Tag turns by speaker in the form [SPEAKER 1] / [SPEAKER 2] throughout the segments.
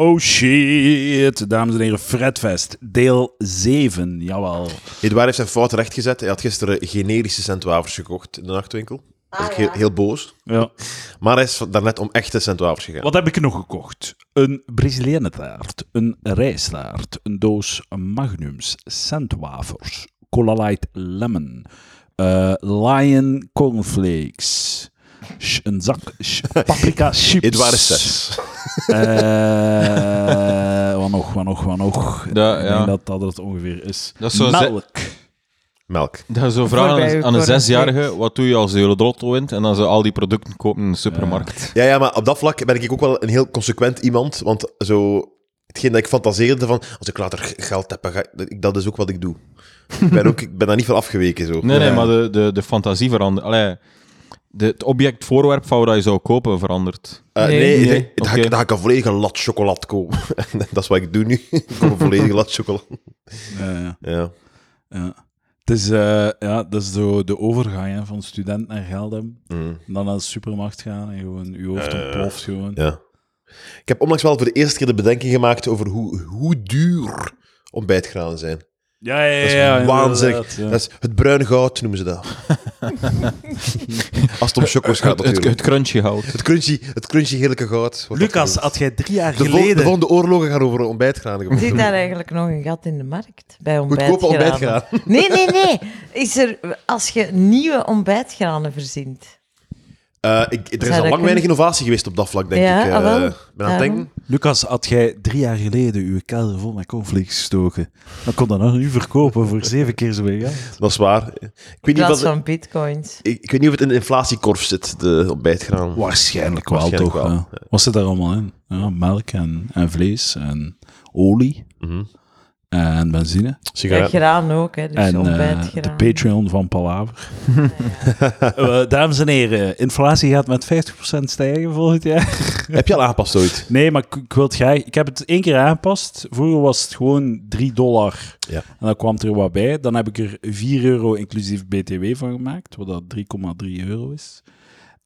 [SPEAKER 1] Oh shit, dames en heren, Fredfest, deel 7, jawel.
[SPEAKER 2] Edouard heeft zijn fout rechtgezet. Hij had gisteren generische centwavers gekocht in de nachtwinkel.
[SPEAKER 3] Ah,
[SPEAKER 2] Dat is heel,
[SPEAKER 3] ja.
[SPEAKER 2] heel boos.
[SPEAKER 1] Ja.
[SPEAKER 2] Maar hij is daarnet om echte centwavers gegaan.
[SPEAKER 1] Wat heb ik nog gekocht? Een Brazilianentaart, een rijstaart, een doos magnums, centwafers, Cola Light Lemon, eh, Lion Cornflakes, sh- een zak sh- paprika chips.
[SPEAKER 2] Edouard is zes.
[SPEAKER 1] Eh, wat nog, wat nog, wat nog?
[SPEAKER 4] Ja,
[SPEAKER 1] ik
[SPEAKER 4] ja.
[SPEAKER 1] denk dat dat het ongeveer is.
[SPEAKER 4] Dat is zo'n ze-
[SPEAKER 1] Melk.
[SPEAKER 2] Melk.
[SPEAKER 4] Dat je zo
[SPEAKER 5] Voorbij
[SPEAKER 4] vraagt aan,
[SPEAKER 5] uw
[SPEAKER 4] een- aan een
[SPEAKER 5] corner
[SPEAKER 4] zesjarige,
[SPEAKER 5] steekt.
[SPEAKER 4] wat doe je als de Eurolotto wint en dan ze al die producten kopen in de supermarkt.
[SPEAKER 2] Ja, ja, maar op dat vlak ben ik ook wel een heel consequent iemand. Want zo, hetgeen dat ik fantaseerde van, als ik later g- geld heb, dan ga ik, dat is ook wat ik doe. ik, ben ook, ik ben daar niet van afgeweken. Zo.
[SPEAKER 4] Nee, nee,
[SPEAKER 2] Ja.
[SPEAKER 4] maar de, de, de fantasie verandert. Allee, de, het object, voorwerp van wat je zou kopen verandert.
[SPEAKER 2] Eh, nee,
[SPEAKER 5] Nee.
[SPEAKER 2] nee,
[SPEAKER 4] Nee,
[SPEAKER 2] Dan, ga
[SPEAKER 4] oké.
[SPEAKER 2] ik, dan ga ik een volledige lat chocolade kopen. En dat is wat ik doe nu. ik koop een volledige lat chocolade.
[SPEAKER 1] Ja, ja.
[SPEAKER 2] Ja.
[SPEAKER 1] Ja. Het is, eh, ja, dat is zo de overgang hè, van student naar Geldem.
[SPEAKER 2] Mm.
[SPEAKER 1] En dan naar de supermarkt gaan en gewoon je hoofd
[SPEAKER 2] Eh,
[SPEAKER 1] ontploft gewoon.
[SPEAKER 2] Ja. Ik heb onlangs wel voor de eerste keer de bedenking gemaakt over hoe, hoe duur ontbijtgranen zijn.
[SPEAKER 1] Ja, ja, ja.
[SPEAKER 2] Dat is
[SPEAKER 1] ja,
[SPEAKER 2] waanzinnig.
[SPEAKER 1] inderdaad, ja.
[SPEAKER 2] Dat is het bruine goud noemen ze dat. Als het om chocos gaat,
[SPEAKER 4] Het, het,
[SPEAKER 2] natuurlijk.
[SPEAKER 4] het crunchje houdt.
[SPEAKER 2] Het crunchy, het crunchy heerlijke goud. wordt dat
[SPEAKER 1] Lucas,
[SPEAKER 2] genoemd.
[SPEAKER 1] had jij drie jaar
[SPEAKER 2] de, vol- de
[SPEAKER 1] geleden...
[SPEAKER 2] volgende oorlogen gaan over ontbijtgranen.
[SPEAKER 5] Zit daar
[SPEAKER 2] gemaakt.
[SPEAKER 5] eigenlijk nog een gat in de markt bij ontbijtgranen?
[SPEAKER 2] Goedkope ontbijtgranen.
[SPEAKER 5] Nee, nee, nee. Is er, als je nieuwe ontbijtgranen verzint.
[SPEAKER 2] Eh, ik, er is
[SPEAKER 5] Zou dat
[SPEAKER 2] al lang
[SPEAKER 5] kunnen?
[SPEAKER 2] weinig innovatie geweest op dat vlak, denk
[SPEAKER 5] Ja,
[SPEAKER 2] ik. eh
[SPEAKER 5] ah, wel.
[SPEAKER 2] ben aan het denken.
[SPEAKER 1] Lucas, had jij drie jaar geleden uw kelder vol met cornflakes gestoken? Dan kon dat nog nu verkopen voor zeven keer zoveel geld.
[SPEAKER 2] Dat is waar. Ik weet,
[SPEAKER 5] In
[SPEAKER 2] niet
[SPEAKER 5] plaats
[SPEAKER 2] of, het-
[SPEAKER 5] van bitcoins.
[SPEAKER 2] ik, ik weet niet of het in de inflatiekorf zit, de ontbijtgranen.
[SPEAKER 1] Waarschijnlijk wel,
[SPEAKER 2] Waarschijnlijk
[SPEAKER 1] toch?
[SPEAKER 2] wel,
[SPEAKER 1] ja. Wat zit daar allemaal in? Ja, melk en, en vlees en olie
[SPEAKER 2] Mhm.
[SPEAKER 1] en benzine.
[SPEAKER 5] Ja,
[SPEAKER 2] Sigaretten.
[SPEAKER 5] graan ook, hè. Dus
[SPEAKER 1] en eh, de
[SPEAKER 5] ontbijtgraan.
[SPEAKER 1] Patreon van Palaver. Eh, dames en heren, inflatie gaat met 50% stijgen volgend jaar.
[SPEAKER 2] Heb je al aangepast ooit?
[SPEAKER 1] Nee, maar ik, ik wil het graag... Ik heb het één keer aangepast. Vroeger was het gewoon 3 dollar.
[SPEAKER 2] Ja.
[SPEAKER 1] En dan kwam er wat bij. Dan heb ik er 4 euro inclusief BTW van gemaakt, wat dat 3,3 euro is.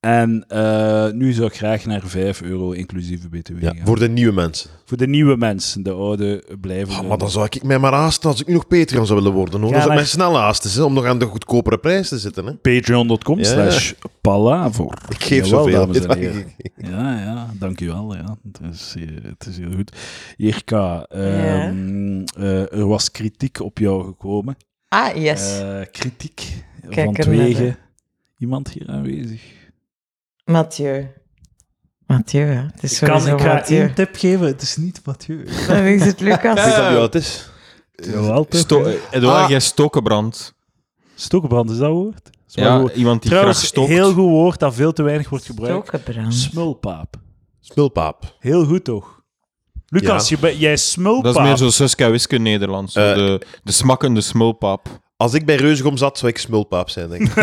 [SPEAKER 1] En eh, nu zou ik graag naar 5 euro inclusief BTW
[SPEAKER 2] Ja,
[SPEAKER 1] gaan. Voor,
[SPEAKER 2] voor de nieuwe mensen.
[SPEAKER 1] de nieuwe mensen, de oude blijven.
[SPEAKER 2] Oh, maar dan zou ik mij maar haasten als ik nu nog Patreon zou willen worden. Hoor.
[SPEAKER 1] Ja,
[SPEAKER 2] dan zou ik
[SPEAKER 1] maar-
[SPEAKER 2] mij snel haasten, hè, om nog aan de goedkopere prijs te zitten. Hè.
[SPEAKER 1] Patreon.com
[SPEAKER 2] Ja.
[SPEAKER 1] slash Palavor.
[SPEAKER 2] Ik geef
[SPEAKER 1] Jawel,
[SPEAKER 2] zoveel.
[SPEAKER 1] dames en
[SPEAKER 2] Ja,
[SPEAKER 1] heren. Ja, ja, dankjewel. Ja. Het, is, eh, het is heel goed. Jirka, ehm, eh, er was kritiek op jou gekomen.
[SPEAKER 5] Ah, yes.
[SPEAKER 1] Eh, kritiek
[SPEAKER 5] Kijk
[SPEAKER 1] van
[SPEAKER 5] er naar,
[SPEAKER 1] twege iemand hier aanwezig.
[SPEAKER 5] Mathieu. Mathieu, hè. Het is
[SPEAKER 1] Ik, kan,
[SPEAKER 5] sowieso
[SPEAKER 1] ik ga
[SPEAKER 5] Mathieu.
[SPEAKER 1] één tip geven, het is niet Mathieu.
[SPEAKER 5] Dan is het
[SPEAKER 2] Ik weet
[SPEAKER 5] Lucas.
[SPEAKER 2] dat nu al het is.
[SPEAKER 1] Jawel, tip,
[SPEAKER 4] Sto eh,
[SPEAKER 1] hè.
[SPEAKER 4] Edouard,
[SPEAKER 2] Ah.
[SPEAKER 4] jij stokenbrand.
[SPEAKER 1] Stokbrand is dat woord? Dat is wel
[SPEAKER 4] Ja,
[SPEAKER 1] goed.
[SPEAKER 4] iemand die graag
[SPEAKER 1] Trouwens,
[SPEAKER 4] stookt.
[SPEAKER 1] heel goed woord dat veel te weinig wordt gebruikt.
[SPEAKER 5] Stokenbrand.
[SPEAKER 1] Smulpaap.
[SPEAKER 2] Smulpaap.
[SPEAKER 1] Heel goed toch? Lucas,
[SPEAKER 2] Ja.
[SPEAKER 1] je bent- jij smulpaap.
[SPEAKER 4] Dat is meer zo Suske en Wiske Nederlands. zo
[SPEAKER 2] Eh.
[SPEAKER 4] de, de smakkende smulpaap.
[SPEAKER 2] Als ik bij Reuzegom zat, zou ik Smulpaap zijn, denk ik.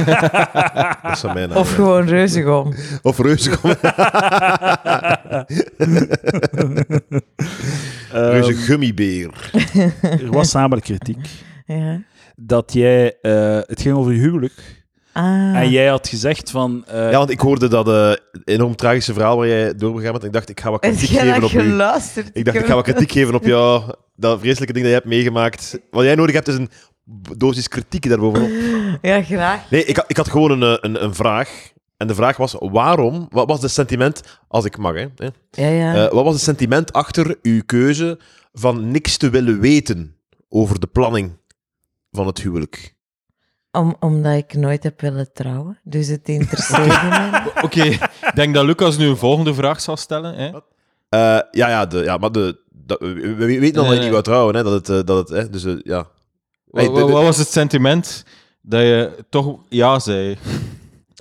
[SPEAKER 2] dat zou mijn naam
[SPEAKER 5] Of
[SPEAKER 2] zijn.
[SPEAKER 5] gewoon reuzegom.
[SPEAKER 2] Of Reuzegom.
[SPEAKER 1] Ehm.
[SPEAKER 2] Eh, Reuzegummibeer.
[SPEAKER 1] er was namelijk kritiek
[SPEAKER 5] Ja.
[SPEAKER 1] dat jij... eh, het ging over je huwelijk.
[SPEAKER 5] Ah.
[SPEAKER 1] En jij had gezegd van... eh,
[SPEAKER 2] Ja, want ik hoorde dat eh, enorm tragische verhaal waar jij doorbegaan bent. Ik dacht, ik ga wat
[SPEAKER 5] Heb
[SPEAKER 2] kritiek
[SPEAKER 5] jij
[SPEAKER 2] geven
[SPEAKER 5] dat
[SPEAKER 2] op u.
[SPEAKER 5] geluisterd?
[SPEAKER 2] Ik dacht, ik ga wat kritiek geven op jou. Dat vreselijke ding dat jij hebt meegemaakt. Wat jij nodig hebt, is een dosis kritiek daarbovenop.
[SPEAKER 5] Ja, graag.
[SPEAKER 2] Nee, ik, had- ik had gewoon een, eh, een, een vraag. En de vraag was, waarom, wat was het sentiment, als ik mag, hè, hè?
[SPEAKER 5] Ja, ja.
[SPEAKER 2] Eh, wat was het sentiment achter uw keuze van niks te willen weten over de planning van het huwelijk?
[SPEAKER 5] Om, omdat ik nooit heb willen trouwen. Dus het interesseerde mij. niet.
[SPEAKER 4] Oké, ik denk dat Lucas nu een volgende vraag zal stellen. Hè?
[SPEAKER 2] Eh, ja, ja, de, ja, maar de, dat- we, we- we weten al dat je
[SPEAKER 4] Nee.
[SPEAKER 2] niet wou trouwen, hè, dat het, eh, dat het, hè, dus eh, ja.
[SPEAKER 4] Wa-
[SPEAKER 2] Nee,
[SPEAKER 4] wa-
[SPEAKER 2] de- de-
[SPEAKER 4] wat was het sentiment dat je toch ja zei?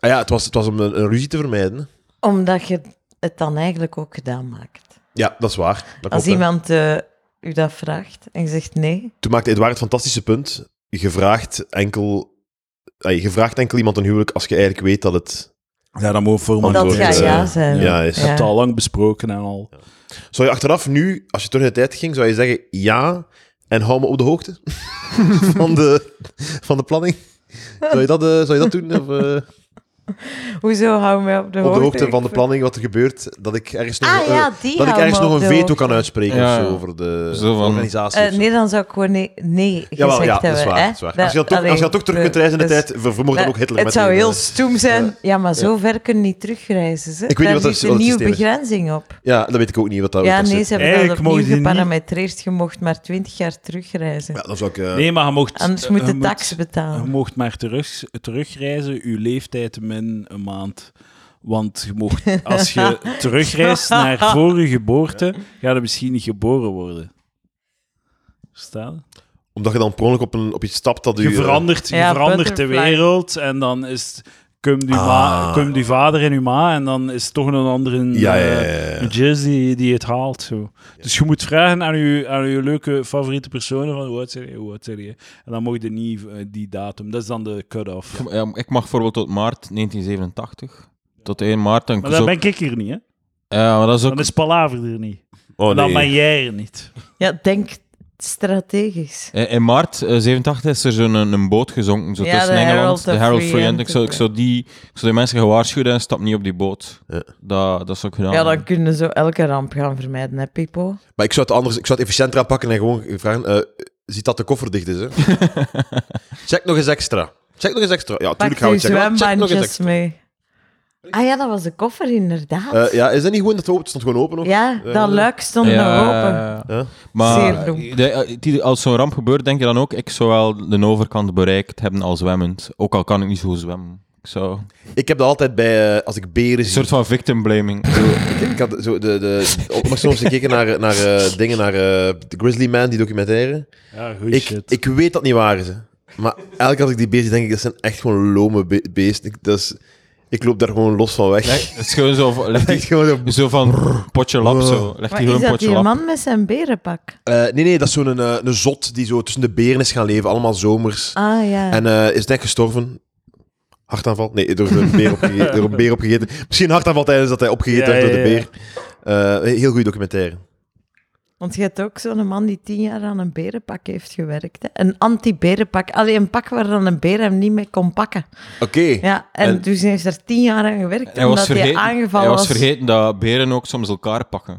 [SPEAKER 2] Ah, ja, het was, het was om een, een ruzie te vermijden. hè.
[SPEAKER 5] Omdat je het dan eigenlijk ook gedaan maakt.
[SPEAKER 2] Ja, dat is waar. Dat klopt,
[SPEAKER 5] Als
[SPEAKER 2] hè.
[SPEAKER 5] iemand eh, u dat vraagt en je zegt nee.
[SPEAKER 2] Toen maakte Edouard het fantastische punt. Je vraagt enkel, eh, je vraagt enkel iemand een huwelijk als je eigenlijk weet dat het...
[SPEAKER 1] Ja, dan moet voor
[SPEAKER 2] Antwoord,
[SPEAKER 5] Oh, dat
[SPEAKER 2] ga
[SPEAKER 5] gaat
[SPEAKER 2] eh,
[SPEAKER 5] ja zijn.
[SPEAKER 2] ja, is-
[SPEAKER 1] Je hebt het al lang besproken en al.
[SPEAKER 2] Zou je achteraf nu, als je terug in de tijd ging, zou je zeggen ja en hou me op de hoogte van de, van de planning? Zou je dat, eh, zou je dat doen? Of, eh?
[SPEAKER 5] Hoezo hou mij op de
[SPEAKER 2] op
[SPEAKER 5] hoogte?
[SPEAKER 2] de hoogte van
[SPEAKER 5] Ik
[SPEAKER 2] de planning wat er gebeurt, dat ik ergens nog,
[SPEAKER 5] Ah,
[SPEAKER 2] eh,
[SPEAKER 5] ja, die
[SPEAKER 2] dat ik
[SPEAKER 5] hou
[SPEAKER 2] ergens
[SPEAKER 5] me
[SPEAKER 2] nog
[SPEAKER 5] op
[SPEAKER 2] een
[SPEAKER 5] de
[SPEAKER 2] veto kan
[SPEAKER 5] hoogte.
[SPEAKER 2] uitspreken
[SPEAKER 4] Ja.
[SPEAKER 2] of zo over de
[SPEAKER 4] Zo van-
[SPEAKER 2] organisatie.
[SPEAKER 5] Eh,
[SPEAKER 2] of zo.
[SPEAKER 5] nee, dan zou ik gewoon nee, nee gezegd
[SPEAKER 2] Jawel, ja, dat
[SPEAKER 5] hebben.
[SPEAKER 2] is waar.
[SPEAKER 5] hè.
[SPEAKER 2] dat is waar. Als je dan toch, als je dan toch terug
[SPEAKER 5] allee,
[SPEAKER 2] kunt reizen in de
[SPEAKER 5] dus-
[SPEAKER 2] tijd, ver- vermoord dan ook Hitler
[SPEAKER 5] Het
[SPEAKER 2] met
[SPEAKER 5] zou
[SPEAKER 2] die,
[SPEAKER 5] heel
[SPEAKER 2] eh,
[SPEAKER 5] stoem zijn. Ja, maar zo ver kun je niet terugreizen. Ze.
[SPEAKER 2] Ik weet niet wat dat-
[SPEAKER 5] zit
[SPEAKER 2] wat
[SPEAKER 5] een
[SPEAKER 2] het
[SPEAKER 5] nieuwe
[SPEAKER 2] systeem is.
[SPEAKER 5] begrenzing op.
[SPEAKER 2] Ja, dat weet ik ook niet wat dat
[SPEAKER 5] ja,
[SPEAKER 2] wat dat
[SPEAKER 5] nee,
[SPEAKER 2] zit.
[SPEAKER 5] ze hebben dat
[SPEAKER 1] Eigenlijk mogen
[SPEAKER 5] opnieuw
[SPEAKER 1] die niet-
[SPEAKER 5] geparametreerd. Je mocht maar 20 jaar terugreizen.
[SPEAKER 2] Ja, dan zou ik... eh,
[SPEAKER 1] Nee, maar je mocht... eh,
[SPEAKER 5] Anders moet
[SPEAKER 1] je
[SPEAKER 5] de tax betalen.
[SPEAKER 1] Je mocht maar terug, terugreizen, je leeftijd min een maand. Want je mocht, als je terugreist naar voor je geboorte, ga je misschien niet geboren worden. Verstaan?
[SPEAKER 2] Omdat je dan per ongeluk op, een, op iets stapt dat u...
[SPEAKER 1] Je
[SPEAKER 2] eh,
[SPEAKER 1] verandert, je
[SPEAKER 5] Ja,
[SPEAKER 1] verandert de
[SPEAKER 5] butterfly.
[SPEAKER 1] wereld en dan is het... Komt uw,
[SPEAKER 2] Ah.
[SPEAKER 1] ma, komt uw vader en uw ma en dan is het toch een andere
[SPEAKER 2] Ja, ja, ja,
[SPEAKER 1] eh,
[SPEAKER 2] ja.
[SPEAKER 1] een jazz die, die het haalt. Zo. Dus je moet vragen aan je, aan uw leuke favoriete personen van hoe oud zijn die, hoe oud zijn die. En dan mocht je niet eh, die datum. Dat is dan de cut-off.
[SPEAKER 4] Ja, maar ik mag bijvoorbeeld tot maart 1987. Tot 1 maart. Dan
[SPEAKER 1] Maar
[SPEAKER 4] zo-
[SPEAKER 1] dan ben ik hier niet, hè?
[SPEAKER 4] Ja, maar dat is ook...
[SPEAKER 1] Dan is Palaver er niet.
[SPEAKER 2] Oh,
[SPEAKER 1] Dan ben
[SPEAKER 2] nee.
[SPEAKER 1] jij er niet.
[SPEAKER 5] Ja, denk strategisch.
[SPEAKER 4] Eh, In maart eh, 87 is er zo'n een, een boot gezonken zo
[SPEAKER 5] Ja,
[SPEAKER 4] tussen
[SPEAKER 5] de
[SPEAKER 4] Engeland,
[SPEAKER 5] Herald
[SPEAKER 4] de
[SPEAKER 5] of
[SPEAKER 4] Harold
[SPEAKER 5] Free
[SPEAKER 4] Free en ik
[SPEAKER 5] Enterprise.
[SPEAKER 4] zou, ik zou die, ik zou die mensen gewaarschuwd en stap niet op die boot.
[SPEAKER 2] Ja.
[SPEAKER 4] Dat, dat zou ik gedaan
[SPEAKER 5] Ja, dan
[SPEAKER 4] hebben.
[SPEAKER 5] kunnen ze elke ramp gaan vermijden, hè, Pipo?
[SPEAKER 2] Maar ik zou het anders... Ik zou het efficiënter aanpakken en gewoon vragen... eh, ziet dat de koffer dicht is, hè? check nog eens extra. Check nog eens extra. Ja,
[SPEAKER 5] Pak
[SPEAKER 2] tuurlijk gaan we
[SPEAKER 5] je
[SPEAKER 2] checken. Check nog eens
[SPEAKER 5] zwembandjes
[SPEAKER 2] extra.
[SPEAKER 5] mee. Ah ja, dat was de koffer, inderdaad.
[SPEAKER 2] Eh, ja, is dat niet gewoon dat het open- het stond gewoon open? nog?
[SPEAKER 5] ja,
[SPEAKER 2] eh,
[SPEAKER 5] dat luik stond nog open.
[SPEAKER 4] ja.
[SPEAKER 2] Ja.
[SPEAKER 5] Zeer
[SPEAKER 4] Maar
[SPEAKER 5] dom.
[SPEAKER 4] de- eh, die- als zo'n ramp gebeurt, denk je dan ook, ik zou wel de overkant bereikt hebben al zwemmend. Ook al kan ik niet zo goed zwemmen. Ik zou...
[SPEAKER 2] Ik heb dat altijd bij... eh, als ik beren
[SPEAKER 4] Een
[SPEAKER 2] zie...
[SPEAKER 4] soort van victim blaming.
[SPEAKER 2] Zo, ik, ik had zo de, de, op- maar soms gekeken naar, naar eh, dingen, naar eh, The Grizzly Man, die documentaire.
[SPEAKER 1] Ja, goed
[SPEAKER 2] Ik,
[SPEAKER 1] shit.
[SPEAKER 2] ik weet dat niet waar is. hè. Maar elke keer als ik die beesten denk, ik, dat zijn echt gewoon lome be- beesten. Ik, dat is, ik loop daar gewoon los van weg.
[SPEAKER 4] Leg- Het is gewoon zo, van- leg
[SPEAKER 2] Echt
[SPEAKER 4] die,
[SPEAKER 2] gewoon zo-
[SPEAKER 4] zo van potje lap zo. Leg
[SPEAKER 5] Maar
[SPEAKER 4] die
[SPEAKER 5] is
[SPEAKER 4] gewoon
[SPEAKER 5] dat
[SPEAKER 4] potje
[SPEAKER 5] die
[SPEAKER 4] lap.
[SPEAKER 5] man met zijn berenpak?
[SPEAKER 2] Eh, nee, nee, dat is zo'n eh, een zot die zo tussen de beren is gaan leven, allemaal zomers.
[SPEAKER 5] Ah ja.
[SPEAKER 2] En eh, is net gestorven. Hartaanval? Nee, door een beer, opgege- door een beer opgegeten. Misschien een hartaanval tijdens dat hij opgegeten
[SPEAKER 1] Ja,
[SPEAKER 2] werd door de
[SPEAKER 1] ja, ja.
[SPEAKER 2] beer. Eh, heel goede documentaire.
[SPEAKER 5] Want je hebt ook zo'n man die tien jaar aan een berenpak heeft gewerkt. Hè? Een anti-berenpak. Allee, een pak waar dan een beer hem niet mee kon pakken.
[SPEAKER 2] Oké.
[SPEAKER 5] Ja, en,
[SPEAKER 2] En-
[SPEAKER 5] dus hij heeft er tien jaar aan gewerkt,
[SPEAKER 4] Hij was,
[SPEAKER 5] omdat hij
[SPEAKER 4] vergeten,
[SPEAKER 5] aangevallen
[SPEAKER 4] hij was
[SPEAKER 5] was.
[SPEAKER 4] vergeten dat beren ook soms elkaar pakken.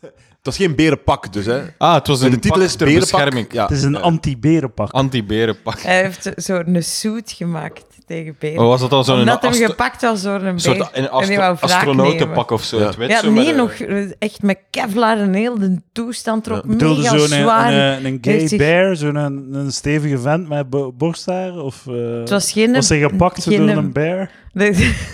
[SPEAKER 2] Het was geen berenpak dus, hè?
[SPEAKER 4] Ah, het was een
[SPEAKER 2] de titel
[SPEAKER 4] pak
[SPEAKER 2] is
[SPEAKER 4] ter
[SPEAKER 2] Berenpak.
[SPEAKER 4] bescherming.
[SPEAKER 2] Ja.
[SPEAKER 1] Het is een anti-berenpak.
[SPEAKER 4] Anti-berenpak.
[SPEAKER 5] Hij heeft zo'n suit gemaakt tegen beren.
[SPEAKER 4] Oh, was dat dan zo'n
[SPEAKER 5] omdat hem
[SPEAKER 4] astro-
[SPEAKER 5] gepakt was door een beer.
[SPEAKER 4] soort een
[SPEAKER 5] en die wou
[SPEAKER 4] astro-
[SPEAKER 5] wraak nemen.
[SPEAKER 4] astronautenpak of zo?
[SPEAKER 2] Ja.
[SPEAKER 4] het wit,
[SPEAKER 5] Ja,
[SPEAKER 4] zo
[SPEAKER 5] nee,
[SPEAKER 4] met een-
[SPEAKER 5] nog echt met Kevlar en heel de toestand erop.
[SPEAKER 1] Ik bedoelde
[SPEAKER 5] mega
[SPEAKER 1] zo'n eh,
[SPEAKER 5] zwaar.
[SPEAKER 1] een, een, een gay
[SPEAKER 5] Heeft zich-
[SPEAKER 1] bear, zo'n een, een stevige vent met bo- borsthaar? Of eh,
[SPEAKER 5] het
[SPEAKER 1] was,
[SPEAKER 5] was geen...
[SPEAKER 1] hij gepakt
[SPEAKER 5] geen-
[SPEAKER 1] door een bear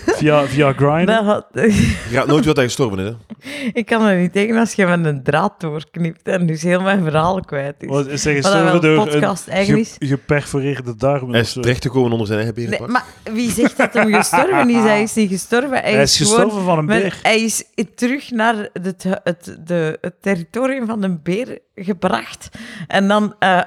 [SPEAKER 1] via, via Grindr?
[SPEAKER 5] dat had,
[SPEAKER 2] Je gaat nooit wat hij gestorven is, hè?
[SPEAKER 5] ik kan er niet tegen als je met een draad doorknipt en dus heel mijn verhaal kwijt is.
[SPEAKER 1] Was, is hij
[SPEAKER 5] Wat
[SPEAKER 1] gestorven
[SPEAKER 5] dat wel
[SPEAKER 1] door
[SPEAKER 5] een podcast
[SPEAKER 1] een
[SPEAKER 5] eigenlijk
[SPEAKER 1] ge,
[SPEAKER 5] is.
[SPEAKER 1] geperforeerde darmen?
[SPEAKER 2] Hij
[SPEAKER 1] of
[SPEAKER 2] is
[SPEAKER 1] zo?
[SPEAKER 2] terechtgekomen onder zijn eigen berenpak.
[SPEAKER 5] Nee, maar wie zegt dat hem gestorven is? Hij is niet gestorven. Hij,
[SPEAKER 1] Hij is
[SPEAKER 5] gewoon
[SPEAKER 1] gestorven van een
[SPEAKER 5] met-
[SPEAKER 1] beer.
[SPEAKER 5] hij is terug naar het, het, de, het territorium van een beer gebracht. En dan eh,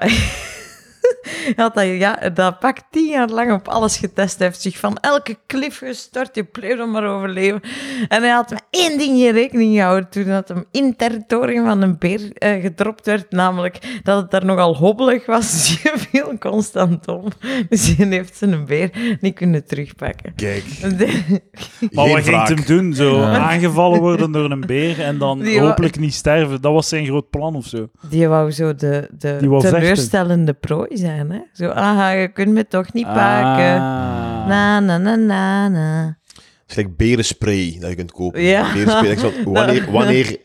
[SPEAKER 5] hij had hij ja, dat pak tien jaar lang op alles getest. Hij heeft zich van elke klif gestort. Je pleurde maar overleven. En hij had maar één ding in rekening gehouden toen dat hem in het territorium van een beer eh, gedropt werd. Namelijk dat het daar nogal hobbelig was. Dus je viel constant om. Dus hij heeft zijn beer niet kunnen terugpakken.
[SPEAKER 2] Kijk,
[SPEAKER 1] Maar
[SPEAKER 2] geen
[SPEAKER 1] wat ging
[SPEAKER 2] wraak.
[SPEAKER 1] het hem doen? Zo
[SPEAKER 4] Ja.
[SPEAKER 1] aangevallen worden door een beer en dan
[SPEAKER 5] Die wa-
[SPEAKER 1] hopelijk niet sterven. Dat was zijn groot plan of zo.
[SPEAKER 5] Die wou zo de,
[SPEAKER 1] Die
[SPEAKER 5] de
[SPEAKER 1] wou vechten.
[SPEAKER 5] teleurstellende prooi zijn. Hè? Zo, aha, je kunt me toch niet pakken.
[SPEAKER 1] Ah.
[SPEAKER 5] Na, na, na, na, na.
[SPEAKER 2] Het is gelijk berenspray dat je kunt kopen.
[SPEAKER 5] Ja. Nou.
[SPEAKER 2] Berenspray. Ik zeg, want wanneer, wanneer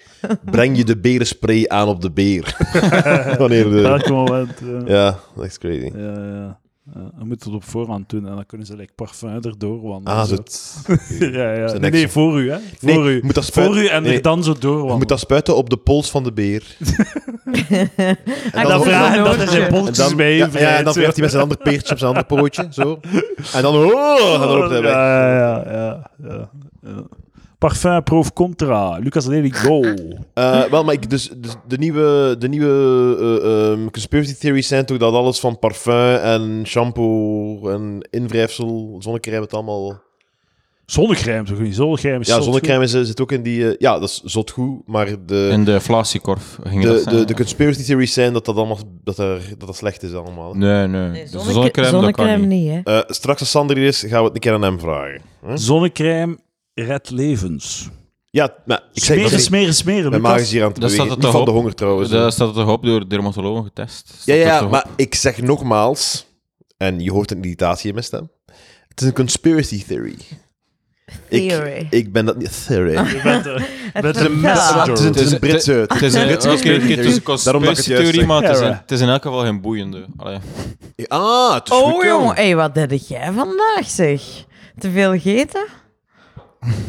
[SPEAKER 2] breng je de berenspray aan op de beer? wanneer de...
[SPEAKER 1] Welk moment. eh.
[SPEAKER 2] Ja, dat is crazy.
[SPEAKER 1] Ja, ja, ja. Ja, je moet het op voorhand doen en dan kunnen ze like, parfum erdoor wandelen.
[SPEAKER 2] Ah,
[SPEAKER 1] zo.
[SPEAKER 2] zo. het-
[SPEAKER 1] ja, ja.
[SPEAKER 2] zijn
[SPEAKER 1] Nee,
[SPEAKER 2] niks.
[SPEAKER 1] nee, voor u, hè?
[SPEAKER 2] Nee,
[SPEAKER 1] Voor u.
[SPEAKER 2] je moet dat spuiten.
[SPEAKER 1] Voor u en
[SPEAKER 2] nee,
[SPEAKER 1] er dan zo
[SPEAKER 2] je
[SPEAKER 1] doorwandelen.
[SPEAKER 2] moet dat spuiten op de pols van de beer.
[SPEAKER 5] En
[SPEAKER 1] En dan
[SPEAKER 2] dan-
[SPEAKER 1] vragen
[SPEAKER 5] een
[SPEAKER 1] dat hij zijn
[SPEAKER 5] nootje.
[SPEAKER 2] En
[SPEAKER 1] bolletjes
[SPEAKER 2] dan,
[SPEAKER 1] mee
[SPEAKER 2] ja, ja, en
[SPEAKER 1] vrijt,
[SPEAKER 2] dan
[SPEAKER 1] zo.
[SPEAKER 2] werpt hij met zijn ander peertje op zijn ander pootje. Zo. En dan... Oh, dan loopt hij weg.
[SPEAKER 1] Ja, ja, ja, ja, ja. Parfum, proof, contra. Lucas Lely, go.
[SPEAKER 2] Eh, wel, maar ik, dus, dus de nieuwe, de nieuwe eh, ehm, conspiracy theories zijn toch dat alles van parfum en shampoo en invrijfsel, zonnecrème, het allemaal
[SPEAKER 1] Zonnecrème, toch niet? Zonnecrème is
[SPEAKER 2] Ja,
[SPEAKER 1] zot
[SPEAKER 2] zonnecrème is, eh, zit ook in die... eh, ja, dat is zot goed, maar de,
[SPEAKER 4] In de flasiekorf ging dat
[SPEAKER 2] de,
[SPEAKER 4] zijn,
[SPEAKER 2] de,
[SPEAKER 4] ja.
[SPEAKER 2] de conspiracy theories zijn dat dat, allemaal, dat, er, dat dat slecht is allemaal. hè.
[SPEAKER 4] Nee, nee.
[SPEAKER 5] Nee,
[SPEAKER 4] Dus
[SPEAKER 5] zonne-
[SPEAKER 4] zonnecrème, dat kan
[SPEAKER 5] zonnecrème
[SPEAKER 4] niet.
[SPEAKER 5] niet, hè.
[SPEAKER 2] Eh, straks als Sander hier is, gaan we het een keer aan hem vragen.
[SPEAKER 1] goed. Zonnecrème redt levens.
[SPEAKER 2] Ja, maar ik zeg
[SPEAKER 1] Smeren,
[SPEAKER 2] dat niet.
[SPEAKER 1] smeren, smeren,
[SPEAKER 2] Mijn maag
[SPEAKER 1] Lucas.
[SPEAKER 2] is hier aan het
[SPEAKER 4] Daar staat
[SPEAKER 2] bewegen. Niet
[SPEAKER 4] het
[SPEAKER 2] van
[SPEAKER 4] toch
[SPEAKER 2] de
[SPEAKER 4] op?
[SPEAKER 2] honger trouwens.
[SPEAKER 4] Daar Dus, eh, staat het toch op door dermatologen getest? Staat
[SPEAKER 2] Ja,
[SPEAKER 4] dat
[SPEAKER 2] ja,
[SPEAKER 4] toch op?
[SPEAKER 2] maar ik zeg nogmaals, en je hoort een irritatie in mijn stem. Het is een conspiracy theory.
[SPEAKER 5] Theory.
[SPEAKER 2] Ik, ik ben dat niet. Theory.
[SPEAKER 1] Je bent, eh, je bent een
[SPEAKER 5] verhaal.
[SPEAKER 2] Het is
[SPEAKER 1] messenger.
[SPEAKER 2] een, het is een Britse.
[SPEAKER 4] Het is een
[SPEAKER 2] Britse
[SPEAKER 4] oké, oké, het is
[SPEAKER 2] Daarom dat
[SPEAKER 4] een
[SPEAKER 2] ik het
[SPEAKER 4] conspiracy
[SPEAKER 2] juist
[SPEAKER 4] theorie,
[SPEAKER 2] zeg.
[SPEAKER 4] maar het is,
[SPEAKER 1] Ja,
[SPEAKER 4] een-
[SPEAKER 1] right.
[SPEAKER 4] het is in elk geval geen boeiende. Allee.
[SPEAKER 2] Ah, het is
[SPEAKER 5] Oh,
[SPEAKER 2] goed,
[SPEAKER 5] jongen. Hé, wat deed jij vandaag, zeg? Te veel gegeten?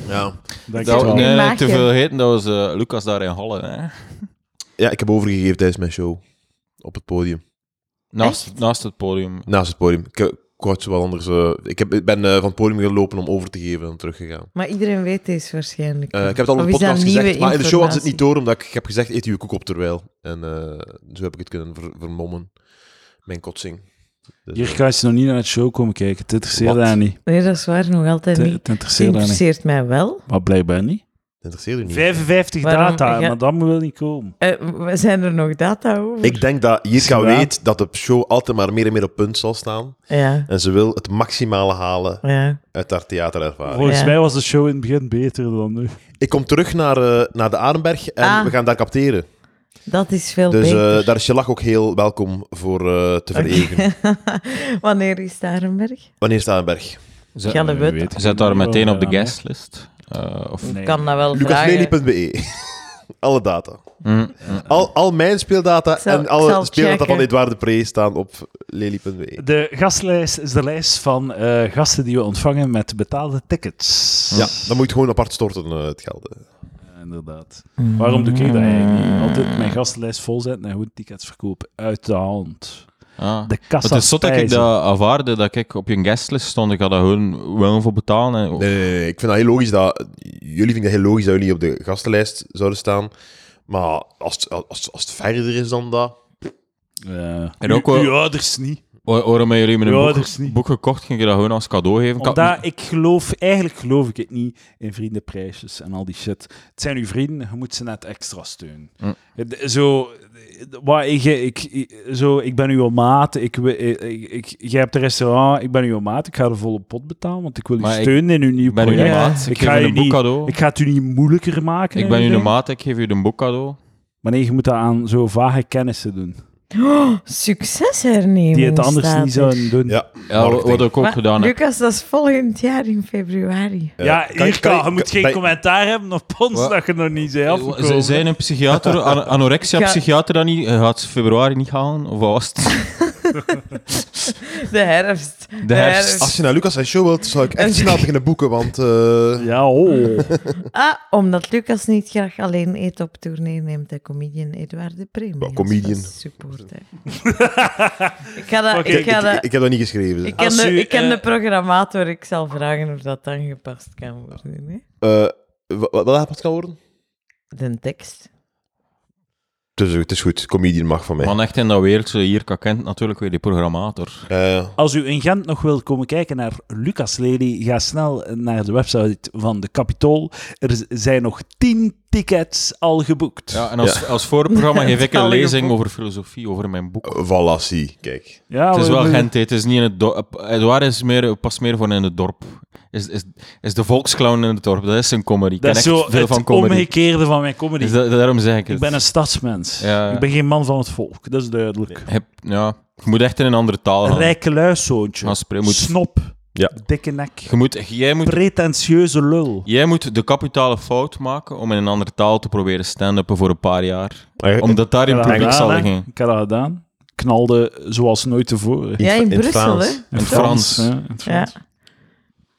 [SPEAKER 2] Ja.
[SPEAKER 1] Dank je wel.
[SPEAKER 5] Dat- nee.
[SPEAKER 4] Nou, nee,
[SPEAKER 5] maagje.
[SPEAKER 4] te veel heten, dat was eh, Lucas daar in Halle. Hè?
[SPEAKER 2] ja, ik heb overgegeven tijdens mijn show. Op het podium.
[SPEAKER 4] Naast, naast het podium.
[SPEAKER 2] Naast het podium. Ik, ik wou het zo wel anders. eh, ik, heb, ik ben eh, van het podium gelopen om over te geven en teruggegaan.
[SPEAKER 5] Maar iedereen weet deze waarschijnlijk.
[SPEAKER 2] Eh, ik heb het al
[SPEAKER 5] Of
[SPEAKER 2] in de
[SPEAKER 5] is dat
[SPEAKER 2] podcast
[SPEAKER 5] nieuwe
[SPEAKER 2] gezegd, maar in de show hadden ze het niet
[SPEAKER 5] informatie?
[SPEAKER 2] door, omdat ik, ik heb gezegd, eet uw koek op terwijl. En eh, zo heb ik het kunnen ver- vermommen. Mijn kotsing. Dus,
[SPEAKER 1] Hier
[SPEAKER 2] eh,
[SPEAKER 1] kan je nog niet naar het show komen kijken. Het interesseert
[SPEAKER 2] Wat?
[SPEAKER 1] haar niet.
[SPEAKER 5] Nee, dat is waar, nog altijd
[SPEAKER 1] Het
[SPEAKER 5] niet.
[SPEAKER 1] het
[SPEAKER 5] Het
[SPEAKER 1] interesseert haar niet.
[SPEAKER 5] interesseert mij wel.
[SPEAKER 1] Maar blijkbaar niet.
[SPEAKER 2] Dat interesseert u niet.
[SPEAKER 1] 55
[SPEAKER 5] Waarom?
[SPEAKER 1] data,
[SPEAKER 5] Ja.
[SPEAKER 1] maar dat moet wel niet komen.
[SPEAKER 5] Eh, we- zijn er nog data over?
[SPEAKER 2] Ik denk dat Jirka
[SPEAKER 1] Ja.
[SPEAKER 2] weet dat de show altijd maar meer en meer op punt zal staan.
[SPEAKER 5] Ja,
[SPEAKER 2] En ze wil het maximale halen
[SPEAKER 5] ja.
[SPEAKER 2] uit haar theaterervaring.
[SPEAKER 1] Volgens
[SPEAKER 5] Ja.
[SPEAKER 1] mij was de show in het begin beter dan nu.
[SPEAKER 2] Ik kom terug naar, eh, naar de Arenberg en
[SPEAKER 5] Ah.
[SPEAKER 2] we gaan daar capteren.
[SPEAKER 5] Dat is veel
[SPEAKER 2] Dus eh,
[SPEAKER 5] beter.
[SPEAKER 2] daar is je lach ook heel welkom voor eh, te veregen.
[SPEAKER 5] Wanneer is daar een berg?
[SPEAKER 2] Wanneer is de Arenberg?
[SPEAKER 4] Zet,
[SPEAKER 5] Gaan we
[SPEAKER 1] Nee,
[SPEAKER 5] weten.
[SPEAKER 1] weet ik
[SPEAKER 4] zet
[SPEAKER 1] niet.
[SPEAKER 4] daar meteen op de
[SPEAKER 1] Ja, nee.
[SPEAKER 4] guestlist. Eh, of...
[SPEAKER 1] Nee.
[SPEAKER 5] Kan dat wel vragen.
[SPEAKER 2] Lucasmeli.be E. Alle data.
[SPEAKER 4] Mm, mm.
[SPEAKER 2] Al, al mijn speeldata
[SPEAKER 5] Ik zal-
[SPEAKER 2] en
[SPEAKER 5] ik
[SPEAKER 2] alle
[SPEAKER 5] zal
[SPEAKER 2] speeldata
[SPEAKER 5] checken.
[SPEAKER 2] van Edouard de Pre staan op lely.be.
[SPEAKER 1] De gastlijst is de lijst van eh, gasten die we ontvangen met betaalde tickets.
[SPEAKER 2] Ja, dan moet je het gewoon apart storten, eh, het geld. eh.
[SPEAKER 1] Ja, Inderdaad. Mm. Waarom doe ik dat eigenlijk
[SPEAKER 4] Mm.
[SPEAKER 2] Mm.
[SPEAKER 1] niet? Altijd mijn gastenlijst volzetten en goed tickets verkopen. Uit de hand.
[SPEAKER 4] Ah.
[SPEAKER 1] De kassa
[SPEAKER 4] Het is zot dat ik
[SPEAKER 1] spijzen.
[SPEAKER 4] dat aanvaarde, dat ik op je guestlist stond. Ik had daar gewoon wel voor betalen. En,
[SPEAKER 2] Nee, nee, nee, ik vind dat heel logisch dat... Jullie vinden dat heel logisch dat jullie op de gastenlijst zouden staan. Maar als, het- als, als het verder is dan dat...
[SPEAKER 1] Ja.
[SPEAKER 4] En ook
[SPEAKER 1] Uw-
[SPEAKER 4] wel-
[SPEAKER 1] uw ouders niet.
[SPEAKER 4] Wa- Waarom hebben jullie me
[SPEAKER 1] Ja,
[SPEAKER 4] een
[SPEAKER 1] dat
[SPEAKER 4] boek,
[SPEAKER 1] is niet.
[SPEAKER 4] boek gekocht? Ging je dat gewoon als cadeau geven? Ik had-
[SPEAKER 1] Omdat ik geloof, eigenlijk geloof ik het niet in vriendenprijsjes en al die shit. Het zijn uw vrienden, je moet ze net extra steunen.
[SPEAKER 4] Mm.
[SPEAKER 1] D- Zo, d- wat, ik, ik, ik- zo, ik ben uw maat, ik, wi- ik, ik, ik- jij hebt een restaurant, ik ben uw maat, ik ga de volle pot betalen, want ik wil u
[SPEAKER 4] Maar ik
[SPEAKER 1] steunen in uw nieuw
[SPEAKER 4] ik ben uw
[SPEAKER 1] project.
[SPEAKER 4] maat, ik
[SPEAKER 1] ga
[SPEAKER 4] geef
[SPEAKER 1] je
[SPEAKER 4] u een boek
[SPEAKER 1] niet-
[SPEAKER 4] cadeau.
[SPEAKER 1] Ik ga het u niet moeilijker maken.
[SPEAKER 4] Ik
[SPEAKER 1] en
[SPEAKER 4] ben uw
[SPEAKER 1] dingen.
[SPEAKER 4] maat, ik geef u een boek cadeau.
[SPEAKER 1] Maar nee, je moet dat aan zo vage kennissen doen.
[SPEAKER 5] Succes hernemen.
[SPEAKER 1] Die het anders
[SPEAKER 5] staat
[SPEAKER 1] niet
[SPEAKER 5] er.
[SPEAKER 1] zouden doen.
[SPEAKER 2] Ja,
[SPEAKER 4] Ja, wat- wat ik ook
[SPEAKER 5] Maar,
[SPEAKER 4] gedaan heb.
[SPEAKER 5] Lucas, dat is volgend jaar in februari.
[SPEAKER 1] Ja, Irka, je moet geen
[SPEAKER 2] commentaar.
[SPEAKER 1] commentaar hebben op ons
[SPEAKER 4] Wat?
[SPEAKER 1] dat je nog niet zei
[SPEAKER 4] Ze-
[SPEAKER 1] afgekomen.
[SPEAKER 4] Ze zijn een psychiater, an- anorexia-psychiater dat niet. Hij gaat ze februari niet halen, of wat was het?
[SPEAKER 5] De herfst.
[SPEAKER 4] De herfst.
[SPEAKER 2] Als je naar Lucas zijn show wilt, zou ik echt snel beginnen boeken, want... eh,
[SPEAKER 1] Ja, oh.
[SPEAKER 5] Ah, omdat Lucas niet graag alleen eten op tournee neemt, de comedian Edouard de Prem.
[SPEAKER 2] Wel, comedian.
[SPEAKER 5] Support, hè. ik ga dat...
[SPEAKER 1] Oké,
[SPEAKER 5] ik
[SPEAKER 2] ik,
[SPEAKER 5] ga dat
[SPEAKER 2] ik, ik heb dat niet geschreven. zeg.
[SPEAKER 5] ik ken,
[SPEAKER 1] Als
[SPEAKER 5] de,
[SPEAKER 1] u,
[SPEAKER 5] ik ken
[SPEAKER 1] eh,
[SPEAKER 5] de programmator, ik zal vragen of dat aangepast kan worden. Hè?
[SPEAKER 2] Eh, wa- wat aangepast kan worden?
[SPEAKER 5] De tekst.
[SPEAKER 2] Dus het is goed, comedian mag van mij.
[SPEAKER 4] Man, echt in dat wereldje, hier kent natuurlijk weer die programmator.
[SPEAKER 2] Eh,
[SPEAKER 1] Als u in Gent nog wilt komen kijken naar Lucas Lely, ga snel naar de website van de Capitool. Er z- zijn nog 10 tickets al geboekt.
[SPEAKER 4] Ja, en als, als voorprogramma geef ik een
[SPEAKER 5] Talige
[SPEAKER 4] lezing
[SPEAKER 5] boek.
[SPEAKER 4] over filosofie, over mijn boek.
[SPEAKER 2] voilà, zie, kijk.
[SPEAKER 1] Ja,
[SPEAKER 4] Het is
[SPEAKER 1] we-
[SPEAKER 4] wel
[SPEAKER 1] we-
[SPEAKER 4] Gent, hè. het is niet in eh, het dorp. Edouard is meer, past meer voor in het dorp. Is, is, is de volksclown in het dorp, dat is een comedy. Ik ken
[SPEAKER 1] Dat is
[SPEAKER 4] echt
[SPEAKER 1] zo
[SPEAKER 4] veel
[SPEAKER 1] het
[SPEAKER 4] van comedy.
[SPEAKER 1] omgekeerde van mijn comedy.
[SPEAKER 4] Dus da- daarom zeg ik het.
[SPEAKER 1] ik ben een stadsmens.
[SPEAKER 4] Ja.
[SPEAKER 1] Ik ben geen man van het volk, dat is duidelijk.
[SPEAKER 4] Heb, ja, je moet echt in een andere taal gaan.
[SPEAKER 1] Rijke luiszoontje.
[SPEAKER 4] Gaan spreken. Moet-
[SPEAKER 1] Snop.
[SPEAKER 2] Ja.
[SPEAKER 1] Dikke nek.
[SPEAKER 4] Je moet, jij, moet,
[SPEAKER 1] Pretentieuze lul.
[SPEAKER 4] jij moet de kapitale fout maken om in een andere taal te proberen stand-uppen voor een paar jaar.
[SPEAKER 2] Eh,
[SPEAKER 4] Omdat daar in
[SPEAKER 1] Ik heb dat
[SPEAKER 4] publiek
[SPEAKER 1] gedaan,
[SPEAKER 4] zal
[SPEAKER 1] hè.
[SPEAKER 4] liggen.
[SPEAKER 1] Ik heb dat gedaan. Knalde zoals nooit tevoren.
[SPEAKER 5] Ja, in,
[SPEAKER 2] in het
[SPEAKER 5] Brussel,
[SPEAKER 2] Frans.
[SPEAKER 5] hè?
[SPEAKER 1] In
[SPEAKER 4] het Frans.
[SPEAKER 1] hè, in het
[SPEAKER 5] Ja.
[SPEAKER 1] Frans.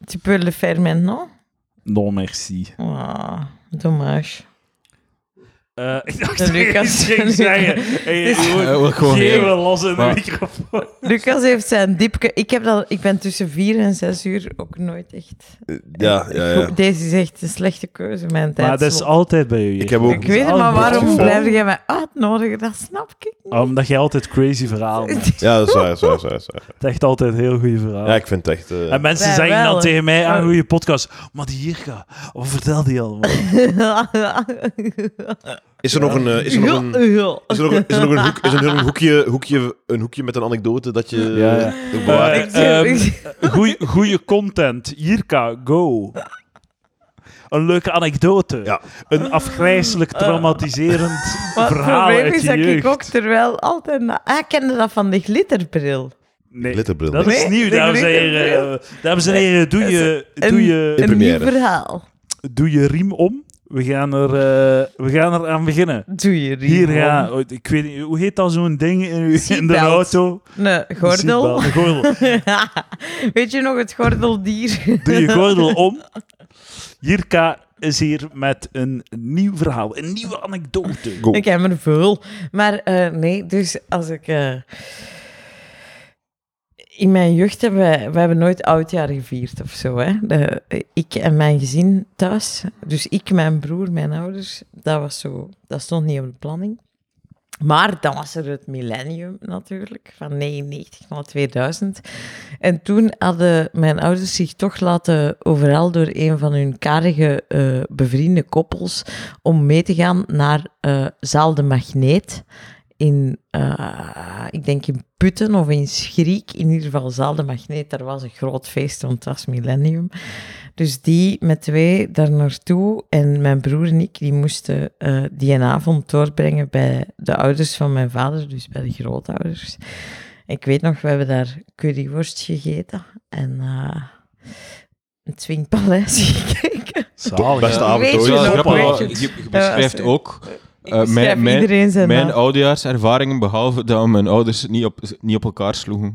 [SPEAKER 5] Tu peux le Oh, faire maintenant?
[SPEAKER 1] Non, merci.
[SPEAKER 5] Ah, dommage.
[SPEAKER 1] Eh, ik dacht
[SPEAKER 5] En
[SPEAKER 1] dat je
[SPEAKER 5] Lucas-
[SPEAKER 1] iets ging
[SPEAKER 5] Lucas-
[SPEAKER 1] zeggen. En je
[SPEAKER 5] Dus-
[SPEAKER 4] Eh,
[SPEAKER 1] gewoon
[SPEAKER 4] wel gewoon-
[SPEAKER 1] geeuwen los in de
[SPEAKER 4] Maar-
[SPEAKER 1] microfoon.
[SPEAKER 5] Lucas heeft zijn diepke. Ik, heb dat, ik ben tussen vier en zes uur ook nooit echt.
[SPEAKER 2] Ja, ja, ja.
[SPEAKER 5] Deze is echt een slechte keuze, mijn tijd.
[SPEAKER 1] Maar dat is altijd bij Ah, jullie.
[SPEAKER 2] Ik heb ook-
[SPEAKER 5] Ik weet het, maar waarom
[SPEAKER 2] toeval.
[SPEAKER 5] blijf jij mij uitnodigen? Dat snap ik niet.
[SPEAKER 1] Omdat jij altijd crazy verhalen hebt.
[SPEAKER 2] Ja, dat is waar, dat is waar, dat is waar, dat is waar.
[SPEAKER 1] Het is echt altijd heel goede verhalen.
[SPEAKER 2] Ja, ik vind het echt... eh,
[SPEAKER 1] En mensen
[SPEAKER 5] Wij
[SPEAKER 1] zeggen
[SPEAKER 5] wel,
[SPEAKER 1] dan
[SPEAKER 5] hè.
[SPEAKER 1] tegen mij aan goede podcast. Maar die Jirka, wat vertelt die allemaal?
[SPEAKER 2] Eh, Is er nog een... eh, Is er nog een... Is er nog, een- is er nog een, hoek, is er nog een, hoekje, hoekje, een hoekje met een anekdote dat je
[SPEAKER 1] Ja, ja.
[SPEAKER 2] eh, bewaart?
[SPEAKER 1] Eh, ehm, Goeie, goeie content. Jirka, go. Een leuke anekdote.
[SPEAKER 2] Ja.
[SPEAKER 1] Een afgrijzelijk traumatiserend
[SPEAKER 5] Maar het
[SPEAKER 1] verhaal
[SPEAKER 5] Eh. probleem
[SPEAKER 1] uit
[SPEAKER 5] is
[SPEAKER 1] je
[SPEAKER 5] dat
[SPEAKER 1] jeugd.
[SPEAKER 5] ik ook terwijl altijd... na- Ah, ik kende dat van de glitterbril.
[SPEAKER 1] Nee,
[SPEAKER 2] Glitterbril.
[SPEAKER 1] dat is
[SPEAKER 5] Nee,
[SPEAKER 1] nieuw,
[SPEAKER 5] de
[SPEAKER 1] dames en heren.
[SPEAKER 5] glitterbril.
[SPEAKER 1] Eh, Dames en heren, doe je,
[SPEAKER 5] Een-
[SPEAKER 1] doe je,
[SPEAKER 5] Een nieuw
[SPEAKER 2] première.
[SPEAKER 5] verhaal.
[SPEAKER 1] doe je riem om. We gaan, er, eh, we gaan er aan beginnen.
[SPEAKER 5] Doe je riem
[SPEAKER 1] Hier
[SPEAKER 5] om.
[SPEAKER 1] ja, oh, ik weet niet, hoe heet dat zo'n ding in, uw- in de
[SPEAKER 5] Seatbelt.
[SPEAKER 1] auto?
[SPEAKER 5] Een
[SPEAKER 1] Seatbelt,
[SPEAKER 5] gordel.
[SPEAKER 1] Een gordel.
[SPEAKER 5] Weet je nog het gordeldier?
[SPEAKER 1] Doe je gordel om. Jirka is hier met een nieuw verhaal, een nieuwe anekdote.
[SPEAKER 2] Go.
[SPEAKER 5] Ik heb er veel. Maar eh, nee, dus als ik. eh, in mijn jeugd hebben wij, wij hebben nooit oudjaar gevierd of zo. Hè? De- ik en mijn gezin thuis. Dus ik, mijn broer, mijn ouders. Dat, was zo, dat stond niet op de planning. Maar dan was er het millennium natuurlijk, van 99 naar 2000. En toen hadden mijn ouders zich toch laten overal door een van hun karige eh, bevriende koppels om mee te gaan naar eh, Zaal de Magneet. In, eh, ik denk in Putten of in Schriek. In ieder geval Zaal de Magneet. Daar was een groot feest, want het was millennium. Dus die met twee daar naartoe. En mijn broer en ik, die moesten eh, die een avond doorbrengen bij de ouders van mijn vader. Dus bij de grootouders. Ik weet nog, we hebben daar curryworst gegeten. En eh het Swingpaleis gekeken.
[SPEAKER 1] Zalig,
[SPEAKER 2] Beste
[SPEAKER 1] hè?
[SPEAKER 2] avond
[SPEAKER 5] Weet
[SPEAKER 4] Het is
[SPEAKER 2] ooit.
[SPEAKER 4] wel
[SPEAKER 5] nog,
[SPEAKER 4] grappig,
[SPEAKER 5] weet
[SPEAKER 4] want
[SPEAKER 5] je het?
[SPEAKER 4] je, je beschrijft
[SPEAKER 5] Ja,
[SPEAKER 4] ook
[SPEAKER 5] Ik
[SPEAKER 4] Eh, mijn-
[SPEAKER 5] schrijf
[SPEAKER 4] mijn-
[SPEAKER 5] iedereen zijn
[SPEAKER 4] mijn
[SPEAKER 5] naam.
[SPEAKER 4] oudejaarservaringen, behalve dat mijn ouders niet op, niet op elkaar sloegen.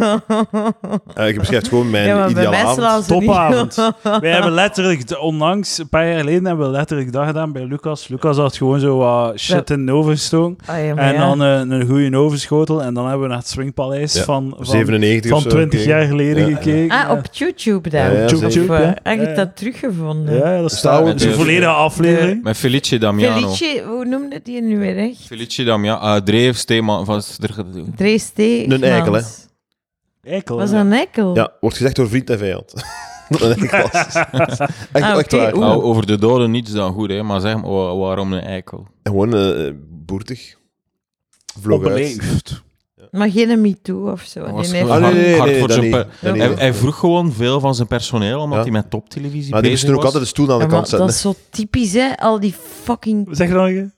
[SPEAKER 2] Eh, je beschrijft gewoon mijn
[SPEAKER 5] ja, maar bij
[SPEAKER 2] ideale
[SPEAKER 5] mij
[SPEAKER 2] avond.
[SPEAKER 5] slaan ze niet. Oh,
[SPEAKER 1] Topavond. Wij hebben letterlijk, d- onlangs, een paar jaar geleden, hebben we letterlijk dat gedaan bij Lucas. Lucas had gewoon zo wat shit in de oven gestoken.
[SPEAKER 5] Ah, ja, maar
[SPEAKER 1] En
[SPEAKER 5] ja.
[SPEAKER 1] dan eh, een goede ovenschotel. En dan hebben we naar het Swingpaleis
[SPEAKER 2] Ja,
[SPEAKER 1] van, van,
[SPEAKER 2] 97
[SPEAKER 1] van
[SPEAKER 2] of zo,
[SPEAKER 1] 20 jaar
[SPEAKER 2] oké.
[SPEAKER 1] geleden
[SPEAKER 2] Ja.
[SPEAKER 1] gekeken.
[SPEAKER 5] Ah, op YouTube
[SPEAKER 2] Ja,
[SPEAKER 5] daar.
[SPEAKER 2] ja,
[SPEAKER 5] Of,
[SPEAKER 2] zeker.
[SPEAKER 5] eh,
[SPEAKER 1] Ja.
[SPEAKER 5] heb
[SPEAKER 1] eh, Ja.
[SPEAKER 5] je dat teruggevonden?
[SPEAKER 1] Ja, dat staat
[SPEAKER 4] we-
[SPEAKER 1] Dat is
[SPEAKER 2] dus-
[SPEAKER 1] een volledige aflevering.
[SPEAKER 4] Met Felice Damiano.
[SPEAKER 5] Felice, hoe noemde die nu weer echt?
[SPEAKER 4] Felice Damiano. Ah, Dreef, Steeman. Van, Sterke-
[SPEAKER 5] Drees T.
[SPEAKER 2] Een eikel, hè?
[SPEAKER 1] Eikel.
[SPEAKER 5] Was
[SPEAKER 1] hè?
[SPEAKER 5] dat een eikel?
[SPEAKER 2] Ja, wordt gezegd door vriend en vijand. Dat is echt,
[SPEAKER 5] Ah,
[SPEAKER 2] echt
[SPEAKER 5] oké,
[SPEAKER 2] waar.
[SPEAKER 5] oeh.
[SPEAKER 4] nou, over de doden niets dan goed, hè, maar zeg maar, wa- waarom een eikel?
[SPEAKER 2] Gewoon eh, boertig. Vlog uit.
[SPEAKER 1] Onbeleefd.
[SPEAKER 5] Maar geen MeToo of zo. Die
[SPEAKER 4] Was
[SPEAKER 5] heeft-
[SPEAKER 4] gewoon
[SPEAKER 2] Ah, nee, nee, nee,
[SPEAKER 4] hard
[SPEAKER 2] nee,
[SPEAKER 4] voor
[SPEAKER 2] dat
[SPEAKER 4] zijn
[SPEAKER 2] niet.
[SPEAKER 4] pe-
[SPEAKER 2] Dat niet.
[SPEAKER 4] Hij, hij vroeg gewoon veel van zijn personeel, omdat
[SPEAKER 2] Ja.
[SPEAKER 4] hij met toptelevisie
[SPEAKER 2] Maar Ah, die
[SPEAKER 4] bezig
[SPEAKER 2] moesten ook
[SPEAKER 4] was.
[SPEAKER 2] altijd de stoel aan de
[SPEAKER 5] Ja, maar
[SPEAKER 2] kant zetten.
[SPEAKER 5] dat is zo typisch, hè? Al die fucking...
[SPEAKER 1] Zeg dan je.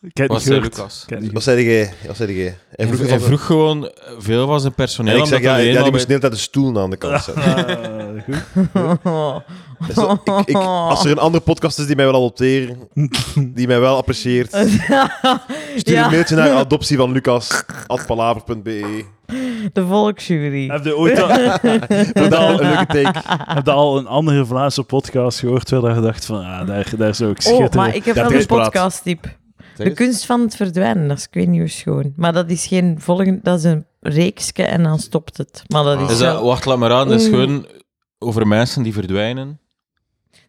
[SPEAKER 1] Ik heb het
[SPEAKER 4] Was
[SPEAKER 1] niet
[SPEAKER 4] zei
[SPEAKER 1] gehoord.
[SPEAKER 4] Lucas.
[SPEAKER 1] Ik heb het niet
[SPEAKER 2] Wat zei jij? Wat zei jij? Hij vroeg, het
[SPEAKER 4] Hij, hij
[SPEAKER 2] al-
[SPEAKER 4] vroeg gewoon eh, veel van zijn personeel.
[SPEAKER 2] En ik zeg,
[SPEAKER 4] omdat
[SPEAKER 2] ja,
[SPEAKER 4] hij
[SPEAKER 2] ja,
[SPEAKER 4] eenmaal
[SPEAKER 2] die
[SPEAKER 4] bij-
[SPEAKER 2] moest de hele tijd de stoel aan de kant zetten.
[SPEAKER 1] gehoord. Eh, goed.
[SPEAKER 2] Dus dat- ik, ik, als er een andere podcast is die mij wil adopteren, die mij wel apprecieert, stuur
[SPEAKER 5] Eh, Ja.
[SPEAKER 2] een mailtje naar adoptie van Lucas, atpalaver.be.
[SPEAKER 5] De volksjury.
[SPEAKER 1] Heb je ooit al,
[SPEAKER 2] Vind dat al een leuke take.
[SPEAKER 1] heb je al een andere Vlaamse podcast gehoord waar je dacht van, ah, daar, daar zou ik
[SPEAKER 5] Oh,
[SPEAKER 1] schitteren.
[SPEAKER 5] maar ik heb
[SPEAKER 2] Dat
[SPEAKER 5] wel
[SPEAKER 2] is
[SPEAKER 5] een
[SPEAKER 2] praat.
[SPEAKER 5] podcast-tip.
[SPEAKER 4] Zeg
[SPEAKER 5] De
[SPEAKER 4] eens.
[SPEAKER 5] kunst van het verdwijnen, dat is ik weet niet hoe schoon. Maar dat is geen volgende, dat is een reeksje en dan stopt het. Maar dat is,
[SPEAKER 4] Ah. Is dat,
[SPEAKER 5] wel-
[SPEAKER 4] wacht, laat maar aan. Dat is
[SPEAKER 5] Oeh.
[SPEAKER 4] gewoon over mensen die verdwijnen.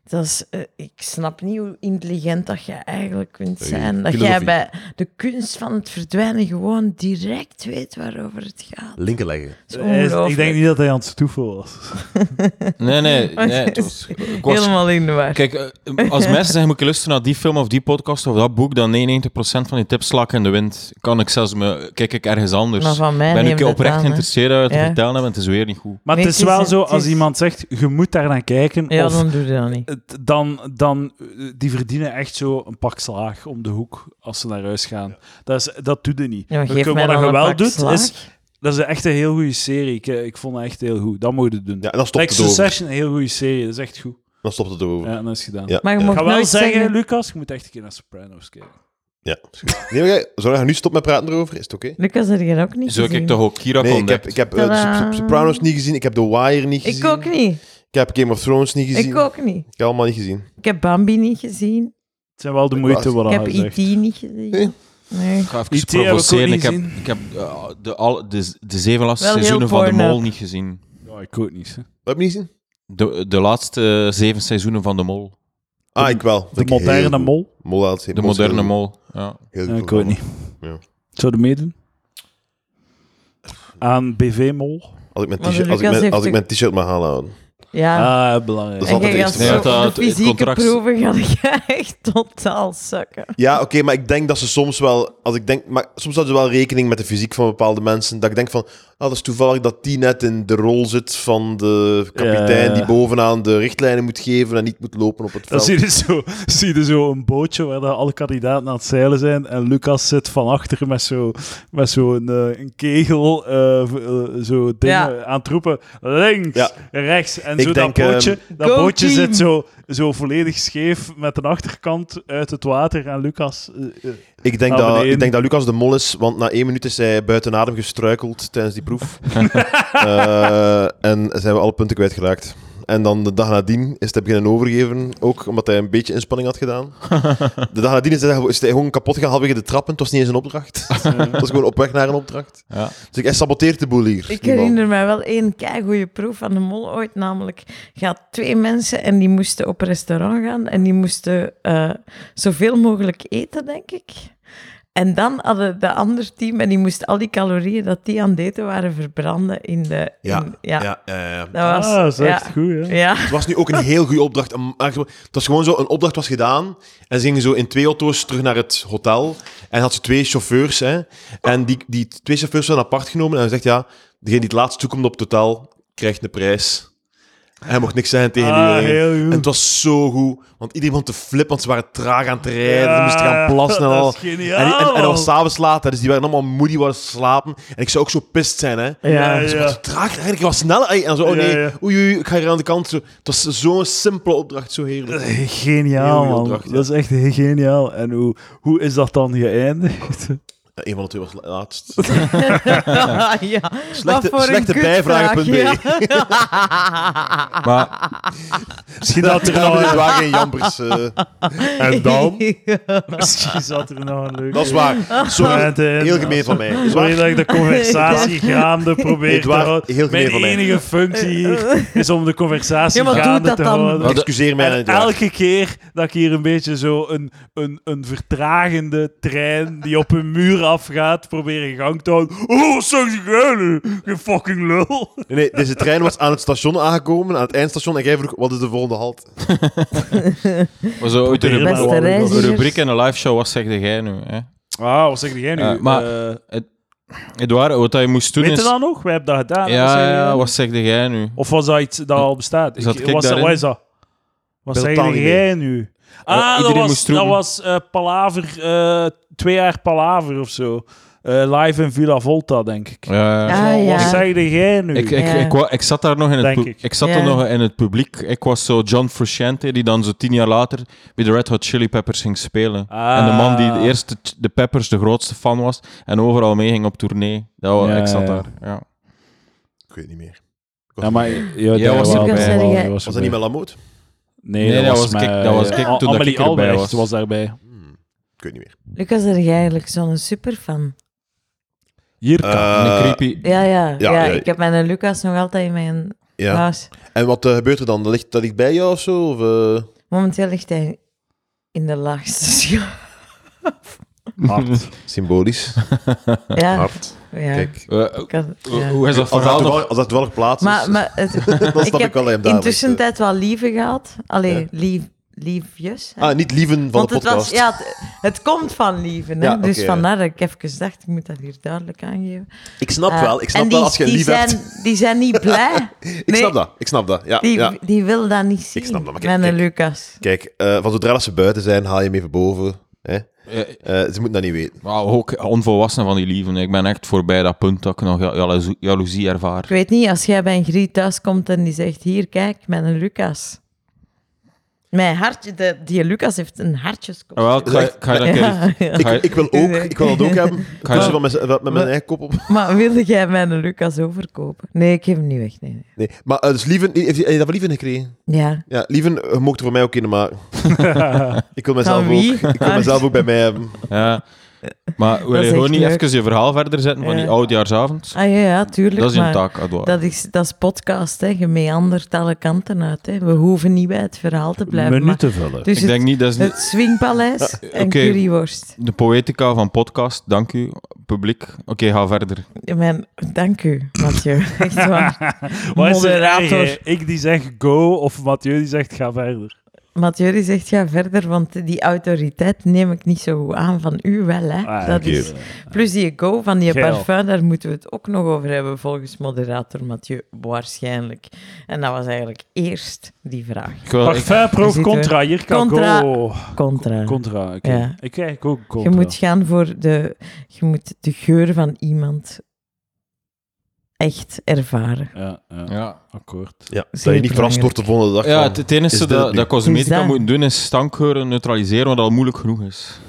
[SPEAKER 5] dat is, eh, ik snap niet hoe intelligent dat je eigenlijk kunt
[SPEAKER 2] Hey,
[SPEAKER 5] zijn. Dat jij
[SPEAKER 2] filosofie.
[SPEAKER 5] bij de kunst van het verdwijnen gewoon direct weet waarover het gaat.
[SPEAKER 2] Linken leggen.
[SPEAKER 5] Dat is
[SPEAKER 1] Hij is- ik
[SPEAKER 5] ongelooflijk.
[SPEAKER 1] denk niet dat hij aan het stoeven was.
[SPEAKER 4] Nee, nee,
[SPEAKER 5] Oh,
[SPEAKER 4] nee. het was- ik was-
[SPEAKER 5] Helemaal in de war.
[SPEAKER 4] Kijk, eh, als mensen zeggen, moet ik luisteren naar die film of die podcast of dat boek, dan 99% van die tips sla ik in de wind. Kan ik zelfs me, kijk ik ergens anders.
[SPEAKER 5] maar van mij
[SPEAKER 4] ben
[SPEAKER 5] neemt
[SPEAKER 4] ik
[SPEAKER 5] het
[SPEAKER 4] oprecht
[SPEAKER 5] aan, hè.
[SPEAKER 4] geïnteresseerd uit te
[SPEAKER 5] Ja.
[SPEAKER 4] vertellen hebben, het is weer niet goed.
[SPEAKER 1] Maar
[SPEAKER 5] Nee,
[SPEAKER 1] het is
[SPEAKER 5] het is-
[SPEAKER 1] wel zo,
[SPEAKER 5] het
[SPEAKER 1] als
[SPEAKER 5] is-
[SPEAKER 1] iemand zegt, je moet daar naar kijken,
[SPEAKER 5] Ja,
[SPEAKER 1] of
[SPEAKER 5] dan doe je dat niet.
[SPEAKER 1] het- dan, dan, eh, die verdienen echt zo een pak slaag om de hoek als ze naar huis gaan. Dat, is, dat doet je niet.
[SPEAKER 5] Ja, maar
[SPEAKER 1] Je
[SPEAKER 5] geef
[SPEAKER 1] kunt-
[SPEAKER 5] mij
[SPEAKER 1] wat
[SPEAKER 5] dan
[SPEAKER 1] je
[SPEAKER 5] een
[SPEAKER 1] wel
[SPEAKER 5] pak
[SPEAKER 1] doet,
[SPEAKER 5] slaag.
[SPEAKER 1] is... Dat is echt een heel goede serie. Ik, eh, ik vond het echt heel goed. Dat moet je doen.
[SPEAKER 2] Ja, en dan stopt
[SPEAKER 1] Like
[SPEAKER 2] het over.
[SPEAKER 1] Succession, een heel goede serie. Dat is echt goed.
[SPEAKER 2] Dan stopt het over.
[SPEAKER 1] Ja, dat is gedaan.
[SPEAKER 2] Ja,
[SPEAKER 5] Maar je
[SPEAKER 2] ja.
[SPEAKER 1] Ik
[SPEAKER 5] mocht
[SPEAKER 1] ga wel
[SPEAKER 5] nooit
[SPEAKER 1] zeggen,
[SPEAKER 5] nou zeggen...
[SPEAKER 1] Lucas, je moet echt een keer naar Sopranos kijken.
[SPEAKER 2] Ja, is goed. Nee, maar jij- Zolang je nu stopt met praten erover, is het oké?
[SPEAKER 5] Lucas, heb je dat ook niet
[SPEAKER 4] Zo
[SPEAKER 5] gezien?
[SPEAKER 4] ik toch ook Kira
[SPEAKER 2] Nee, ik
[SPEAKER 4] ontdekt.
[SPEAKER 2] heb, ik heb eh, de
[SPEAKER 5] Tadaa.
[SPEAKER 2] Sop- Sopranos niet gezien, ik heb The Wire niet gezien.
[SPEAKER 5] Ehm, Ik ook niet.
[SPEAKER 2] Ik heb Game of Thrones niet gezien.
[SPEAKER 5] Ik ook niet.
[SPEAKER 2] Ik heb allemaal niet gezien.
[SPEAKER 5] Ik heb Bambi niet gezien.
[SPEAKER 1] Het zijn wel de moeite
[SPEAKER 2] Ik
[SPEAKER 1] wat
[SPEAKER 5] Ik heb E
[SPEAKER 1] hij
[SPEAKER 5] IT
[SPEAKER 1] zegt.
[SPEAKER 5] niet gezien. Nee.
[SPEAKER 4] Ik ga even
[SPEAKER 1] IT heb ik ook
[SPEAKER 4] provoceren.
[SPEAKER 1] niet
[SPEAKER 4] Ik heb,
[SPEAKER 1] gezien.
[SPEAKER 4] ik heb eh, de, al, de, de zeven laatste
[SPEAKER 5] Wel heel
[SPEAKER 4] seizoenen van De
[SPEAKER 5] porno.
[SPEAKER 4] Mol niet gezien.
[SPEAKER 1] Ja, ik ook niet. hè.
[SPEAKER 2] Heb je niet gezien?
[SPEAKER 4] De, de laatste eh, zeven seizoenen van De Mol.
[SPEAKER 2] Ah, ik wel.
[SPEAKER 1] De moderne mol?
[SPEAKER 2] Mol had
[SPEAKER 4] De moderne Mol. Ja.
[SPEAKER 2] Heel
[SPEAKER 1] Ja,
[SPEAKER 2] goed
[SPEAKER 1] ik ook niet.
[SPEAKER 2] Ja.
[SPEAKER 1] Zou je meedoen? Aan BV-mol?
[SPEAKER 2] Als ik mijn
[SPEAKER 5] Maar
[SPEAKER 2] t-shirt- als ik
[SPEAKER 5] Lucas
[SPEAKER 2] mijn-
[SPEAKER 5] heeft
[SPEAKER 2] als ik
[SPEAKER 5] een-
[SPEAKER 2] mijn t-shirt mag halen. houden.
[SPEAKER 5] Ja.
[SPEAKER 1] Ah, belangrijk.
[SPEAKER 2] Dat is
[SPEAKER 5] en
[SPEAKER 2] altijd
[SPEAKER 5] jij
[SPEAKER 2] de
[SPEAKER 5] gaat
[SPEAKER 2] eerste
[SPEAKER 5] zo
[SPEAKER 4] vraag. Ja,
[SPEAKER 5] de
[SPEAKER 4] dat- het
[SPEAKER 5] fysieke
[SPEAKER 4] contract-
[SPEAKER 5] proeven ga je echt totaal sukken.
[SPEAKER 2] Ja, oké, maar ik denk dat ze soms wel, als ik denk, maar soms hadden ze wel rekening met de fysiek van bepaalde mensen. Dat ik denk van, ah, dat is toevallig dat die net in de rol zit van de kapitein
[SPEAKER 1] Ja.
[SPEAKER 2] die bovenaan de richtlijnen moet geven en niet moet lopen op het
[SPEAKER 1] Dan zie
[SPEAKER 2] veld.
[SPEAKER 1] je, zo, zie je zo een bootje waar dan alle kandidaten aan het zeilen zijn. En Lucas zit van achter met zo'n met zo'n eh, een kegel, eh, v- eh, zo dingen
[SPEAKER 5] Ja.
[SPEAKER 1] aan het roepen. Links,
[SPEAKER 2] Ja.
[SPEAKER 1] rechts. En zo
[SPEAKER 2] Ik denk, ehm,
[SPEAKER 1] dat bootje, dat
[SPEAKER 5] Go
[SPEAKER 1] bootje
[SPEAKER 5] team!
[SPEAKER 1] zit zo, zo volledig scheef met een achterkant uit het water. En Lucas... eh, eh,
[SPEAKER 2] Ik denk,
[SPEAKER 1] Nou,
[SPEAKER 2] dat,
[SPEAKER 1] beneden.
[SPEAKER 2] ik denk dat Lucas de mol is, want na één minuut is hij buiten adem gestruikeld tijdens die proef. Eh, en zijn we alle punten kwijtgeraakt. En dan de dag nadien is hij beginnen overgeven, ook omdat hij een beetje inspanning had gedaan. De dag nadien is hij, is hij gewoon kapot gaan halverwege de trappen. Het was niet eens een opdracht. Het was gewoon op weg naar een opdracht.
[SPEAKER 4] Ja.
[SPEAKER 2] Dus ik, hij saboteert de boel hier.
[SPEAKER 5] Ik
[SPEAKER 2] die man.
[SPEAKER 5] herinner mij wel één keigoede proef van de mol ooit, namelijk gaat twee mensen en die moesten op restaurant gaan en die moesten eh, zoveel mogelijk eten, denk ik. En dan hadden de ander team en die moest al die calorieën dat die aan het eten waren verbranden in de...
[SPEAKER 2] Ja,
[SPEAKER 5] in- ja.
[SPEAKER 2] Ja, ja, ja.
[SPEAKER 5] dat was...
[SPEAKER 1] ah, dat is
[SPEAKER 5] ja,
[SPEAKER 1] echt goed, hè?
[SPEAKER 5] ja.
[SPEAKER 2] Het was nu ook een heel goede opdracht. Een- echt wel- Het was gewoon zo, een opdracht was gedaan en ze gingen zo in twee auto's terug naar het hotel. En had ze twee chauffeurs, hè. En die, die twee chauffeurs werden apart genomen en hij zegt, ja, degene die het laatst toekomt op het hotel, krijgt een prijs. En hij mocht niks zeggen tegen
[SPEAKER 1] Ah,
[SPEAKER 2] iedereen.
[SPEAKER 1] heel goed.
[SPEAKER 2] En het was zo goed, want iedereen begon te flippen, want ze waren traag aan het rijden, ze moesten gaan plassen en al.
[SPEAKER 1] Dat is
[SPEAKER 2] En, en,
[SPEAKER 1] geniaal.
[SPEAKER 2] en dat was s'avonds laat, hè, dus die waren allemaal moe, die waren slapen. En ik zou ook zo pist zijn, hè.
[SPEAKER 1] ja,
[SPEAKER 2] Ja,
[SPEAKER 1] ja.
[SPEAKER 2] ze was traag eigenlijk was sneller. Ey, En zo, oh
[SPEAKER 1] Ja,
[SPEAKER 2] nee,
[SPEAKER 1] ja.
[SPEAKER 2] oei, oei, ik ga hier aan de kant. Zo, het was zo'n simpele opdracht, zo heerlijk. Heel
[SPEAKER 1] Geniaal,
[SPEAKER 2] goede
[SPEAKER 1] man.
[SPEAKER 2] opdracht, ja.
[SPEAKER 1] Dat is echt geniaal. En hoe, hoe is dat dan geëindigd?
[SPEAKER 2] Ja, een van de twee was la- laatst.
[SPEAKER 5] ja.
[SPEAKER 2] Slechte,
[SPEAKER 5] Wat voor een
[SPEAKER 2] slechte bijvraag, punt B.
[SPEAKER 5] kutvraag,
[SPEAKER 4] Maar
[SPEAKER 1] Misschien dat er
[SPEAKER 2] Daar
[SPEAKER 1] nou
[SPEAKER 2] hebben we
[SPEAKER 1] een-
[SPEAKER 2] waar geen jampers. eh.
[SPEAKER 1] En dan?
[SPEAKER 5] ja.
[SPEAKER 1] Misschien zat er nou een leuke...
[SPEAKER 2] dat is waar. Sorry, heel gemeen van mij. Is
[SPEAKER 1] Sorry
[SPEAKER 2] waar.
[SPEAKER 1] dat ik de conversatie gaande probeer te
[SPEAKER 2] Edouard,
[SPEAKER 1] houden.
[SPEAKER 2] heel gemeen
[SPEAKER 1] Mijn
[SPEAKER 2] van mij.
[SPEAKER 1] enige functie hier is om de conversatie
[SPEAKER 5] Ja, maar doe
[SPEAKER 1] gaande
[SPEAKER 5] dat
[SPEAKER 1] te
[SPEAKER 5] dan.
[SPEAKER 1] houden.
[SPEAKER 4] Wat-
[SPEAKER 2] Excuseer mij,
[SPEAKER 1] En
[SPEAKER 2] Edouard.
[SPEAKER 1] elke keer dat ik hier een beetje zo een, een, een vertragende trein die op een muur afgaat, probeer in gang te houden. Oh, zeg je geil, je fucking lul.
[SPEAKER 2] Nee, nee, deze trein was aan het station aangekomen, aan het eindstation. En jij vroeg, wat is de volgende halt?
[SPEAKER 4] was er ooit een
[SPEAKER 1] Probeer maar.
[SPEAKER 4] rubriek-
[SPEAKER 5] Beste
[SPEAKER 1] Een
[SPEAKER 4] een
[SPEAKER 5] reizigers.
[SPEAKER 4] rubriek in een live show? Wat zegde jij nu? Hè?
[SPEAKER 1] Ah, wat zeg jij nu?
[SPEAKER 4] Eh, maar-
[SPEAKER 1] Eh,
[SPEAKER 4] Eduard, wat je moest doen
[SPEAKER 1] weet
[SPEAKER 4] is...
[SPEAKER 1] je dat nog? We hebben dat
[SPEAKER 5] Ah,
[SPEAKER 1] gedaan. Wat zeg
[SPEAKER 4] ja,
[SPEAKER 1] je
[SPEAKER 4] ja,
[SPEAKER 5] eh,
[SPEAKER 1] dan?
[SPEAKER 4] wat zegde jij nu?
[SPEAKER 1] Of was dat iets dat al bestaat?
[SPEAKER 4] Zat
[SPEAKER 1] ik,
[SPEAKER 4] ik
[SPEAKER 1] was dat,
[SPEAKER 4] daarin?
[SPEAKER 1] wat is dat? Wat
[SPEAKER 2] Beeld
[SPEAKER 1] zeg
[SPEAKER 2] taal niet
[SPEAKER 1] jij nu?
[SPEAKER 4] Eh,
[SPEAKER 1] Ah, dat
[SPEAKER 4] iedereen
[SPEAKER 1] was,
[SPEAKER 4] moest
[SPEAKER 1] dat
[SPEAKER 4] roepen.
[SPEAKER 1] was eh, Palaver, eh, twee jaar Palaver of zo. Eh, live in Villa Volta, denk ik.
[SPEAKER 4] Ja, ja.
[SPEAKER 5] Ah,
[SPEAKER 1] Wat
[SPEAKER 5] ja.
[SPEAKER 1] zeg jij nu?
[SPEAKER 4] Ik, ik,
[SPEAKER 5] Ja.
[SPEAKER 4] ik, wa- ik zat daar nog in het,
[SPEAKER 1] Denk
[SPEAKER 4] pu-
[SPEAKER 1] ik.
[SPEAKER 4] ik zat
[SPEAKER 5] Ja.
[SPEAKER 4] daar nog in het publiek. Ik was zo John Frusciante, die dan zo tien jaar later bij de Red Hot Chili Peppers ging spelen.
[SPEAKER 1] Ah.
[SPEAKER 4] En de man die de eerste t- de Peppers de grootste fan was en overal mee ging op tournee. Dat wa-
[SPEAKER 1] Ja,
[SPEAKER 4] ik zat
[SPEAKER 1] ja.
[SPEAKER 4] daar. Ja.
[SPEAKER 2] Ik weet niet meer.
[SPEAKER 1] Ja, maar... Ja,
[SPEAKER 4] Jij
[SPEAKER 1] daar
[SPEAKER 4] was
[SPEAKER 1] wel
[SPEAKER 4] erbij.
[SPEAKER 1] bij,
[SPEAKER 5] Lucas,
[SPEAKER 1] wel,
[SPEAKER 5] jij-
[SPEAKER 1] je
[SPEAKER 2] Was dat
[SPEAKER 1] erbij.
[SPEAKER 2] niet met Lamoot?
[SPEAKER 1] Nee,
[SPEAKER 4] Nee,
[SPEAKER 1] dat,
[SPEAKER 4] dat
[SPEAKER 1] was
[SPEAKER 4] was
[SPEAKER 1] ik,
[SPEAKER 4] ik- dat was ik toen dat ik
[SPEAKER 1] Amelie
[SPEAKER 4] erbij
[SPEAKER 1] Albrecht was.
[SPEAKER 4] was.
[SPEAKER 1] daarbij.
[SPEAKER 2] Hmm, ik weet niet meer.
[SPEAKER 5] Lucas, ben jij eigenlijk zo'n superfan?
[SPEAKER 1] Hier
[SPEAKER 4] en
[SPEAKER 2] Eh,
[SPEAKER 4] een creepy...
[SPEAKER 5] Ja, ja,
[SPEAKER 2] Ja,
[SPEAKER 5] ja,
[SPEAKER 2] ja.
[SPEAKER 5] Ik heb mijn Lucas nog altijd in mijn
[SPEAKER 2] Ja.
[SPEAKER 5] huis.
[SPEAKER 2] En wat eh, gebeurt er dan? Dat ligt, dat ligt bij jou of zo? Of, eh?
[SPEAKER 5] Momenteel ligt hij in de laagste schaal.
[SPEAKER 2] Symbolisch.
[SPEAKER 5] Ja,
[SPEAKER 2] Hard.
[SPEAKER 5] ja.
[SPEAKER 2] Kijk.
[SPEAKER 4] Eh,
[SPEAKER 5] Ik had-
[SPEAKER 4] hoe-
[SPEAKER 5] ja.
[SPEAKER 4] Hoe is dat
[SPEAKER 2] Als dat
[SPEAKER 4] verhaal nog?
[SPEAKER 2] toevallig- als dat toevallig plaats is.
[SPEAKER 5] Maar, maar het,
[SPEAKER 2] Dan
[SPEAKER 5] ik
[SPEAKER 2] snap ik
[SPEAKER 5] heb
[SPEAKER 2] wel dat je hem daar
[SPEAKER 5] intussen
[SPEAKER 2] ligt, eh.
[SPEAKER 5] tijd wel lieven gehad. Allee,
[SPEAKER 2] Ja.
[SPEAKER 5] lief, liefjes. hè.
[SPEAKER 2] Ah, niet lieven van
[SPEAKER 5] Want
[SPEAKER 2] de
[SPEAKER 5] het, was,
[SPEAKER 2] podcast.
[SPEAKER 5] ja, het, het komt van lieven. Hè?
[SPEAKER 2] Ja,
[SPEAKER 5] dus
[SPEAKER 2] oké,
[SPEAKER 5] vandaar dat ik even gedacht, ik moet dat hier duidelijk aangeven.
[SPEAKER 2] Ik snap
[SPEAKER 5] Eh,
[SPEAKER 2] wel, ik snap
[SPEAKER 5] en
[SPEAKER 2] wel
[SPEAKER 5] die-
[SPEAKER 2] als je een
[SPEAKER 5] die
[SPEAKER 2] lief
[SPEAKER 5] zijn,
[SPEAKER 2] hebt.
[SPEAKER 5] Die zijn niet blij.
[SPEAKER 2] Ik snap dat, ik snap dat. Ja,
[SPEAKER 5] Die,
[SPEAKER 2] ja.
[SPEAKER 5] die wil dat niet zien.
[SPEAKER 2] snap dat, maar kijk,
[SPEAKER 5] Mijn
[SPEAKER 2] kijk.
[SPEAKER 5] Lucas.
[SPEAKER 2] Kijk, eh, van zodra dat ze buiten zijn, haal je hem even boven. Hè?
[SPEAKER 4] Eh,
[SPEAKER 2] Eh, ze moeten dat niet weten.
[SPEAKER 4] maar ook onvolwassen van die lieven. Ik ben echt voorbij dat punt dat ik nog ja- jaloezie- jaloezie ervaar.
[SPEAKER 5] Ik weet niet, als jij bij een griet thuiskomt en die zegt, hier, kijk, mijn Lucas. Mijn hartje, de, die Lucas heeft een hartjesconstructie.
[SPEAKER 4] Ah, Wel, ik ga, ik ga je dan een keer-
[SPEAKER 5] Ja,
[SPEAKER 4] Ga je-
[SPEAKER 2] Ik, ik wil ook, ik wil dat ook hebben. Ik
[SPEAKER 4] je-
[SPEAKER 2] zit wel met, z'n- met mijn eigen kop op.
[SPEAKER 5] ja. Maar wilde jij mijn Lucas overkopen? Nee, ik geef hem niet weg. Nee, nee.
[SPEAKER 2] Nee. Maar eh, dus Lieven, heeft hij- heb je dat van Lieven gekregen?
[SPEAKER 5] Ja.
[SPEAKER 2] Ja, Lieven, eh, je mocht er voor mij ook in maken. ik wil mezelf
[SPEAKER 5] Van wie? Ah,
[SPEAKER 2] ook, ik wil mezelf ook bij mij hebben.
[SPEAKER 4] Ja. Maar wil
[SPEAKER 5] is
[SPEAKER 4] je gewoon
[SPEAKER 5] echt
[SPEAKER 4] niet
[SPEAKER 5] leuk.
[SPEAKER 4] even je verhaal verder zetten van die
[SPEAKER 5] Ja.
[SPEAKER 4] oudjaarsavond?
[SPEAKER 5] Ah ja, ja, tuurlijk.
[SPEAKER 4] Dat is een
[SPEAKER 5] maar
[SPEAKER 4] taak, Edouard.
[SPEAKER 5] Dat is, dat is podcast, hè. je meandert alle kanten uit. Hè. We hoeven niet bij het verhaal te blijven. maar-
[SPEAKER 1] minuten vullen.
[SPEAKER 5] dus
[SPEAKER 4] Ik denk
[SPEAKER 5] het,
[SPEAKER 4] niet, dat is niet-
[SPEAKER 5] het Swingpaleis en
[SPEAKER 4] oké.
[SPEAKER 5] Curryworst.
[SPEAKER 4] de poëtica van podcast. Dank u, publiek. Oké, ga verder.
[SPEAKER 5] Mijn, dank u, Mathieu. Echt waar.
[SPEAKER 1] Wat is er
[SPEAKER 5] Moderator.
[SPEAKER 1] erger? Ik die zeg go of Mathieu die zegt ga verder.
[SPEAKER 5] Mathieu die zegt, ga verder, want die autoriteit neem ik niet zo goed aan van u wel. Hè.
[SPEAKER 1] Ah,
[SPEAKER 5] Hm? dat
[SPEAKER 1] oké.
[SPEAKER 5] is, plus die go van die
[SPEAKER 1] Geil.
[SPEAKER 5] parfum, daar moeten we het ook nog over hebben, volgens moderator Mathieu, waarschijnlijk. En dat was eigenlijk eerst die vraag.
[SPEAKER 4] Ik wil, ik,
[SPEAKER 1] Parfum pro
[SPEAKER 5] Zitten we.
[SPEAKER 1] contra, hier kan
[SPEAKER 5] Contra.
[SPEAKER 1] go.
[SPEAKER 5] Contra.
[SPEAKER 1] Contra, oké.
[SPEAKER 5] Ja.
[SPEAKER 1] Ik krijg ook contra.
[SPEAKER 5] Je moet gaan voor de... Je moet de geur van iemand echt ervaren.
[SPEAKER 1] Ja, ja,
[SPEAKER 4] ja.
[SPEAKER 1] akkoord.
[SPEAKER 2] Ja, dat
[SPEAKER 5] Zeer
[SPEAKER 2] je niet verrast
[SPEAKER 5] belangrijk.
[SPEAKER 2] wordt de volgende dag.
[SPEAKER 4] ja,
[SPEAKER 2] van-
[SPEAKER 4] het, het enige
[SPEAKER 2] is dit
[SPEAKER 4] dat,
[SPEAKER 2] nu?
[SPEAKER 4] dat cosmetica
[SPEAKER 5] Is dat?
[SPEAKER 4] moeten doen is stankgeuren neutraliseren, wat al moeilijk genoeg is.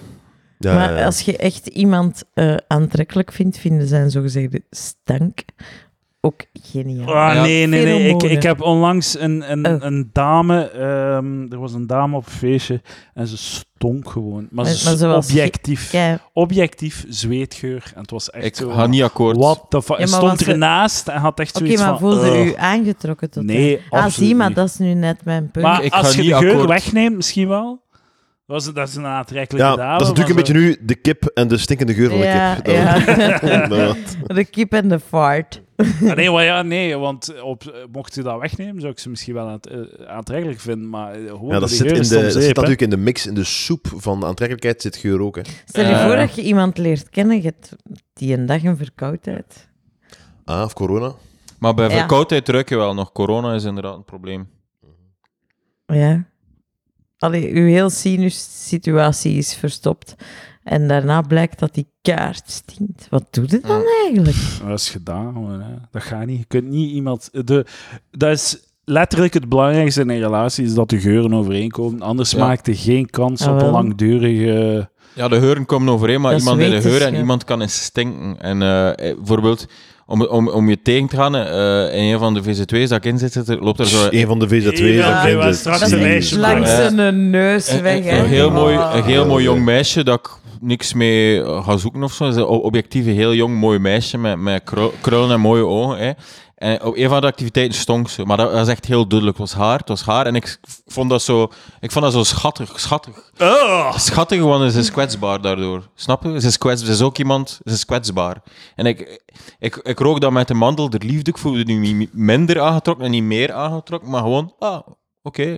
[SPEAKER 2] Ja, ja,
[SPEAKER 5] maar
[SPEAKER 2] ja.
[SPEAKER 5] als je echt iemand eh, aantrekkelijk vindt, vinden zijn zogezegde stank ook geniaal.
[SPEAKER 1] Ah,
[SPEAKER 4] Ja.
[SPEAKER 1] nee, nee, nee. Ik,
[SPEAKER 5] Pheromonen.
[SPEAKER 1] ik heb onlangs een, een,
[SPEAKER 5] Oh.
[SPEAKER 1] een dame... ehm, er was een dame op een feestje en ze stonk gewoon. Maar,
[SPEAKER 5] Maar-
[SPEAKER 1] ze,
[SPEAKER 5] maar ze was
[SPEAKER 1] objectief,
[SPEAKER 5] Kei-
[SPEAKER 1] objectief zweetgeur. En het was echt
[SPEAKER 4] Ik
[SPEAKER 1] zo...
[SPEAKER 4] ga niet akkoord.
[SPEAKER 1] What the fuck?
[SPEAKER 5] Ja,
[SPEAKER 1] En
[SPEAKER 5] maar
[SPEAKER 1] stond
[SPEAKER 5] was ze-
[SPEAKER 1] ernaast en had echt
[SPEAKER 5] Oké,
[SPEAKER 1] zoiets
[SPEAKER 5] maar
[SPEAKER 1] van...
[SPEAKER 5] voelde
[SPEAKER 1] "Ugh."
[SPEAKER 5] u aangetrokken tot hem?
[SPEAKER 1] Nee,
[SPEAKER 5] Ah,
[SPEAKER 1] absoluut
[SPEAKER 5] zie, maar
[SPEAKER 1] niet.
[SPEAKER 5] dat is nu net mijn punt.
[SPEAKER 1] Maar
[SPEAKER 4] Ik ga
[SPEAKER 1] als je
[SPEAKER 4] niet
[SPEAKER 1] de geur
[SPEAKER 4] akkoord.
[SPEAKER 1] wegneemt, misschien wel. Dat is, dat is een aantrekkelijke
[SPEAKER 2] Ja,
[SPEAKER 1] dame.
[SPEAKER 2] dat is natuurlijk een
[SPEAKER 1] maar
[SPEAKER 2] beetje
[SPEAKER 1] zo-
[SPEAKER 2] nu de kip en de stinkende geur van de
[SPEAKER 5] ja,
[SPEAKER 2] kip. Dat-
[SPEAKER 5] ja.
[SPEAKER 2] dat-
[SPEAKER 5] de kip en de fart.
[SPEAKER 1] Ah, Nee, maar ja, nee, want op, eh, mocht je dat wegnemen, zou ik ze misschien wel aant- eh, aantrekkelijk vinden. Maar eh, gewoon
[SPEAKER 2] Ja,
[SPEAKER 1] door
[SPEAKER 2] dat
[SPEAKER 1] die
[SPEAKER 2] zit,
[SPEAKER 1] geur
[SPEAKER 2] in
[SPEAKER 1] is
[SPEAKER 2] de,
[SPEAKER 1] het om
[SPEAKER 2] dat zit
[SPEAKER 1] zeep, hè.
[SPEAKER 2] natuurlijk in de mix, in de soep van aantrekkelijkheid zit geur ook. Hè.
[SPEAKER 5] Stel je
[SPEAKER 1] Eh.
[SPEAKER 4] Ja.
[SPEAKER 5] voor dat je iemand leert kennen, je hebt die een dag een verkoudheid.
[SPEAKER 2] Ah, of corona.
[SPEAKER 4] Maar bij
[SPEAKER 5] Ja.
[SPEAKER 4] verkoudheid ruik je wel nog. Corona is inderdaad een probleem.
[SPEAKER 5] Ja. Allee, uw heel sinussituatie is verstopt. En daarna blijkt dat die kaart stinkt. Wat doet het dan eigenlijk?
[SPEAKER 1] Maar Dat is gedaan, gewoon, hè. dat gaat niet. Je kunt niet iemand. De, dat is letterlijk het belangrijkste in een relatie: is dat de geuren overeenkomen. Anders
[SPEAKER 4] Ja.
[SPEAKER 1] maakt er geen kans
[SPEAKER 5] Ah,
[SPEAKER 1] op een
[SPEAKER 5] wel.
[SPEAKER 1] langdurige.
[SPEAKER 4] Ja, de geuren komen overeen, maar
[SPEAKER 5] Dat is
[SPEAKER 4] iemand in de geur en
[SPEAKER 5] wetenschap.
[SPEAKER 4] iemand kan eens stinken. En eh, eh, bijvoorbeeld, om, om, om je tegen te gaan, eh, in een van de VZ2's dat ik in zit, zit, er- loopt er zo
[SPEAKER 2] Een van de VZ2's.
[SPEAKER 1] Ja,
[SPEAKER 2] dat kent
[SPEAKER 1] we
[SPEAKER 2] het.
[SPEAKER 1] straks
[SPEAKER 5] Dat
[SPEAKER 1] een
[SPEAKER 5] is
[SPEAKER 1] lijstje
[SPEAKER 5] langs
[SPEAKER 4] maken.
[SPEAKER 5] zijn neus
[SPEAKER 4] een,
[SPEAKER 5] weg.
[SPEAKER 4] een-
[SPEAKER 5] hè.
[SPEAKER 4] Eh, een heel mooi,
[SPEAKER 5] Ah.
[SPEAKER 4] een heel
[SPEAKER 2] Ja,
[SPEAKER 4] mooi
[SPEAKER 2] ja.
[SPEAKER 4] jong meisje dat ik niks mee eh, ga zoeken of zo. Ze is een o- objectief een heel jong, mooi meisje met, met krul- krullen en mooie ogen. Hè. En op een van de activiteiten stonk ze. Maar dat was echt heel duidelijk. Het was haar, het was haar. En ik vond dat zo, ik vond dat zo schattig, schattig. Schattig, want ze is kwetsbaar daardoor. Snap je? Ze is, kwets, ze is ook iemand, ze is kwetsbaar. En ik, ik, ik rook dat met de mandel der liefde. Ik voelde nu niet minder aangetrokken en niet meer aangetrokken. Maar gewoon, ah, oké.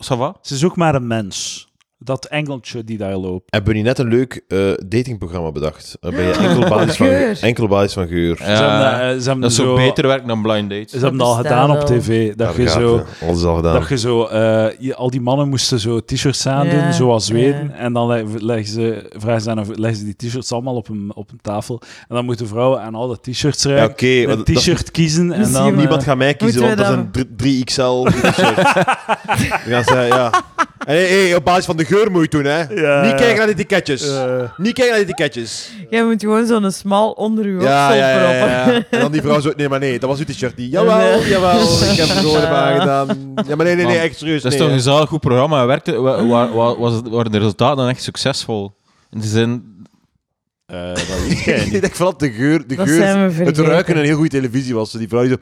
[SPEAKER 4] Ça va?
[SPEAKER 1] Ze is ook maar een mens. Dat engeltje die daar loopt.
[SPEAKER 2] Hebben we niet net een leuk eh, datingprogramma bedacht? Waarbij je enkel basis van,
[SPEAKER 5] Geur.
[SPEAKER 2] enkel basis van geur.
[SPEAKER 4] Ja.
[SPEAKER 1] ze hebben, eh, ze hebben
[SPEAKER 4] Dat is
[SPEAKER 1] zo,
[SPEAKER 4] zo beter werk dan blind dates.
[SPEAKER 1] Ze hebben dat al
[SPEAKER 5] bestaat
[SPEAKER 1] gedaan op
[SPEAKER 5] wel.
[SPEAKER 1] tv. Dat
[SPEAKER 2] Daar
[SPEAKER 1] je
[SPEAKER 2] gaat,
[SPEAKER 1] zo.
[SPEAKER 2] hè. Alles al gedaan.
[SPEAKER 1] Dat je zo, eh, je- al die mannen moesten zo t-shirts aandoen,
[SPEAKER 5] Ja,
[SPEAKER 1] zoals
[SPEAKER 5] ja.
[SPEAKER 1] Zweden. En dan leg- leggen ze, vragen ze aan, of leggen ze die t-shirts allemaal op een, op een tafel. En dan moeten vrouwen aan al de t-shirts
[SPEAKER 2] Ja,
[SPEAKER 1] ruiken.
[SPEAKER 2] Oké, maar
[SPEAKER 1] een
[SPEAKER 2] dat- dat-
[SPEAKER 1] t-shirt kiezen en
[SPEAKER 5] Misschien
[SPEAKER 1] dan...
[SPEAKER 5] wel.
[SPEAKER 1] eh,
[SPEAKER 2] niemand gaat mij kiezen, want
[SPEAKER 5] Moeten
[SPEAKER 2] dat
[SPEAKER 5] we
[SPEAKER 2] is een 3XL t-shirt. Dan gaan ze, ja. En hey, hey, op basis van de geur moet je het doen, hè.
[SPEAKER 1] Ja.
[SPEAKER 2] Niet kijken naar de etiketjes.
[SPEAKER 1] eh,
[SPEAKER 2] Niet kijken naar de etiketjes.
[SPEAKER 5] Jij moet gewoon zo'n smal onder uw
[SPEAKER 2] Ja,
[SPEAKER 5] oksel
[SPEAKER 2] ja, ja, ja, ja.
[SPEAKER 5] proppen.
[SPEAKER 2] En dan die vrouw zo, nee, maar nee, dat was uw t-shirt niet. Jawel, jawel, ik heb het gewoon erbij gedaan. Ja, maar nee, nee, nee,
[SPEAKER 4] Man,
[SPEAKER 2] echt serieus,
[SPEAKER 4] Dat
[SPEAKER 2] nee,
[SPEAKER 4] is toch
[SPEAKER 2] hè.
[SPEAKER 4] een zalig goed programma. Werkte, wa,
[SPEAKER 1] Hmm.
[SPEAKER 4] wa- wa- was het, waren de resultaten dan echt succesvol? In de zin...
[SPEAKER 1] eh, dat weet jij
[SPEAKER 2] Ik
[SPEAKER 1] niet.
[SPEAKER 2] denk vooral dat de geur, de
[SPEAKER 5] Dat
[SPEAKER 2] geur
[SPEAKER 5] zijn we
[SPEAKER 2] het
[SPEAKER 5] vergeten.
[SPEAKER 2] ruiken een heel goede televisie was. Die vrouw die zo,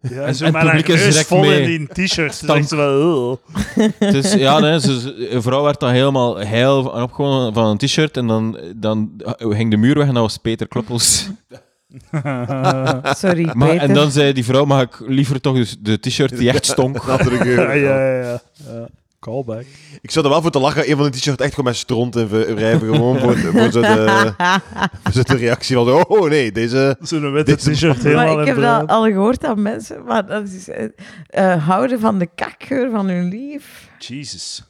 [SPEAKER 1] Ja,
[SPEAKER 4] En-
[SPEAKER 1] zo
[SPEAKER 4] en
[SPEAKER 1] met
[SPEAKER 4] het
[SPEAKER 1] haar
[SPEAKER 4] publiek is
[SPEAKER 1] neus
[SPEAKER 4] direct
[SPEAKER 1] vol
[SPEAKER 4] mee.
[SPEAKER 1] in die t-shirts. Dan denkt
[SPEAKER 4] Stank.
[SPEAKER 1] ze wel... "Ugh."
[SPEAKER 4] Dus, ja, nee, ze- ze- een vrouw werd dan helemaal heil en opgewonden van een t-shirt en dan, dan ging de muur weg en dat was Peter Kloppels.
[SPEAKER 5] Sorry,
[SPEAKER 4] Maar,
[SPEAKER 5] Peter.
[SPEAKER 4] en dan zei die vrouw, mag ik liever toch de, de t-shirt die echt stonk?
[SPEAKER 2] een andere
[SPEAKER 1] ja,
[SPEAKER 2] geur.
[SPEAKER 1] ja, ja. ja. Ja. Callback.
[SPEAKER 2] Ik zou er wel voor te lachen, een van de t-shirt echt gewoon met stront en ver- wrijven. Gewoon voor, voor zo de, voor zo de reactie van, oh nee, deze...
[SPEAKER 1] Zo'n witte
[SPEAKER 2] Dit is-
[SPEAKER 1] t-shirt helemaal
[SPEAKER 5] maar ik
[SPEAKER 1] in
[SPEAKER 5] heb dat
[SPEAKER 1] brand.
[SPEAKER 5] al gehoord aan mensen, maar dat is eh, eh, houden van de kakgeur van hun lief.
[SPEAKER 1] Jesus.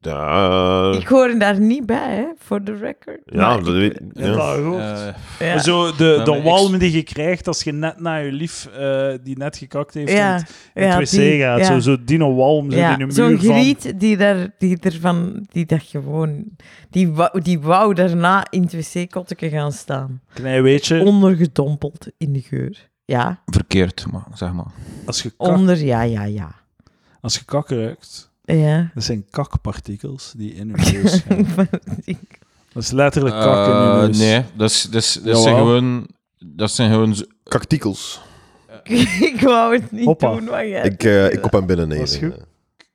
[SPEAKER 2] Ja,
[SPEAKER 5] Ik hoor daar niet bij, hè, voor de record.
[SPEAKER 2] ja,
[SPEAKER 5] Maar
[SPEAKER 2] dat weet
[SPEAKER 1] Eh. Ja.
[SPEAKER 2] ja.
[SPEAKER 1] dat gehoord.
[SPEAKER 4] Eh,
[SPEAKER 5] ja.
[SPEAKER 1] Maar Zo de,
[SPEAKER 4] maar
[SPEAKER 1] de
[SPEAKER 4] ik-
[SPEAKER 1] walm die je krijgt als je net naar je lief, eh, die net gekakt heeft,
[SPEAKER 5] Ja,
[SPEAKER 1] in het- in het
[SPEAKER 5] ja,
[SPEAKER 1] wc
[SPEAKER 5] die-
[SPEAKER 1] gaat.
[SPEAKER 5] ja.
[SPEAKER 1] Zo, zo dino walm, zo
[SPEAKER 5] Ja,
[SPEAKER 1] in een
[SPEAKER 5] zo'n
[SPEAKER 1] muur van...
[SPEAKER 5] griet die, daar, die ervan, die dat gewoon, die wou, die wou daarna in het wc-kotteke gaan staan.
[SPEAKER 1] Klein weetje,
[SPEAKER 5] Ondergedompeld in de geur. Ja,
[SPEAKER 4] verkeerd, maar, zeg maar.
[SPEAKER 1] als je, kak,
[SPEAKER 5] onder, ja, ja, ja.
[SPEAKER 1] als je kak ruikt,
[SPEAKER 5] Ja.
[SPEAKER 1] dat zijn kakpartikels die in je neus gaan. Dat is letterlijk kak in
[SPEAKER 4] Eh,
[SPEAKER 1] je neus.
[SPEAKER 4] nee, dat, is, dat, is, dat zijn
[SPEAKER 1] Jawel.
[SPEAKER 4] gewoon... Dat zijn gewoon... z-
[SPEAKER 2] Kaktikels.
[SPEAKER 5] ik wou het niet
[SPEAKER 1] Hoppa.
[SPEAKER 5] doen, maar jij...
[SPEAKER 2] Ik, eh, ik kop hem binnen nemen.
[SPEAKER 1] Dat is goed.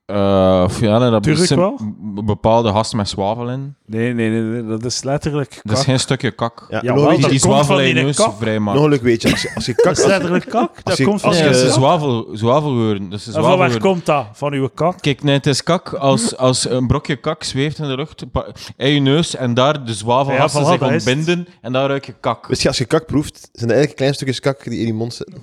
[SPEAKER 4] eh, of ja, nee, dat
[SPEAKER 1] Tuurlijk
[SPEAKER 4] zijn
[SPEAKER 1] wel.
[SPEAKER 4] b- bepaalde hasten met zwavel in.
[SPEAKER 1] Nee, nee, nee, nee, dat is letterlijk kak.
[SPEAKER 4] Dat is geen stukje kak.
[SPEAKER 2] Ja,
[SPEAKER 1] Ja,
[SPEAKER 2] nog,
[SPEAKER 1] wel,
[SPEAKER 2] iets,
[SPEAKER 1] dat
[SPEAKER 4] Die, die
[SPEAKER 1] komt van
[SPEAKER 4] zwavel in
[SPEAKER 1] die
[SPEAKER 4] je neus
[SPEAKER 1] kak.
[SPEAKER 4] vrij
[SPEAKER 2] nog een leuk weetje. Als je, als je kak...
[SPEAKER 1] Dat is
[SPEAKER 2] Als,
[SPEAKER 1] letterlijk kak. Dat
[SPEAKER 2] je-
[SPEAKER 1] komt van
[SPEAKER 2] als
[SPEAKER 4] Nee,
[SPEAKER 1] je
[SPEAKER 4] dat
[SPEAKER 2] je-
[SPEAKER 4] zijn
[SPEAKER 1] kak.
[SPEAKER 4] zwavel, zwavelgeuren. Dat zijn
[SPEAKER 1] En van waar
[SPEAKER 4] zwavelgeuren.
[SPEAKER 1] komt dat? Van uw kak?
[SPEAKER 4] Kijk, nee, het is kak. Als, als een brokje kak zweeft in de lucht, pa- in je neus en daar de zwavelhassen
[SPEAKER 1] Ja, voilà,
[SPEAKER 4] zich
[SPEAKER 1] dat is het.
[SPEAKER 4] ontbinden en daar ruik je kak.
[SPEAKER 2] weet je, als je kak proeft, zijn er eigenlijk kleine stukjes kak die in je mond zitten.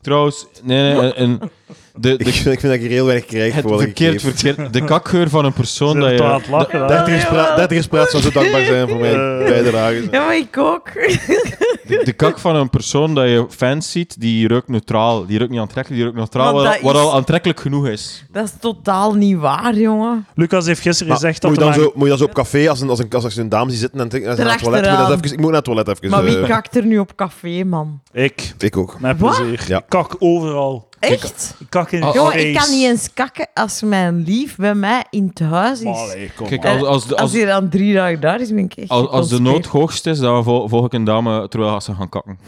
[SPEAKER 4] Trouwens, nee, nee, een- een- de,
[SPEAKER 2] Ik,
[SPEAKER 4] de,
[SPEAKER 2] vind- Dus ik vind dat je heel weinig krijgt
[SPEAKER 4] het
[SPEAKER 2] voor wat ik
[SPEAKER 4] verkeerd,
[SPEAKER 2] geef.
[SPEAKER 4] verkeerd. De kakgeur van een persoon
[SPEAKER 1] Zijn
[SPEAKER 4] dat
[SPEAKER 1] we
[SPEAKER 4] je...
[SPEAKER 1] toch aan het lachen? hè?
[SPEAKER 5] dat-
[SPEAKER 2] Dertigers pra- dertigers praat zou zo dankbaar zijn voor mijn
[SPEAKER 1] Eh.
[SPEAKER 2] bijdrage.
[SPEAKER 5] Ja, maar ik ook.
[SPEAKER 4] De, de kak van een persoon dat je fans ziet, die ruikt neutraal. Die ruikt niet aantrekkelijk, die ruikt neutraal,
[SPEAKER 5] Want
[SPEAKER 4] wat,
[SPEAKER 5] dat
[SPEAKER 4] wat
[SPEAKER 5] is-
[SPEAKER 4] al aantrekkelijk genoeg is.
[SPEAKER 5] dat is totaal niet waar, jongen.
[SPEAKER 1] Lucas heeft gisteren
[SPEAKER 2] Maar
[SPEAKER 1] gezegd dat
[SPEAKER 2] moet, je dan
[SPEAKER 1] er
[SPEAKER 2] zo, moet je dan zo op café, als een, als een, als een dame die zitten en denkt, naar het toilet, moet je
[SPEAKER 5] Erachteraan.
[SPEAKER 2] dan zo even, ik moet naar het toilet even.
[SPEAKER 5] Maar wie
[SPEAKER 2] eh,
[SPEAKER 5] kakt er nu op café, man?
[SPEAKER 1] maar- Ik,
[SPEAKER 2] Ik ook.
[SPEAKER 1] met
[SPEAKER 5] Wat?
[SPEAKER 1] plezier.
[SPEAKER 2] Ja.
[SPEAKER 1] Ik Kak overal.
[SPEAKER 5] Echt?
[SPEAKER 1] Ik Kak in
[SPEAKER 4] Oh,
[SPEAKER 1] het
[SPEAKER 5] Jongen,
[SPEAKER 1] vlees.
[SPEAKER 5] ik kan niet eens kakken als mijn lief bij mij in het huis is.
[SPEAKER 1] Maar allee, kom
[SPEAKER 4] Kijk,
[SPEAKER 1] maar.
[SPEAKER 4] als, als, de-
[SPEAKER 5] Als
[SPEAKER 4] als,
[SPEAKER 5] hij dan drie dagen daar is, ben ik echt
[SPEAKER 4] als, als de nood
[SPEAKER 5] geconspireerd.
[SPEAKER 4] hoogst is, dan vol- volg ik een dame terwijl ze gaan kakken.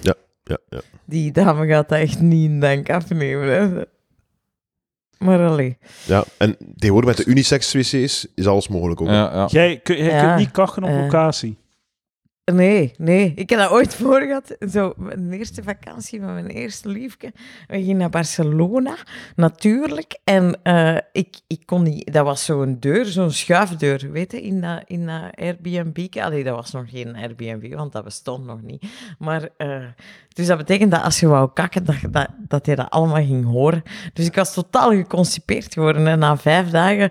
[SPEAKER 2] Ja, ja.
[SPEAKER 5] Die dame gaat dat echt niet in dank afnemen. hè. Maar allee.
[SPEAKER 2] ja, en tegenwoordig met de unisex-wc's is alles mogelijk ook.
[SPEAKER 4] Ja, ja.
[SPEAKER 1] Jij, kun, jij
[SPEAKER 5] Ja.
[SPEAKER 1] kunt niet kakken op
[SPEAKER 5] Eh.
[SPEAKER 1] locatie.
[SPEAKER 5] Nee, nee. Ik heb dat ooit voor gehad. Zo, mijn eerste vakantie van mijn eerste liefje. We gingen naar Barcelona, natuurlijk. En eh, ik, ik kon niet... Dat was zo'n deur, zo'n schuifdeur, weet je, in dat, in dat Airbnb. Allee, dat was nog geen Airbnb, want dat bestond nog niet. Maar... eh, dus dat betekent dat als je wou kakken, dat, je dat, dat je dat allemaal ging horen. Dus ik was totaal geconcipeerd geworden. En na vijf dagen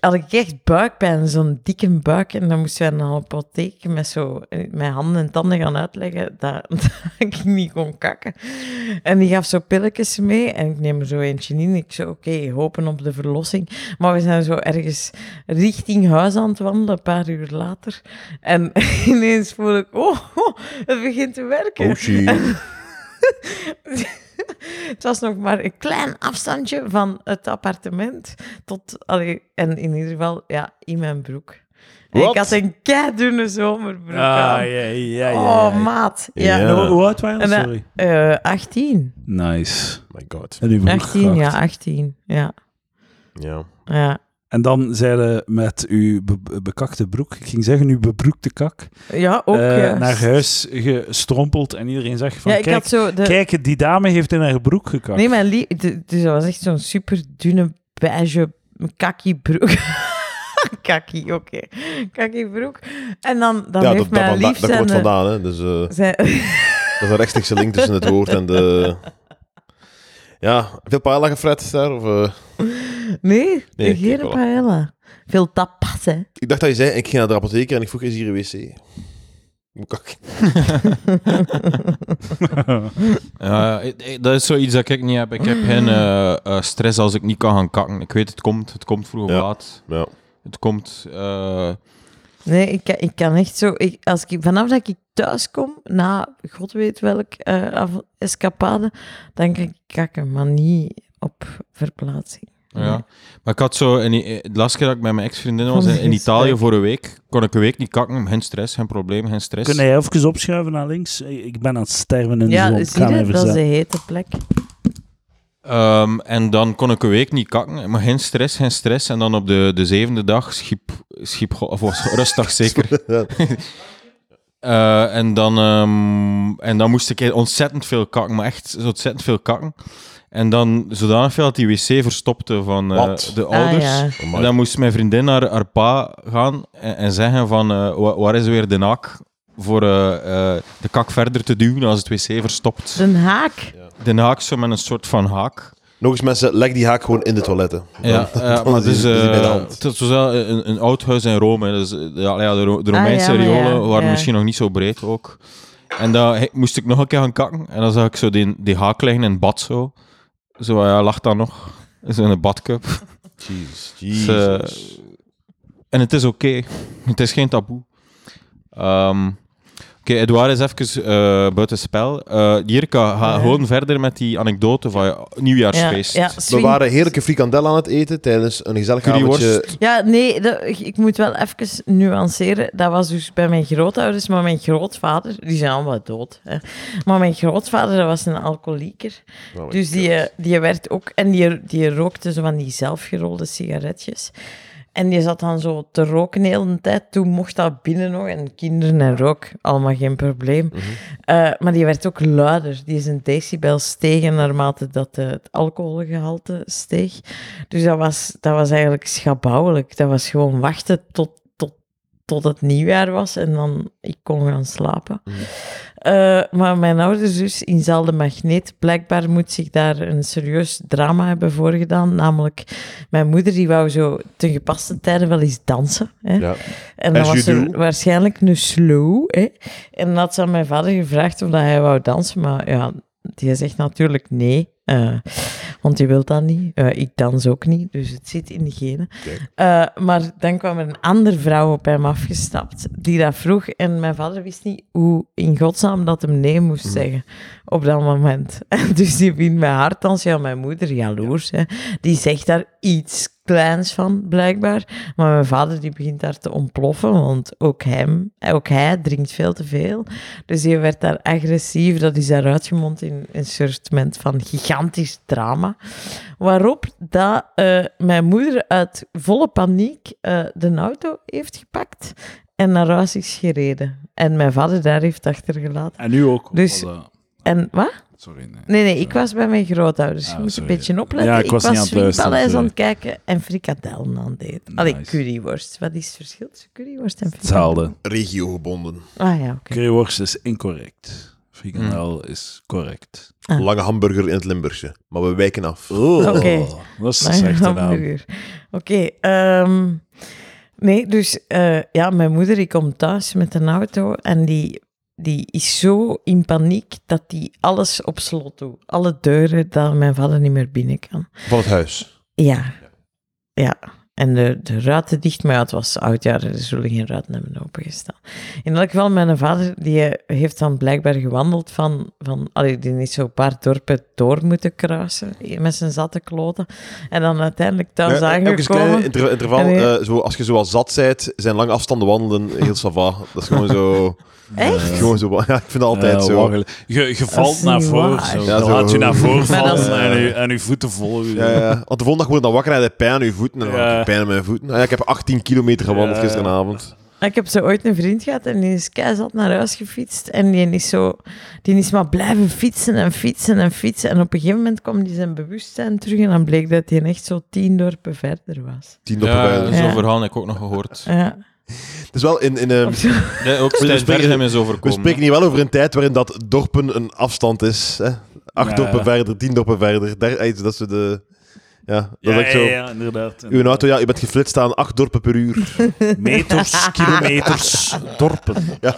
[SPEAKER 5] had ik echt buikpijn, zo'n dikke buik. En dan moesten wij naar een apotheek met, zo, eh, met handen en tanden gaan uitleggen dat, dat ik niet kon kakken. En die gaf zo pilletjes mee en ik neem er zo eentje in. Ik zo, oké, hopen op de verlossing. Maar we zijn zo ergens richting huis aan het wandelen, een paar uur later. En ineens voel ik, oh, oh, het begint te werken.
[SPEAKER 2] Oh, shit.
[SPEAKER 5] Het was nog maar een klein afstandje van het appartement tot... Allee, en in ieder geval, ja, in mijn broek. En
[SPEAKER 2] Wat?
[SPEAKER 5] Ik had een keidunne zomerbroek aan.
[SPEAKER 1] Ah, ja, ja,
[SPEAKER 5] Oh, maat. Ja.
[SPEAKER 2] Ja.
[SPEAKER 1] En hoe- hoe oud waren we?
[SPEAKER 5] En, eh,
[SPEAKER 1] Sorry.
[SPEAKER 5] Eh, 18.
[SPEAKER 1] Nice.
[SPEAKER 2] My god.
[SPEAKER 1] En, uw broek
[SPEAKER 5] 18, ja,
[SPEAKER 1] gehakt.
[SPEAKER 5] 18. Ja,
[SPEAKER 2] Ja.
[SPEAKER 5] ja.
[SPEAKER 1] en dan zeiden met uw be- bekakte broek, ik ging zeggen uw bebroekte kak,
[SPEAKER 5] Ja, ook.
[SPEAKER 1] eh,
[SPEAKER 5] juist.
[SPEAKER 1] naar huis gestrompeld en iedereen zegt van
[SPEAKER 5] Ja, ik
[SPEAKER 1] kijk,
[SPEAKER 5] had zo... De...
[SPEAKER 1] kijk, die dame heeft in haar broek gekakt.
[SPEAKER 5] Nee, mijn lief... de- Dus dat was echt zo'n super dunne beige kakkie broek. kakkie, oké. Kakkie broek. En dan, dan
[SPEAKER 2] ja,
[SPEAKER 5] heeft
[SPEAKER 2] dat, dat,
[SPEAKER 5] mijn
[SPEAKER 2] vanda-
[SPEAKER 5] lief
[SPEAKER 2] dat
[SPEAKER 5] zijn...
[SPEAKER 2] komt vandaan, hè. Dus eh,
[SPEAKER 5] zijn-
[SPEAKER 2] dat is een rechtstreekse link tussen het woord en de... Ja, veel paella gefret daar? Of, eh,
[SPEAKER 5] Nee,
[SPEAKER 2] Nee, ik
[SPEAKER 5] geen
[SPEAKER 2] wel.
[SPEAKER 5] paella. Veel tapas, hè.
[SPEAKER 2] Ik dacht dat je zei, ik ging naar de apotheker en ik vroeg, is hier een wc? Moet kakken.
[SPEAKER 4] Ja, ik- ik- dat is zoiets dat ik niet heb. Ik heb geen eh, eh, stress als ik niet kan gaan kakken. Ik weet, het komt. Het komt vroeg of
[SPEAKER 2] Ja.
[SPEAKER 4] laat.
[SPEAKER 2] Ja.
[SPEAKER 4] Het komt... eh,
[SPEAKER 5] Nee, ik, kan- ik kan echt zo... Ik, als ik, vanaf dat ik thuis kom, na god weet welk eh, av- escapade, dan kan ik kakken, maar niet op verplaatsing.
[SPEAKER 4] Ja, maar ik had zo, in, I- de laatste keer dat ik met mijn ex-vriendin was
[SPEAKER 5] Mhm. Van
[SPEAKER 4] in,
[SPEAKER 5] de
[SPEAKER 4] in Italië
[SPEAKER 5] gesprek.
[SPEAKER 4] voor een week, kon ik een week niet kakken, geen stress, geen probleem, geen stress.
[SPEAKER 1] Kun jij even opschuiven naar links? Ik ben aan het sterven in de zon.
[SPEAKER 5] Ja,
[SPEAKER 1] Ik
[SPEAKER 5] zie
[SPEAKER 1] ga mij
[SPEAKER 5] je? Dat is de
[SPEAKER 1] verzetten.
[SPEAKER 5] hete plek.
[SPEAKER 4] Ehm, en dan kon ik een week niet kakken, maar geen stress, geen stress. En dan op de, de zevende dag schiep, schiep go- of was rustig zeker. Eh, en, dan, ehm, en dan moest ik ontzettend veel kakken, maar echt ontzettend veel kakken. En dan zodanig veel dat die wc verstopte van eh,
[SPEAKER 2] Wat?
[SPEAKER 4] de
[SPEAKER 5] Ah,
[SPEAKER 4] ouders.
[SPEAKER 5] ja.
[SPEAKER 2] Amai.
[SPEAKER 4] En dan moest mijn vriendin naar haar pa gaan en, en zeggen van, eh, wa- waar is weer de naak voor eh, eh, de kak verder te duwen als het wc verstopt.
[SPEAKER 5] Zijn haak.
[SPEAKER 4] De naak zo met een soort van haak.
[SPEAKER 2] Nog eens mensen, leg die haak gewoon in de toiletten.
[SPEAKER 4] Ja,
[SPEAKER 2] Dan-
[SPEAKER 4] ja,
[SPEAKER 2] dan
[SPEAKER 4] maar
[SPEAKER 2] is
[SPEAKER 4] het is,
[SPEAKER 2] die- is die bij de
[SPEAKER 4] eh,
[SPEAKER 2] hand.
[SPEAKER 4] het is zowel een, een oud huis in Rome. hè. Dus, eh, ja, ja, de, Ro- de
[SPEAKER 5] Ah,
[SPEAKER 4] Romeinse
[SPEAKER 5] ja, maar ja,
[SPEAKER 4] riolen waren
[SPEAKER 5] ja.
[SPEAKER 4] misschien nog niet zo breed ook. En daar he- moest ik nog een keer gaan kakken. En dan zag ik zo die, die haak liggen in het bad zo. Zo, ja, lag daar nog. Zo in een badcup.
[SPEAKER 2] Jezus,
[SPEAKER 4] Dus, eh,
[SPEAKER 2] Jezus.
[SPEAKER 4] en het is oké. Het is geen taboe. Ehm, oké, Edouard is even buiten buitenspel. Eh Jirka, ga
[SPEAKER 5] Ja.
[SPEAKER 4] gewoon verder met die anekdote van je nieuwjaarsfeest.
[SPEAKER 5] Ja, ja,
[SPEAKER 2] We
[SPEAKER 5] swing-
[SPEAKER 2] waren heerlijke frikandellen aan het eten tijdens een gezellig
[SPEAKER 4] Currywurst.
[SPEAKER 2] avondje.
[SPEAKER 5] Ja, nee, dat- ik- ik moet wel even nuanceren. Dat was dus bij mijn grootouders, maar mijn grootvader, die zijn allemaal dood. Hè. Maar mijn grootvader dat was een alcoholieker.
[SPEAKER 2] Oh my
[SPEAKER 5] dus die, eh, die werd ook, en die, die rookte zo van die zelfgerolde sigaretjes. En die zat dan zo te roken de hele tijd. Toen mocht dat binnen nog. En kinderen en rook, allemaal geen probleem.
[SPEAKER 2] Hm.
[SPEAKER 5] Eh, maar die werd ook luider. Die is een decibel stegen naarmate dat eh, het alcoholgehalte steeg. Dus dat was, dat was eigenlijk schabouwelijk. Dat was gewoon wachten tot, tot, tot het nieuwjaar was en dan ik kon gaan slapen. Eh, maar mijn ouders dus in Zal de Magneet, blijkbaar moet zich daar een serieus drama hebben voorgedaan. Namelijk, mijn moeder die wou zo ten gepaste tijden wel eens dansen. Hè?
[SPEAKER 2] Ja.
[SPEAKER 5] En dan
[SPEAKER 2] As
[SPEAKER 5] was
[SPEAKER 2] you
[SPEAKER 5] er
[SPEAKER 2] do.
[SPEAKER 5] waarschijnlijk een slow. Hè? En dan had ze aan mijn vader gevraagd of dat hij wou dansen. Maar ja, die zegt natuurlijk nee. eh, want die wil dat niet. Eh, ik dans ook niet, dus het zit in de genen. Eh, maar dan kwam er een andere vrouw op hem afgestapt die dat vroeg. En mijn vader wist niet hoe in godsnaam dat hem nee moest
[SPEAKER 2] Hm.
[SPEAKER 5] zeggen op dat moment. En dus die vindt mijn hart dans. Ja, mijn moeder, jaloers. Hè. Die zegt daar iets kleins van, blijkbaar. Maar mijn vader die begint daar te ontploffen, want ook, hem, ook hij drinkt veel te veel. Dus die werd daar agressief. Dat is daar uitgemond in een soort van gigantisch drama. Waarop dat, eh, mijn moeder uit volle paniek eh, de auto heeft gepakt en naar huis is gereden. En mijn vader daar heeft achtergelaten.
[SPEAKER 1] En nu ook.
[SPEAKER 5] Dus-
[SPEAKER 1] Want, eh,
[SPEAKER 5] En wat?
[SPEAKER 1] sorry, nee.
[SPEAKER 5] Nee, nee, ik was bij mijn grootouders.
[SPEAKER 1] Ah,
[SPEAKER 5] je moet
[SPEAKER 1] sorry.
[SPEAKER 5] een beetje opletten.
[SPEAKER 1] Ja, ik was niet aan het luisteren,
[SPEAKER 5] Swingpaleis aan
[SPEAKER 1] sorry.
[SPEAKER 5] het kijken en frikadellen aan het eten. Allee,
[SPEAKER 1] Nice.
[SPEAKER 5] curryworst. Wat is het verschil tussen curryworst en frikadellen?
[SPEAKER 1] Hetzelfde.
[SPEAKER 2] Regiogebonden.
[SPEAKER 5] Ah ja, oké.
[SPEAKER 1] Currywurst is incorrect. Frikandel
[SPEAKER 5] Hmm.
[SPEAKER 1] is correct.
[SPEAKER 5] Ah.
[SPEAKER 2] Lange hamburger in het Limburgse. Maar we wijken af.
[SPEAKER 1] Oh,
[SPEAKER 5] Oké.
[SPEAKER 1] Dat is een
[SPEAKER 5] Lange
[SPEAKER 1] slechte naam.
[SPEAKER 5] hamburger. Oké, ehm, nee, dus eh, ja, mijn moeder die komt thuis met een auto en die, die is zo in paniek dat die alles op slot doet. Alle deuren, dat mijn vader niet meer binnen kan.
[SPEAKER 2] Van het huis.
[SPEAKER 5] Ja, ja. En de, de ruiten dicht, maar ja, het was oudjaar, er zullen geen ruiten hebben opengestaan. In elk geval, mijn vader die eh, heeft dan blijkbaar gewandeld van... van allee, die is zo'n paar dorpen door moeten kruisen eh, met zijn zatte kloten. En dan uiteindelijk thuis
[SPEAKER 2] Ja, ook eens
[SPEAKER 5] aangekomen.
[SPEAKER 2] klein inter- interval.
[SPEAKER 5] En weer-
[SPEAKER 2] eh, zo, als je zo al zat bent, zijn lange afstanden wandelen heel sava. Dat is gewoon zo...
[SPEAKER 5] Echt?
[SPEAKER 2] gewoon zo ja, ik vind dat altijd
[SPEAKER 1] Eh,
[SPEAKER 2] zo.
[SPEAKER 1] waggelen. Je, je
[SPEAKER 5] Dat
[SPEAKER 1] valt
[SPEAKER 5] is
[SPEAKER 1] naar
[SPEAKER 5] niet
[SPEAKER 1] voren.
[SPEAKER 5] waar.
[SPEAKER 1] Zo.
[SPEAKER 2] Ja,
[SPEAKER 1] Dan
[SPEAKER 2] zo.
[SPEAKER 1] laat je naar voren
[SPEAKER 5] Maar dat is-
[SPEAKER 1] vallen en, je, en je voeten volgen.
[SPEAKER 2] Ja, ja. Want de volgende dag wordt dan wakker en hij had pijn aan je voeten. En dan
[SPEAKER 1] Ja.
[SPEAKER 2] had ik pijn aan mijn voeten. Ah, ja, ik heb 18 kilometer gewandeld
[SPEAKER 1] Ja.
[SPEAKER 2] gisteravond.
[SPEAKER 5] Ik heb zo ooit een vriend gehad en die is keizat naar huis gefietst. En die is, zo, die is maar blijven fietsen en fietsen en fietsen. En op een gegeven moment kwam die zijn bewustzijn terug en dan bleek dat hij echt zo tien dorpen verder was.
[SPEAKER 2] 10 op
[SPEAKER 4] Ja,
[SPEAKER 2] ja.
[SPEAKER 4] zo'n
[SPEAKER 5] Ja.
[SPEAKER 4] verhaal heb ik ook nog gehoord.
[SPEAKER 5] Ja.
[SPEAKER 2] Het is wel in... in eh,
[SPEAKER 5] Op zo'n-
[SPEAKER 4] Nee, ook
[SPEAKER 2] We
[SPEAKER 4] Stijn
[SPEAKER 2] spreken-
[SPEAKER 4] Berghem is
[SPEAKER 2] we
[SPEAKER 4] overkomen.
[SPEAKER 2] spreken hier wel over een tijd waarin dat dorpen een afstand is. Hè? Acht
[SPEAKER 1] Ja.
[SPEAKER 2] dorpen verder, tien dorpen verder. Daar, eh, dat is zo de... Ja, dat is
[SPEAKER 1] Ja,
[SPEAKER 2] echt zo...
[SPEAKER 1] ja, ja, inderdaad.
[SPEAKER 2] Uw auto, ja, je bent geflitst aan acht dorpen per uur.
[SPEAKER 1] Meters, kilometers, dorpen.
[SPEAKER 2] Ja.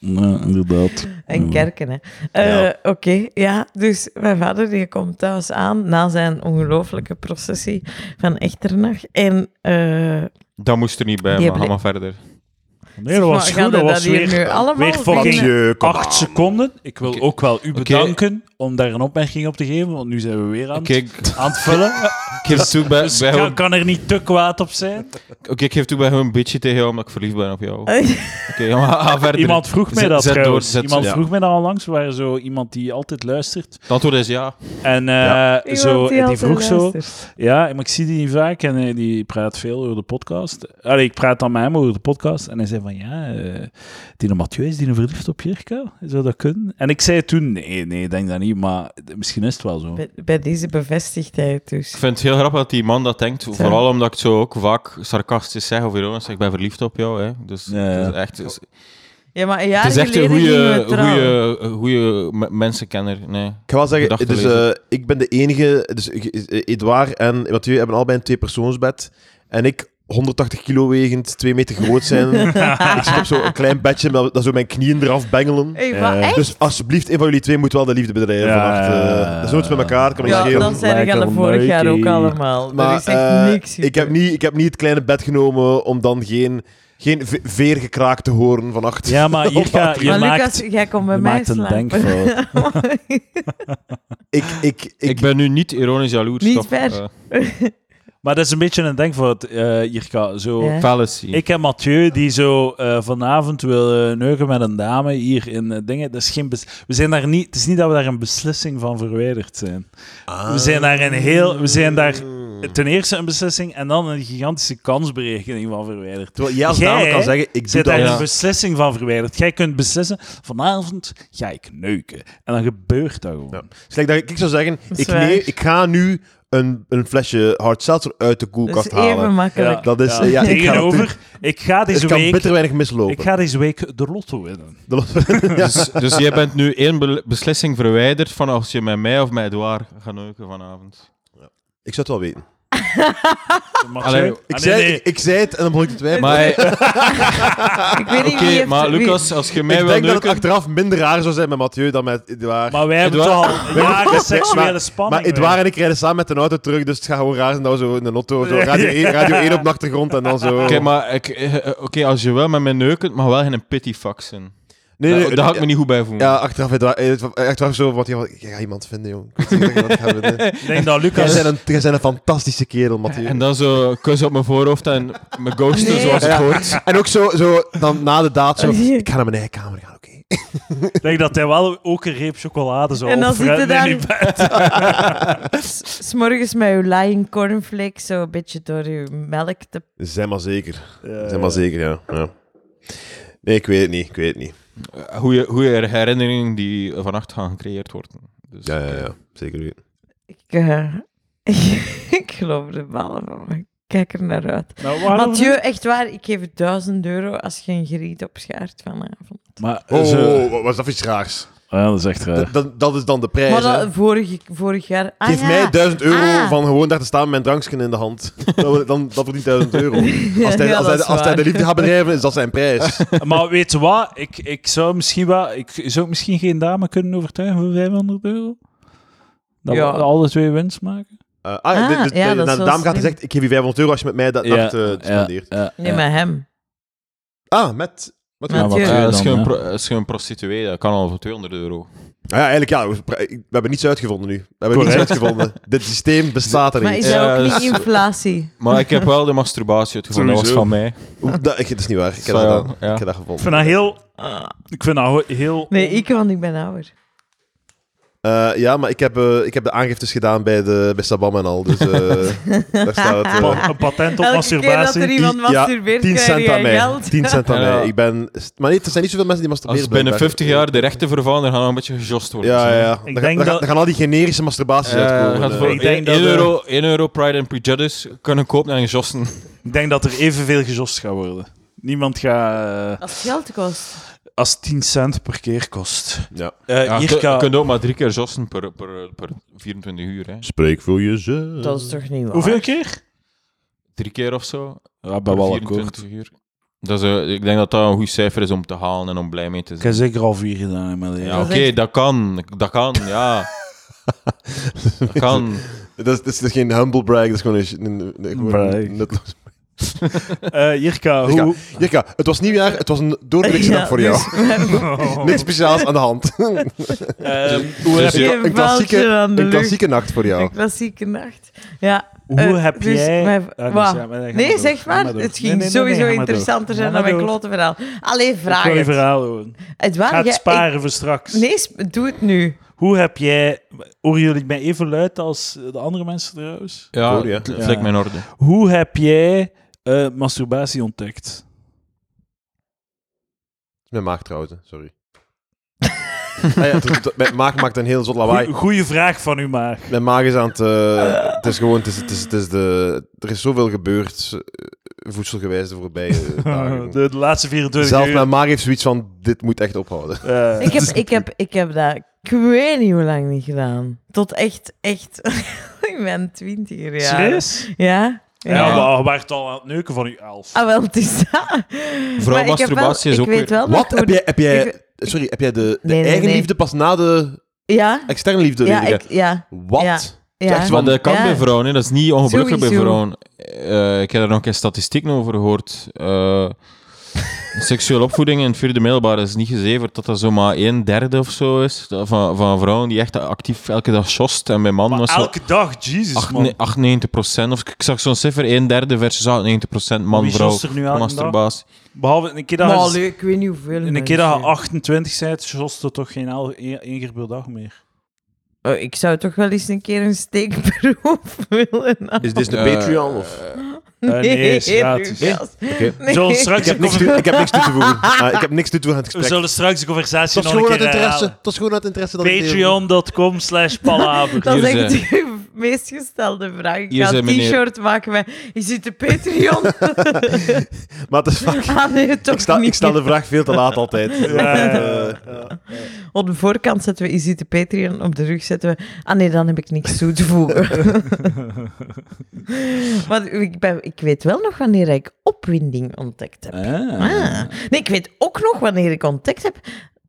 [SPEAKER 1] Ja, inderdaad.
[SPEAKER 5] En
[SPEAKER 1] Ja.
[SPEAKER 5] kerken, hè.
[SPEAKER 2] Ja.
[SPEAKER 5] Eh, Oké, ja. Dus mijn vader die komt thuis aan na zijn ongelooflijke processie van Echternach. En eh,
[SPEAKER 4] Dat moest er niet bij,
[SPEAKER 5] Die
[SPEAKER 4] maar ga
[SPEAKER 5] hebben-
[SPEAKER 4] maar verder.
[SPEAKER 1] Nee, dat was
[SPEAKER 5] Maar
[SPEAKER 1] goed.
[SPEAKER 5] gaan
[SPEAKER 1] Dat
[SPEAKER 5] we
[SPEAKER 1] was
[SPEAKER 5] dat hier nu
[SPEAKER 1] weer,
[SPEAKER 5] allemaal
[SPEAKER 1] weer fucking
[SPEAKER 2] Je, kom
[SPEAKER 1] acht
[SPEAKER 2] aan.
[SPEAKER 1] seconden. Ik wil
[SPEAKER 4] Oké.
[SPEAKER 1] ook wel u bedanken om daar een opmerking op te geven, want nu zijn we weer aan,
[SPEAKER 4] Oké,
[SPEAKER 1] het-
[SPEAKER 4] ik
[SPEAKER 1] aan het vullen.
[SPEAKER 4] ik geef toe bij,
[SPEAKER 1] Dus
[SPEAKER 4] bij
[SPEAKER 1] kan,
[SPEAKER 4] hoe-
[SPEAKER 1] kan er niet te kwaad op zijn.
[SPEAKER 4] oké, ik geef toe bij hoe een beetje tegen jou, omdat ik verliefd ben op jou. Oké, ja, maar ga verder.
[SPEAKER 1] Iemand vroeg mij
[SPEAKER 4] Zet-
[SPEAKER 1] dat
[SPEAKER 4] zet door,
[SPEAKER 1] trouwens.
[SPEAKER 4] zet-
[SPEAKER 1] Iemand
[SPEAKER 4] ja.
[SPEAKER 1] vroeg mij dat onlangs. We waren zo iemand die altijd luistert.
[SPEAKER 4] Het antwoord is ja.
[SPEAKER 1] En eh,
[SPEAKER 5] iemand
[SPEAKER 1] zo, die,
[SPEAKER 5] altijd
[SPEAKER 1] vroeg zo...
[SPEAKER 5] luistert.
[SPEAKER 1] Ja, maar ik zie die niet vaak en eh, die praat veel over de podcast. Allee, ik praat dan met hem over de podcast. En hij zei van, ja, eh die Mathieu is die verliefd op Jirka? Zou dat kunnen? En ik zei toen, nee, nee, ik denk dat niet. Maar misschien is het wel zo.
[SPEAKER 5] Bij, bij deze bevestigt hij het dus.
[SPEAKER 4] Ik vind het heel grappig dat die man dat denkt. Vooral omdat ik het zo ook vaak sarcastisch zeg over jongens, ik ben verliefd op jou. Hè. Dus
[SPEAKER 1] Ja, ja.
[SPEAKER 4] het is echt... dus-
[SPEAKER 5] Ja, maar een jaar
[SPEAKER 4] Het is echt een
[SPEAKER 5] geleden gingen
[SPEAKER 4] goede,
[SPEAKER 5] we trouwen.
[SPEAKER 4] goede, goede mensenkenner. Nee.
[SPEAKER 2] Ik ga wel zeggen,
[SPEAKER 4] Gedachten
[SPEAKER 2] dus,
[SPEAKER 4] lezen.
[SPEAKER 2] eh, ik ben de enige... Dus, eh, eh, Edouard en Mathieu hebben allebei een tweepersoonsbed. En ik, 180 kilo wegend, 2 meter groot zijn. ik zit op zo'n klein bedje dat, dat zo mijn knieën eraf bengelen.
[SPEAKER 5] Hey, maar
[SPEAKER 1] Eh,
[SPEAKER 5] echt?
[SPEAKER 2] Dus alsjeblieft, een van jullie twee moet wel de liefde bedrijven
[SPEAKER 1] Ja,
[SPEAKER 2] vannacht.
[SPEAKER 1] ja,
[SPEAKER 2] eh.
[SPEAKER 1] ja.
[SPEAKER 2] dat is nooit met elkaar, kan me
[SPEAKER 5] ja,
[SPEAKER 2] niet schelen.
[SPEAKER 5] dat zijn we
[SPEAKER 1] Lekker
[SPEAKER 5] gaan vorig jaar ook
[SPEAKER 1] leukie.
[SPEAKER 5] allemaal. Maar,
[SPEAKER 2] Maar,
[SPEAKER 5] er is echt
[SPEAKER 2] eh,
[SPEAKER 5] niks
[SPEAKER 2] ik, heb
[SPEAKER 5] gebeurd.
[SPEAKER 2] niet, ik heb niet het kleine bed genomen om dan geen, geen ve- veergekraak te horen vannacht.
[SPEAKER 1] Ja, maar hier ga je
[SPEAKER 5] Maar
[SPEAKER 1] maakt,
[SPEAKER 5] Lucas, jij komt bij
[SPEAKER 1] je
[SPEAKER 5] mij
[SPEAKER 1] maakt een
[SPEAKER 5] slapen.
[SPEAKER 1] denkfout.
[SPEAKER 2] Ik, ik,
[SPEAKER 4] Ik,
[SPEAKER 2] ik,
[SPEAKER 4] ben nu niet ironisch jaloers.
[SPEAKER 5] Niet
[SPEAKER 4] toch?
[SPEAKER 5] ver.
[SPEAKER 4] Eh,
[SPEAKER 1] Maar dat is een beetje een denkfout, eh Jirka. Zo,
[SPEAKER 5] Ja.
[SPEAKER 4] fallacy.
[SPEAKER 1] Ik en Mathieu die zo eh, vanavond wil eh, neuken met een dame hier in eh, dingen. Dat is geen bes- we zijn daar niet, het is niet dat we daar een beslissing van verwijderd zijn.
[SPEAKER 2] Ah.
[SPEAKER 1] We zijn daar een heel. We zijn daar
[SPEAKER 2] Mm.
[SPEAKER 1] ten eerste een beslissing en dan een gigantische kansberekening van verwijderd.
[SPEAKER 2] Terwijl jij als
[SPEAKER 1] Jij,
[SPEAKER 2] dame kan
[SPEAKER 1] hè?
[SPEAKER 2] zeggen, ik doe
[SPEAKER 1] Zit
[SPEAKER 2] dat.
[SPEAKER 1] daar
[SPEAKER 4] ja.
[SPEAKER 1] een beslissing van verwijderd? Jij kunt beslissen: vanavond ga ik neuken. En dan gebeurt dat gewoon.
[SPEAKER 2] Ja. Slecht Dus dat ik, ik zou zeggen,
[SPEAKER 5] is
[SPEAKER 2] ik,
[SPEAKER 5] waar.
[SPEAKER 2] neem, ik ga nu een, een flesje hard seltzer uit de
[SPEAKER 5] Dat
[SPEAKER 2] koelkast
[SPEAKER 5] is even
[SPEAKER 2] halen.
[SPEAKER 5] makkelijk.
[SPEAKER 2] Dat is- eh, ja, ik ga
[SPEAKER 1] tegenover.
[SPEAKER 2] natuurlijk-
[SPEAKER 1] ik ga
[SPEAKER 2] Het
[SPEAKER 1] deze
[SPEAKER 2] kan
[SPEAKER 1] week.
[SPEAKER 2] bitter weinig
[SPEAKER 1] Ik
[SPEAKER 2] mislopen.
[SPEAKER 1] ga deze week de lotto winnen.
[SPEAKER 2] De-
[SPEAKER 4] Dus, dus jij bent nu één be- beslissing verwijderd van als je met mij of met Edouard gaat neuken vanavond.
[SPEAKER 2] ik zou het wel
[SPEAKER 4] Ah,
[SPEAKER 2] weten.
[SPEAKER 1] Mathieu?
[SPEAKER 4] Allee, ik
[SPEAKER 1] Ah,
[SPEAKER 2] Ik,
[SPEAKER 1] nee,
[SPEAKER 2] zei,
[SPEAKER 1] nee.
[SPEAKER 2] Ik, ik zei het en dan begon ik te twijfelen.
[SPEAKER 4] Maar,
[SPEAKER 5] ik weet niet
[SPEAKER 4] Ah, oké,
[SPEAKER 5] wie heeft...
[SPEAKER 4] maar
[SPEAKER 5] wie-
[SPEAKER 4] Lucas, als je mij
[SPEAKER 2] ik
[SPEAKER 4] wil
[SPEAKER 2] denk dat het
[SPEAKER 4] neuken...
[SPEAKER 2] achteraf minder raar zou zijn met Mathieu dan met Edouard.
[SPEAKER 1] Maar wij hebben
[SPEAKER 4] Edouard-
[SPEAKER 1] toch al jaren seksuele
[SPEAKER 2] maar-
[SPEAKER 1] spanning.
[SPEAKER 2] Maar Edouard en ik rijden samen met een auto terug, dus het gaat gewoon raar zijn dat we zo in de auto, zo radio, 1, radio 1 op de achtergrond en dan zo...
[SPEAKER 4] Oké, maar ik, eh, eh, oké, als je wel met mij neuken, maar wel geen pity fuck zijn.
[SPEAKER 2] nee,
[SPEAKER 4] daar, daar had ik Nou, me niet goed bij voelen.
[SPEAKER 2] Ja, achteraf, Edouard- eh, achteraf zo, want je gaat iemand vinden, jong. Ik weet niet wat ik ga vinden.
[SPEAKER 1] Ik denk dat
[SPEAKER 2] Jij
[SPEAKER 1] Lucas...
[SPEAKER 2] bent een, jij bent een fantastische kerel, Mathieu.
[SPEAKER 4] En dan zo kus op mijn voorhoofd en me ghosten
[SPEAKER 5] Nee.
[SPEAKER 4] zoals het
[SPEAKER 2] Ja.
[SPEAKER 4] hoort.
[SPEAKER 2] En ook zo, zo dan na de daad, zo, ik ga naar mijn eigen kamer gaan, oké.
[SPEAKER 1] Ik denk dat hij wel ook een reep chocolade zou
[SPEAKER 5] En dan
[SPEAKER 1] offeren
[SPEAKER 5] zit hij
[SPEAKER 1] in
[SPEAKER 5] daar-
[SPEAKER 1] die bed.
[SPEAKER 5] S- S'morgens met uw lying cornflakes zo een beetje door uw melk te...
[SPEAKER 2] Zijn maar zeker.
[SPEAKER 1] Ja,
[SPEAKER 2] Zijn maar zeker, ja. ja. Nee, ik weet het niet, ik weet het niet.
[SPEAKER 4] Goeie, goeie herinneringen die vannacht gaan gecreëerd worden. Dus,
[SPEAKER 2] Ja, ja, ja. Zeker weten.
[SPEAKER 5] Ik, eh, ik geloof de ballen van me. Ik Kijk er naar uit.
[SPEAKER 1] Nou, waarom
[SPEAKER 5] Mathieu,
[SPEAKER 1] niet?
[SPEAKER 5] echt waar, ik geef je 1000 euro als je een griet opschaart eh, vanavond.
[SPEAKER 1] Maar, eh,
[SPEAKER 2] Oh,
[SPEAKER 1] zo- ah,
[SPEAKER 2] oh, oh, was dat iets raars?
[SPEAKER 1] Ja, dat is echt raar.
[SPEAKER 2] Dat, dat, dat is dan de prijs,
[SPEAKER 5] Maar
[SPEAKER 2] hè.
[SPEAKER 5] dat, vorig, vorig jaar... Ah,
[SPEAKER 2] Geef
[SPEAKER 5] ja.
[SPEAKER 2] mij 1000 euro
[SPEAKER 5] Ah.
[SPEAKER 2] van gewoon daar te staan met mijn drankje in de hand. Dan, dan, dat verdient 1000 euro. Als hij, als hij,
[SPEAKER 5] Ja,
[SPEAKER 2] als
[SPEAKER 5] dat
[SPEAKER 2] hij,
[SPEAKER 5] is
[SPEAKER 2] de
[SPEAKER 5] waar.
[SPEAKER 2] liefde gaat bedrijven, is dat zijn prijs. Eh,
[SPEAKER 1] Maar weet je wat? Ik, ik, zou misschien wel, ik zou ik misschien geen dame kunnen overtuigen voor 500 euro. Dat
[SPEAKER 5] Ja.
[SPEAKER 1] we alle twee winst maken.
[SPEAKER 2] Eh, ah,
[SPEAKER 5] Ah,
[SPEAKER 2] dus,
[SPEAKER 5] ja,
[SPEAKER 2] de, naar
[SPEAKER 5] dat is
[SPEAKER 2] de
[SPEAKER 5] wel
[SPEAKER 2] dame gaat hij
[SPEAKER 5] slim.
[SPEAKER 2] zegt, ik geef je 500 euro als je met mij dat nacht eh, spendeert.
[SPEAKER 1] ja,
[SPEAKER 5] Nee, maar hem.
[SPEAKER 2] Ah, met... met
[SPEAKER 5] Met-
[SPEAKER 2] ah,
[SPEAKER 5] Mathieu.
[SPEAKER 4] Eh,
[SPEAKER 1] dan,
[SPEAKER 4] als, je een
[SPEAKER 1] hè.
[SPEAKER 4] pro- als je een prostituee, dat kan al voor 200 euro.
[SPEAKER 2] Nou ja, eigenlijk ja, we, we hebben niets uitgevonden nu. We hebben niets
[SPEAKER 1] Correct.
[SPEAKER 2] uitgevonden. Dit systeem bestaat er
[SPEAKER 5] Maar
[SPEAKER 2] niet.
[SPEAKER 5] is dat
[SPEAKER 4] Ja,
[SPEAKER 5] ook
[SPEAKER 4] dat is-
[SPEAKER 5] niet inflatie?
[SPEAKER 4] Maar ik heb wel de masturbatie uitgevonden, dat was
[SPEAKER 2] Sowieso.
[SPEAKER 4] van mij.
[SPEAKER 2] Oeh, Dat, ik- dat is niet waar. Ik heb,
[SPEAKER 4] Zo,
[SPEAKER 2] dat,
[SPEAKER 4] ja.
[SPEAKER 2] gedaan.
[SPEAKER 4] Ja.
[SPEAKER 2] ik heb dat
[SPEAKER 1] Ik
[SPEAKER 2] gevonden.
[SPEAKER 1] vind dat heel... Ik vind dat ho- heel...
[SPEAKER 5] Nee, ik, want ik ben ouder.
[SPEAKER 2] Eh, ja, maar ik heb, eh, ik heb de aangiftes gedaan bij, de, bij Sabam en al. Dus eh, daar staat het. eh,
[SPEAKER 1] Pa- Een patent op
[SPEAKER 5] Elke keer dat er
[SPEAKER 1] masturbatie.
[SPEAKER 5] iemand
[SPEAKER 2] Ja,
[SPEAKER 5] masturbeert,
[SPEAKER 2] 10
[SPEAKER 5] krijg
[SPEAKER 2] cent aan
[SPEAKER 5] je
[SPEAKER 2] mij.
[SPEAKER 5] geld.
[SPEAKER 2] 10 cent aan
[SPEAKER 4] Ja.
[SPEAKER 2] mij. Ik ben... Maar nee, er zijn niet zoveel mensen die masturberen.
[SPEAKER 4] Als binnen
[SPEAKER 2] blijkbaar.
[SPEAKER 4] 50 jaar de rechten vervallen, dan gaan we een beetje gejost worden.
[SPEAKER 2] Ja,
[SPEAKER 4] Zo.
[SPEAKER 2] ja, ja. Dan,
[SPEAKER 1] Ik
[SPEAKER 2] ga-
[SPEAKER 1] denk
[SPEAKER 2] dan ga-
[SPEAKER 1] dat-
[SPEAKER 2] dan gaan al die generische masturbaties
[SPEAKER 4] Eh,
[SPEAKER 2] uitkomen.
[SPEAKER 4] gaat
[SPEAKER 2] eh.
[SPEAKER 4] voor
[SPEAKER 1] Ik denk
[SPEAKER 4] 1
[SPEAKER 1] dat we-
[SPEAKER 4] euro, 1 euro Pride and Prejudice kunnen kopen en jossen.
[SPEAKER 1] Ik denk dat er evenveel gejost gaat worden. Niemand gaat... eh,
[SPEAKER 5] Als het geld kost.
[SPEAKER 1] als 10 cent per keer kost.
[SPEAKER 2] Ja.
[SPEAKER 1] Eh,
[SPEAKER 4] Ja, je
[SPEAKER 1] Jirka,
[SPEAKER 4] kun- kunt ook maar drie keer jossen per, per, per 24 uur. Hè.
[SPEAKER 2] Spreek voor jezelf.
[SPEAKER 5] Dat
[SPEAKER 1] Eh,
[SPEAKER 5] is toch niet waar?
[SPEAKER 1] hoeveel keer?
[SPEAKER 4] Drie keer of zo.
[SPEAKER 1] Ja,
[SPEAKER 4] per 24 uur. Dat is, eh, ik denk dat dat een goed cijfer is om te halen en om blij mee te
[SPEAKER 1] Ik
[SPEAKER 4] zijn.
[SPEAKER 1] heb zeker al vier gedaan. hè, Maar ja.
[SPEAKER 4] Ja,
[SPEAKER 5] Dat
[SPEAKER 4] oké,
[SPEAKER 5] is echt-
[SPEAKER 4] dat kan. Dat kan, ja. dat kan.
[SPEAKER 2] Dat is, dat is- dat is geen humble brag, dat is gewoon een... een, een- een- gewoon een-
[SPEAKER 1] Brag.
[SPEAKER 2] nutteloos-
[SPEAKER 1] Eh, Jirka,
[SPEAKER 2] Jirka.
[SPEAKER 1] hoe...
[SPEAKER 2] Jirka, het was nieuwjaar, het was een doordeweekse dag voor jou.
[SPEAKER 5] dus-
[SPEAKER 1] Oh.
[SPEAKER 2] Niks speciaals aan de hand.
[SPEAKER 1] Ehm, hoe,
[SPEAKER 4] Dus
[SPEAKER 1] heb,
[SPEAKER 4] je-
[SPEAKER 2] een klassieke- Een klassieke nacht voor jou.
[SPEAKER 5] Een klassieke nacht. Ja.
[SPEAKER 1] hoe
[SPEAKER 5] eh,
[SPEAKER 1] heb
[SPEAKER 5] dus
[SPEAKER 1] jij...
[SPEAKER 5] mijn-
[SPEAKER 1] Ah, nee,
[SPEAKER 5] Wa-
[SPEAKER 1] zeg maar, nee, ga
[SPEAKER 5] Nee,
[SPEAKER 1] door.
[SPEAKER 5] zeg
[SPEAKER 1] Ga
[SPEAKER 5] maar.
[SPEAKER 1] maar door.
[SPEAKER 5] Het
[SPEAKER 1] Nee,
[SPEAKER 5] ging
[SPEAKER 1] nee, nee, nee,
[SPEAKER 5] sowieso
[SPEAKER 1] ga maar door.
[SPEAKER 5] interessanter zijn
[SPEAKER 1] Ga
[SPEAKER 5] dan
[SPEAKER 1] maar
[SPEAKER 5] mijn
[SPEAKER 1] door.
[SPEAKER 5] klote verhaal. Allee,
[SPEAKER 1] Ik wil
[SPEAKER 5] vraag
[SPEAKER 1] je
[SPEAKER 5] het.
[SPEAKER 1] verhaal horen.
[SPEAKER 5] Het waar,
[SPEAKER 1] Ga het
[SPEAKER 5] jij-
[SPEAKER 1] sparen voor straks.
[SPEAKER 5] ik- Nee, sp- doe het nu.
[SPEAKER 1] Hoe heb jij... Horen jullie mij even luid als de andere mensen trouwens?
[SPEAKER 4] Ja,
[SPEAKER 2] Hoor je?
[SPEAKER 4] het het lijkt me in orde.
[SPEAKER 1] Hoe heb jij eh, masturbatie ontdekt?
[SPEAKER 2] Mijn maag trouwens, hè. sorry. Ah ja, het- het- mijn maag maakt een heel zot lawaai.
[SPEAKER 3] Goeie vraag van u, maar.
[SPEAKER 2] Mijn maag is aan het... eh, het is gewoon... Het is, het is, het is de, er is zoveel gebeurd, eh, voedselgewijs, de voorbije eh, dagen.
[SPEAKER 3] De, de laatste 24
[SPEAKER 2] Zelf
[SPEAKER 3] uur.
[SPEAKER 2] mijn maag heeft zoiets van, dit moet echt ophouden.
[SPEAKER 3] Eh,
[SPEAKER 5] Ik heb, ik, heb, ik heb dat, ik weet niet hoe lang niet gedaan. Tot echt, echt, ik ben twintiger jaar.
[SPEAKER 3] Serieus?
[SPEAKER 5] Ja. Ja,
[SPEAKER 3] Ja,
[SPEAKER 4] Ja.
[SPEAKER 3] maar we waren het al aan het neuken van u elf.
[SPEAKER 5] Ah, wel, het is dat.
[SPEAKER 4] Vooral
[SPEAKER 5] Maar ik heb wel-
[SPEAKER 4] masturbatie is
[SPEAKER 5] ik
[SPEAKER 4] ook
[SPEAKER 5] weet
[SPEAKER 4] weer-
[SPEAKER 5] wel nog
[SPEAKER 2] Wat?
[SPEAKER 5] hoe
[SPEAKER 2] Heb
[SPEAKER 5] de-
[SPEAKER 2] jij, heb jij,
[SPEAKER 5] oh, ik-
[SPEAKER 2] sorry, heb jij de, de
[SPEAKER 5] Nee, nee,
[SPEAKER 2] eigen
[SPEAKER 5] nee.
[SPEAKER 2] liefde pas na de
[SPEAKER 5] Ja,
[SPEAKER 2] externe liefde?
[SPEAKER 5] ja,
[SPEAKER 2] leren?
[SPEAKER 5] ik, ja.
[SPEAKER 2] Wat?
[SPEAKER 5] ja.
[SPEAKER 2] is
[SPEAKER 5] ja.
[SPEAKER 2] echt
[SPEAKER 4] Want dat kan
[SPEAKER 5] Ja.
[SPEAKER 4] bij vrouwen, hè. dat is niet ongebruikelijk bij
[SPEAKER 5] Sowieso.
[SPEAKER 4] vrouwen. Eh, ik heb daar nog een keer statistieken over gehoord. Eh seksuele opvoeding in het vierde middelbaar is niet gezeverd dat dat zomaar een derde of zo is dat- van, van vrouwen die echt actief elke dag shost. En bij mannen
[SPEAKER 3] maar
[SPEAKER 4] was dat
[SPEAKER 3] elke dag, Jesus
[SPEAKER 4] acht-
[SPEAKER 3] man.
[SPEAKER 4] nee, 98 procent. Of ik zag zo'n cijfer, een derde versus 98 procent
[SPEAKER 3] Wie
[SPEAKER 4] man-vrouw.
[SPEAKER 3] shost er nu elke dag?
[SPEAKER 4] Masturbatie.
[SPEAKER 3] Behalve een keer
[SPEAKER 5] Maar
[SPEAKER 3] dat je,
[SPEAKER 5] leuk, ik weet niet hoeveel.
[SPEAKER 3] een keer dat je
[SPEAKER 5] mensen.
[SPEAKER 3] 28 bent, shost er toch geen el- één één keer per dag meer.
[SPEAKER 5] Oh, ik zou toch wel eens een keer een steekproef willen.
[SPEAKER 2] Is dit de
[SPEAKER 4] Eh,
[SPEAKER 2] Patreon? Of?
[SPEAKER 3] nee, is gratis.
[SPEAKER 5] Lucas.
[SPEAKER 2] Oké.
[SPEAKER 5] Nee.
[SPEAKER 3] Zullen we
[SPEAKER 2] Ik,
[SPEAKER 3] straks
[SPEAKER 2] heb
[SPEAKER 3] een
[SPEAKER 2] niks
[SPEAKER 3] conver-
[SPEAKER 2] toe- ik heb niks toe te voegen. Ah, ik heb niks toe te voegen aan het
[SPEAKER 3] we
[SPEAKER 2] gesprek.
[SPEAKER 3] zullen straks de conversatie
[SPEAKER 2] Het was
[SPEAKER 3] nog een
[SPEAKER 2] gewoon
[SPEAKER 3] keer eh,
[SPEAKER 2] uit interesse.
[SPEAKER 3] herhalen.
[SPEAKER 2] Het was gewoon uit interesse. dat het-
[SPEAKER 3] Patreon.com slash palaver.
[SPEAKER 5] Dat is
[SPEAKER 4] Hier
[SPEAKER 5] echt de meest gestelde vraag. Ik
[SPEAKER 4] Hier
[SPEAKER 5] ga
[SPEAKER 4] zijn
[SPEAKER 5] een
[SPEAKER 4] meneer-
[SPEAKER 5] t-shirt maken met... Is dit de Patreon?
[SPEAKER 2] Maar het is vaak...
[SPEAKER 5] ah nee, toch
[SPEAKER 2] Ik stel,
[SPEAKER 5] niet.
[SPEAKER 2] ik stel de vraag veel te laat altijd.
[SPEAKER 3] ja, ja.
[SPEAKER 2] Eh, ja.
[SPEAKER 5] Op de voorkant zetten we is dit de Patreon. Op de rug zetten we... Ah nee, dan heb ik niks toe te voegen. maar ik, ben, ik weet wel nog wanneer ik opwinding ontdekt heb. Ah.
[SPEAKER 2] Eh.
[SPEAKER 5] Nee, ik weet ook nog wanneer ik ontdekt heb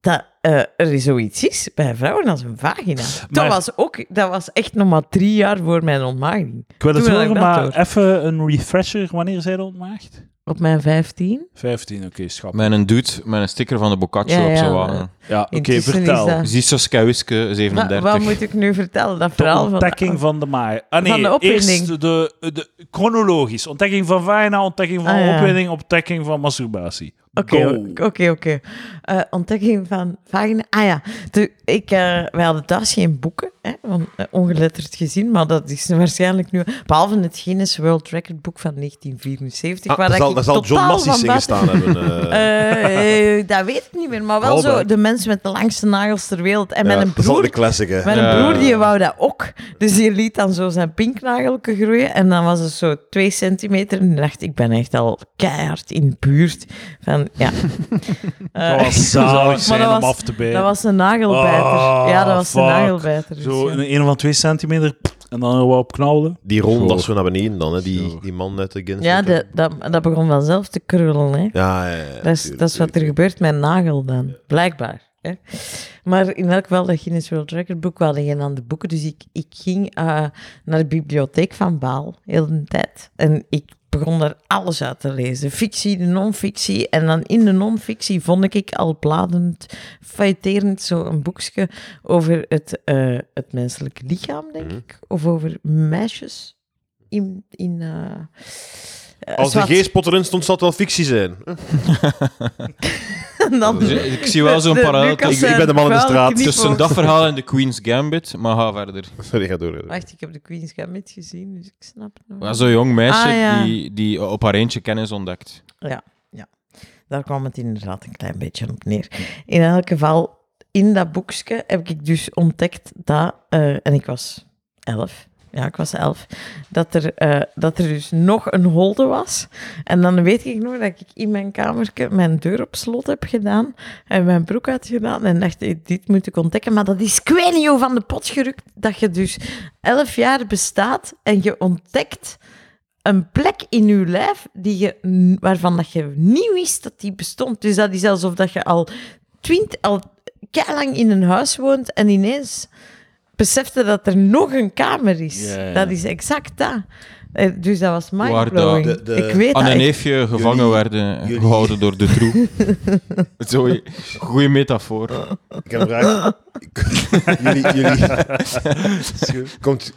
[SPEAKER 5] dat eh, er zoiets is bij vrouwen als een vagina.
[SPEAKER 3] Maar-
[SPEAKER 5] Dat, was ook, dat was echt nog maar drie jaar voor mijn ontmaagding.
[SPEAKER 3] Ik wil het
[SPEAKER 5] Toen had
[SPEAKER 3] horen,
[SPEAKER 5] ik dat
[SPEAKER 3] maar
[SPEAKER 5] door.
[SPEAKER 3] even een refresher. Wanneer zij dat ontmaagd?
[SPEAKER 5] Op mijn vijftien.
[SPEAKER 3] 15, oké, schat.
[SPEAKER 4] Met een dude, met een sticker van de Boccaccio
[SPEAKER 5] Ja,
[SPEAKER 4] op
[SPEAKER 5] ja.
[SPEAKER 4] zijn wagen.
[SPEAKER 3] Ja, oké,
[SPEAKER 5] Intussen is
[SPEAKER 3] vertel.
[SPEAKER 5] dat-
[SPEAKER 4] Ziet Saskia Wiske,
[SPEAKER 5] Wa-
[SPEAKER 4] 37.
[SPEAKER 5] Wat moet ik nu vertellen? Dat
[SPEAKER 3] De
[SPEAKER 5] verhaal van...
[SPEAKER 3] ontdekking van de maai. Ah nee,
[SPEAKER 5] Van de opwinding.
[SPEAKER 3] eerst de, de, chronologisch. Ontdekking van vagina, ontdekking van
[SPEAKER 5] Ah, ja.
[SPEAKER 3] opwinding, ontdekking van masturbatie.
[SPEAKER 5] Oké,
[SPEAKER 3] Go.
[SPEAKER 5] oké, oké, oké. Eh, ontdekking van vagina. Ah ja, de, ik, eh, wij hadden thuis geen boeken, hè, on- eh, ongeletterd gezien, maar dat is waarschijnlijk nu... Behalve het Guinness World Record boek van 1974,
[SPEAKER 2] Ah,
[SPEAKER 5] waar
[SPEAKER 2] daar
[SPEAKER 5] dat
[SPEAKER 2] zal,
[SPEAKER 5] ik
[SPEAKER 2] daar zal John
[SPEAKER 5] totaal
[SPEAKER 2] Massies
[SPEAKER 5] van
[SPEAKER 2] in
[SPEAKER 5] buiten-
[SPEAKER 2] gestaan hebben. eh.
[SPEAKER 5] Eh, eh, dat weet ik niet meer, maar wel zo
[SPEAKER 2] Hallback.
[SPEAKER 5] de mensen met de langste nagels ter wereld. En
[SPEAKER 2] Ja,
[SPEAKER 5] met een
[SPEAKER 2] Dat is al
[SPEAKER 5] broer.
[SPEAKER 2] de classic, hè.
[SPEAKER 5] Met een
[SPEAKER 4] Ja.
[SPEAKER 5] broer die wou dat ook. Dus die liet dan zo zijn pinknagelke groeien. En dan was het zo twee centimeter. En dacht ik, ben echt al keihard in de buurt. Van, ja. Eh,
[SPEAKER 3] Dat was zalig zijn
[SPEAKER 5] dat
[SPEAKER 3] om
[SPEAKER 5] was,
[SPEAKER 3] af te
[SPEAKER 5] dat
[SPEAKER 3] bijten.
[SPEAKER 5] was een nagelbijter.
[SPEAKER 3] Ah,
[SPEAKER 5] ja, dat was
[SPEAKER 3] fuck.
[SPEAKER 5] een nagelbijter. dus
[SPEAKER 3] Zo
[SPEAKER 5] ja.
[SPEAKER 3] een, een van twee centimeter en dan wel op knallen.
[SPEAKER 2] Die rond,
[SPEAKER 4] Zo.
[SPEAKER 2] dat is zo naar beneden dan, hè. Die,
[SPEAKER 3] Zo.
[SPEAKER 2] die man uit de Guinness.
[SPEAKER 5] Ja,
[SPEAKER 2] Book, hè.
[SPEAKER 5] de, dat, dat begon vanzelf te krullen. Hè.
[SPEAKER 2] Ja, ja, ja,
[SPEAKER 5] Dat is,
[SPEAKER 2] tuurlijk,
[SPEAKER 5] dat is wat er
[SPEAKER 2] tuurlijk.
[SPEAKER 5] gebeurt met een nagel dan, blijkbaar. Hè? Maar in elk geval, dat Guinness World Record boek, we hadden geen aan de boeken. Dus ik, ik ging eh, naar de bibliotheek van Baal, heel de tijd. En ik begon daar alles uit te lezen. Fictie, de non-fictie. En dan in de non-fictie vond ik al bladend, feiterend zo een boekje over het, eh, het menselijk lichaam, denk
[SPEAKER 2] Mhm.
[SPEAKER 5] ik. Of over meisjes in... in eh, eh,
[SPEAKER 2] Als de
[SPEAKER 5] zwart.
[SPEAKER 2] geestpot erin stond, zal het wel fictie zijn.
[SPEAKER 5] En dan-
[SPEAKER 4] Dus ik zie wel zo'n
[SPEAKER 5] De- de
[SPEAKER 4] parallel
[SPEAKER 5] Lucas
[SPEAKER 4] tussen-
[SPEAKER 2] Ik- ik ben de man in de
[SPEAKER 5] en
[SPEAKER 2] straat.
[SPEAKER 5] vuil
[SPEAKER 4] tussen
[SPEAKER 5] knipoog.
[SPEAKER 4] dat verhaal en de Queen's Gambit, maar ga verder.
[SPEAKER 5] Oh.
[SPEAKER 2] Sorry, ga door. ga door.
[SPEAKER 5] Wacht, ik heb de Queen's Gambit gezien, dus ik snap het nog.
[SPEAKER 4] Ja, Zo'n jong meisje
[SPEAKER 5] Ah, ja.
[SPEAKER 4] die, die op haar eentje kennis ontdekt.
[SPEAKER 5] Daar kwam het inderdaad een klein beetje op neer. In elk geval, in dat boekje heb ik dus ontdekt dat, eh, en ik was elf, ja, ik was elf, dat er, eh, dat er dus nog een holde was. En dan weet ik nog dat ik in mijn kamertje mijn deur op slot heb gedaan en mijn broek uitgedaan en dacht, eh, dit moet ik ontdekken. Maar dat is kwenio van de pot gerukt, dat je dus elf jaar bestaat en je ontdekt een plek in je lijf die je, waarvan dat je niet wist dat die bestond. Dus dat is alsof dat je al twint, al lang in een huis woont en ineens besefte dat er nog een kamer is.
[SPEAKER 3] Ja, ja.
[SPEAKER 5] Dat is exact dat. Eh, Dus dat was mindblowing.
[SPEAKER 2] Waar dat- de- de-
[SPEAKER 5] Ik weet
[SPEAKER 4] Aan
[SPEAKER 5] dat
[SPEAKER 4] een
[SPEAKER 5] echt.
[SPEAKER 4] neefje gevangen
[SPEAKER 2] jullie-
[SPEAKER 4] werden,
[SPEAKER 2] jullie-
[SPEAKER 4] gehouden door de troe. Zo'n goede metafoor.
[SPEAKER 2] Ik heb een vraag. jullie... jullie... komt...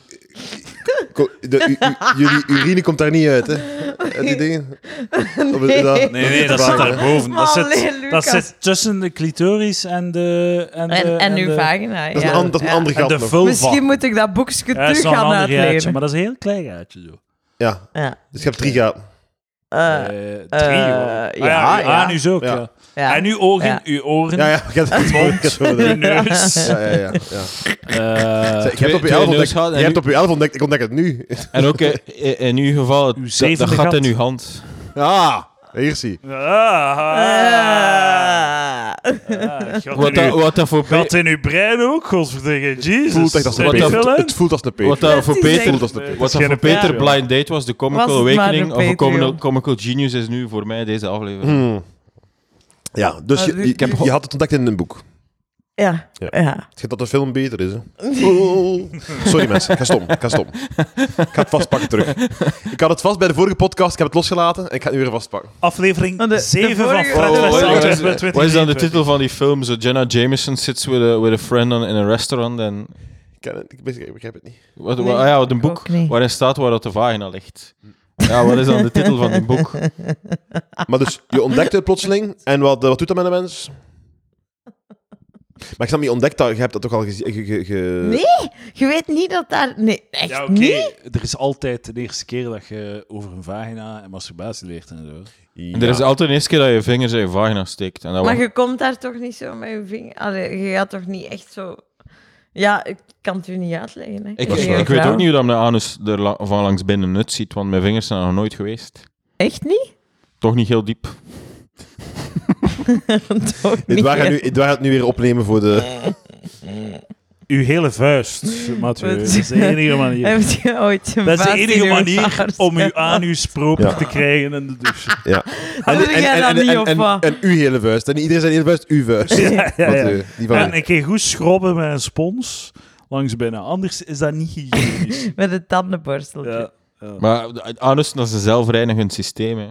[SPEAKER 2] ko- de- u- u- jullie urine komt daar niet uit, hè? Uit die dingen? Of is dat-
[SPEAKER 5] Nee.
[SPEAKER 3] Nee, nee,
[SPEAKER 2] is
[SPEAKER 3] dat
[SPEAKER 2] de
[SPEAKER 3] zit
[SPEAKER 2] vraag, hè?
[SPEAKER 3] daarboven. Dat
[SPEAKER 5] Maar
[SPEAKER 3] zit, dat
[SPEAKER 5] alleen, Lucas.
[SPEAKER 3] zit tussen de clitoris en de... En, de,
[SPEAKER 5] En, en uw
[SPEAKER 3] de-
[SPEAKER 5] vagina.
[SPEAKER 2] Dat is
[SPEAKER 5] ja.
[SPEAKER 2] een, an- dat is een
[SPEAKER 5] Ja.
[SPEAKER 2] ander
[SPEAKER 3] en
[SPEAKER 2] gat
[SPEAKER 3] de
[SPEAKER 2] nog.
[SPEAKER 3] vulva.
[SPEAKER 5] Misschien moet ik dat boekje
[SPEAKER 3] Ja, dat
[SPEAKER 5] terug
[SPEAKER 3] is nog een
[SPEAKER 5] gaan
[SPEAKER 3] ander gaatje,
[SPEAKER 5] uitleren.
[SPEAKER 3] maar dat is een heel klein gaatje. Zo.
[SPEAKER 2] Ja,
[SPEAKER 5] Ja.
[SPEAKER 2] dus je hebt drie gaten.
[SPEAKER 5] Eh,
[SPEAKER 1] Eh, drie,
[SPEAKER 5] eh,
[SPEAKER 1] hoor. Ah,
[SPEAKER 5] ja,
[SPEAKER 1] ja, uw
[SPEAKER 5] ja.
[SPEAKER 1] anus ook,
[SPEAKER 2] Ja.
[SPEAKER 1] ja.
[SPEAKER 5] ja.
[SPEAKER 1] En uw oren,
[SPEAKER 5] Ja.
[SPEAKER 1] uw oren,
[SPEAKER 2] Ja, ja, ik heb het gehoord, ik heb het gehoord.
[SPEAKER 1] uw neus.
[SPEAKER 2] Ja, ja, ja. ja.
[SPEAKER 1] eh,
[SPEAKER 2] Zeg, je hebt op je
[SPEAKER 4] twee
[SPEAKER 2] elf ontdekt-
[SPEAKER 4] neusgaten en
[SPEAKER 2] je hebt
[SPEAKER 4] nu-
[SPEAKER 2] op je elf ontdekt, ik ontdek het nu.
[SPEAKER 4] En ook eh, i- in uw geval, het,
[SPEAKER 1] Uw
[SPEAKER 4] dat- dat,
[SPEAKER 1] zevende
[SPEAKER 4] gat
[SPEAKER 1] gat.
[SPEAKER 4] in uw hand.
[SPEAKER 2] Ah, hier zie.
[SPEAKER 1] ah,
[SPEAKER 5] Eh.
[SPEAKER 1] ah, gat
[SPEAKER 4] Wat
[SPEAKER 1] in uw-
[SPEAKER 4] dat, wat dat voor,
[SPEAKER 1] Gat
[SPEAKER 4] Pe-
[SPEAKER 1] in uw brein ook, godverdikke. Jezus.
[SPEAKER 2] Het voelt echt als een
[SPEAKER 1] Zijn die
[SPEAKER 4] peper.
[SPEAKER 2] Peter.
[SPEAKER 1] veel, hè?
[SPEAKER 2] Het voelt als een
[SPEAKER 4] wat
[SPEAKER 2] Peter.
[SPEAKER 4] dat voor
[SPEAKER 5] Dat is
[SPEAKER 4] Peter,
[SPEAKER 5] echt-
[SPEAKER 2] voelt als een
[SPEAKER 4] wat dat
[SPEAKER 1] geen
[SPEAKER 4] voor
[SPEAKER 1] Patreon.
[SPEAKER 4] Peter Blind Date was, de Comical
[SPEAKER 5] Was het maar
[SPEAKER 4] Awakening
[SPEAKER 5] een
[SPEAKER 4] of een comical,
[SPEAKER 5] Patreon.
[SPEAKER 4] comical Genius is nu voor mij deze aflevering.
[SPEAKER 2] Hmm. Ja, dus
[SPEAKER 5] Maar
[SPEAKER 2] je,
[SPEAKER 5] dit-
[SPEAKER 2] je-
[SPEAKER 5] ik heb-
[SPEAKER 2] je had het ontdekt in een boek.
[SPEAKER 5] Ja,
[SPEAKER 2] Ja.
[SPEAKER 5] ja.
[SPEAKER 2] Het gaat dat de film beter is, hè? Oh. Sorry mensen, ik ga stom, ik ga stom. Ik ga het vastpakken terug. Ik had het vast bij de vorige podcast, ik heb het losgelaten en ik ga het nu weer vastpakken.
[SPEAKER 5] Want
[SPEAKER 1] Aflevering
[SPEAKER 5] Oh, de- de
[SPEAKER 1] 7 van
[SPEAKER 5] vorige-
[SPEAKER 1] Fred
[SPEAKER 5] Oh,
[SPEAKER 1] West
[SPEAKER 5] wat is-
[SPEAKER 4] wat,
[SPEAKER 1] Outdoors
[SPEAKER 4] is,
[SPEAKER 1] met 20.
[SPEAKER 4] wat is dan de titel van die film? Zo Jenna Jameson sits with a, with a friend on, in a restaurant en...
[SPEAKER 2] Ik, ken het, ik, begrijp, ik begrijp het niet.
[SPEAKER 4] Wat,
[SPEAKER 5] Nee,
[SPEAKER 4] wa- ah ja, wat een
[SPEAKER 5] ik
[SPEAKER 4] boek
[SPEAKER 5] ook niet.
[SPEAKER 4] waarin staat waar dat de vagina ligt. Ja, wat is dan de titel van die boek?
[SPEAKER 2] Maar dus, je ontdekt het plotseling en wat, eh, wat doet dat met een mens? Maar ik snap niet, je ontdekt dat, je hebt dat toch al gezien. ge- ge- ge-
[SPEAKER 5] Nee. Je weet niet dat daar... Nee, echt
[SPEAKER 1] Ja, oké.
[SPEAKER 5] niet.
[SPEAKER 6] Er is altijd de eerste keer dat je over een vagina en masturbatie leert en zo.
[SPEAKER 2] Ja.
[SPEAKER 4] En Er is altijd de eerste keer dat je vingers in je vagina steekt. En dat
[SPEAKER 5] Maar
[SPEAKER 4] wordt-
[SPEAKER 5] je komt daar toch niet zo met je vinger... Allee, je gaat toch niet echt zo... Ja, ik kan het u niet uitleggen. Hè.
[SPEAKER 4] ik,
[SPEAKER 5] Jullie
[SPEAKER 4] ik,
[SPEAKER 5] ook
[SPEAKER 4] ik weet
[SPEAKER 5] wel.
[SPEAKER 4] ook niet hoe dat mijn anus er la- van langs binnen nut ziet, want mijn vingers zijn er nog nooit geweest.
[SPEAKER 5] Echt niet?
[SPEAKER 4] Toch niet heel diep.
[SPEAKER 5] toch niet.
[SPEAKER 2] Edouard gaat, nu, Edouard gaat het nu weer opnemen voor de...
[SPEAKER 1] Uw hele vuist, Mathieu. Dat is de enige manier.
[SPEAKER 5] Heb je ooit een
[SPEAKER 1] Dat is de
[SPEAKER 5] baas in
[SPEAKER 1] enige
[SPEAKER 5] uw
[SPEAKER 1] manier
[SPEAKER 5] vaart?
[SPEAKER 1] om uw anus proper
[SPEAKER 2] Ja.
[SPEAKER 1] te krijgen in de douche.
[SPEAKER 5] Oh,
[SPEAKER 2] Ja.
[SPEAKER 5] Dat doe jij dan niet,
[SPEAKER 2] en,
[SPEAKER 5] of wat?
[SPEAKER 2] en uw hele vuist. En niet iedereen zijn hele vuist, uw vuist.
[SPEAKER 1] Ja, ja,
[SPEAKER 2] Want,
[SPEAKER 1] ja.
[SPEAKER 2] eh, die van
[SPEAKER 1] En
[SPEAKER 2] mij.
[SPEAKER 1] een keer goed schrobben met een spons langs binnen. Anders is dat niet hygiënisch.
[SPEAKER 5] Met een tandenborsteltje.
[SPEAKER 1] Ja.
[SPEAKER 4] Maar de- de anus, dat is een zelfreinigend systeem. Hè.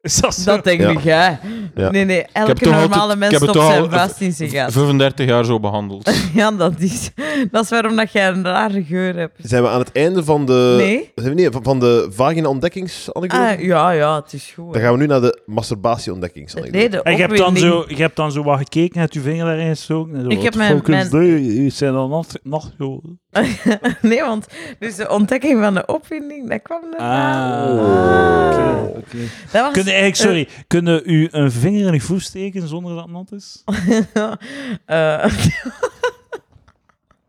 [SPEAKER 1] Is dat zo?
[SPEAKER 5] Dat denk
[SPEAKER 2] Ja.
[SPEAKER 5] ik, hè.
[SPEAKER 2] Ja.
[SPEAKER 5] Nee, nee,
[SPEAKER 4] heb
[SPEAKER 5] elke
[SPEAKER 4] toch
[SPEAKER 5] normale
[SPEAKER 4] altijd- ik
[SPEAKER 5] mens
[SPEAKER 4] heb het
[SPEAKER 5] stopt
[SPEAKER 4] toch
[SPEAKER 5] zijn
[SPEAKER 4] al-
[SPEAKER 5] vast in zijn gat.
[SPEAKER 4] 35 jaar zo behandeld.
[SPEAKER 5] Ja, dat is, dat is waarom dat jij een rare geur hebt.
[SPEAKER 2] Zijn we aan het einde van de...
[SPEAKER 5] Nee?
[SPEAKER 2] Zijn we niet, van, van de vagina ontdekkingsanekdote?
[SPEAKER 5] Ah, ja, ja, het is goed.
[SPEAKER 2] Dan gaan we nu naar de masturbatie ontdekkingsanekdote.
[SPEAKER 5] Nee, de
[SPEAKER 1] En je hebt, dan
[SPEAKER 5] opwinding.
[SPEAKER 1] zo, je hebt dan zo wat gekeken, hebt je vinger daarin gestoken. En zo,
[SPEAKER 5] Ik
[SPEAKER 1] wat
[SPEAKER 5] heb
[SPEAKER 1] de
[SPEAKER 5] mijn-
[SPEAKER 1] fuck is
[SPEAKER 5] mijn-
[SPEAKER 1] dit? Die zijn dan nacht, nacht geworden.
[SPEAKER 5] Nee, want dus de ontdekking van de opwinding, dat kwam daarna. Oh.
[SPEAKER 1] Ah, oké. oké.
[SPEAKER 5] Dat was...
[SPEAKER 1] Kun je eigenlijk, sorry, kunnen u een vinger in uw voet steken zonder dat het nat is?
[SPEAKER 5] Eh,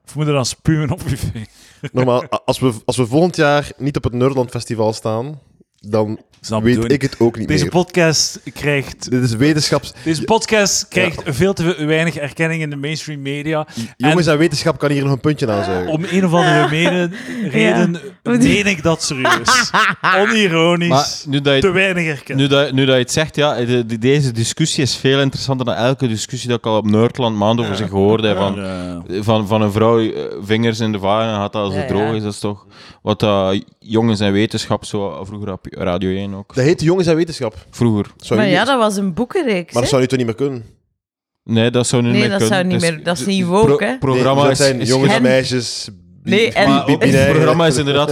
[SPEAKER 1] Of moet je dan spuwen op uw vinger?
[SPEAKER 2] Normaal, a- als we, als we volgend jaar niet op het Nerdland Festival staan, dan
[SPEAKER 6] Snap
[SPEAKER 2] weet
[SPEAKER 6] doen.
[SPEAKER 2] ik het ook niet
[SPEAKER 1] Deze
[SPEAKER 2] meer.
[SPEAKER 1] podcast krijgt,
[SPEAKER 2] Dit is wetenschaps...
[SPEAKER 1] deze podcast krijgt veel te weinig erkenning in de mainstream media.
[SPEAKER 2] Jongens en wetenschap kan hier nog een puntje
[SPEAKER 4] Eh,
[SPEAKER 2] aan zuigen.
[SPEAKER 1] Om een of andere mene- reden meen ik dat serieus. Onironisch.
[SPEAKER 4] Maar nu dat je
[SPEAKER 1] te weinig erkenning.
[SPEAKER 4] Nu dat, nu dat je het zegt, ja, de- de- deze discussie is veel interessanter dan elke discussie dat ik al op Noordland maanden over zich gehoord heb. Van, van, van een vrouw eh, vingers in de varen had dat als
[SPEAKER 5] Ja,
[SPEAKER 4] het droog
[SPEAKER 5] ja.
[SPEAKER 4] is. Dat is toch wat dat jongens en wetenschap, zo ah, vroeger op Radio 1 ook.
[SPEAKER 2] Dat heet Jongens en wetenschap.
[SPEAKER 4] Vroeger.
[SPEAKER 2] Zou
[SPEAKER 5] maar
[SPEAKER 2] nu-
[SPEAKER 5] ja, dat was een boekenreeks.
[SPEAKER 2] maar dat
[SPEAKER 5] hè?
[SPEAKER 2] zou nu toch niet meer kunnen?
[SPEAKER 4] Nee, dat zou nu
[SPEAKER 5] Nee,
[SPEAKER 4] meer
[SPEAKER 5] dat
[SPEAKER 4] kunnen.
[SPEAKER 5] zou niet
[SPEAKER 4] Het
[SPEAKER 5] meer- dat is niet
[SPEAKER 4] het
[SPEAKER 5] woke,
[SPEAKER 4] pro-
[SPEAKER 5] hè?
[SPEAKER 4] programma
[SPEAKER 2] Nee, dat
[SPEAKER 4] is,
[SPEAKER 2] zijn
[SPEAKER 4] is-
[SPEAKER 2] jongens en
[SPEAKER 5] en-
[SPEAKER 2] meisjes... bi-
[SPEAKER 5] Nee, en-
[SPEAKER 4] maar ook het
[SPEAKER 2] binair.
[SPEAKER 4] programma is inderdaad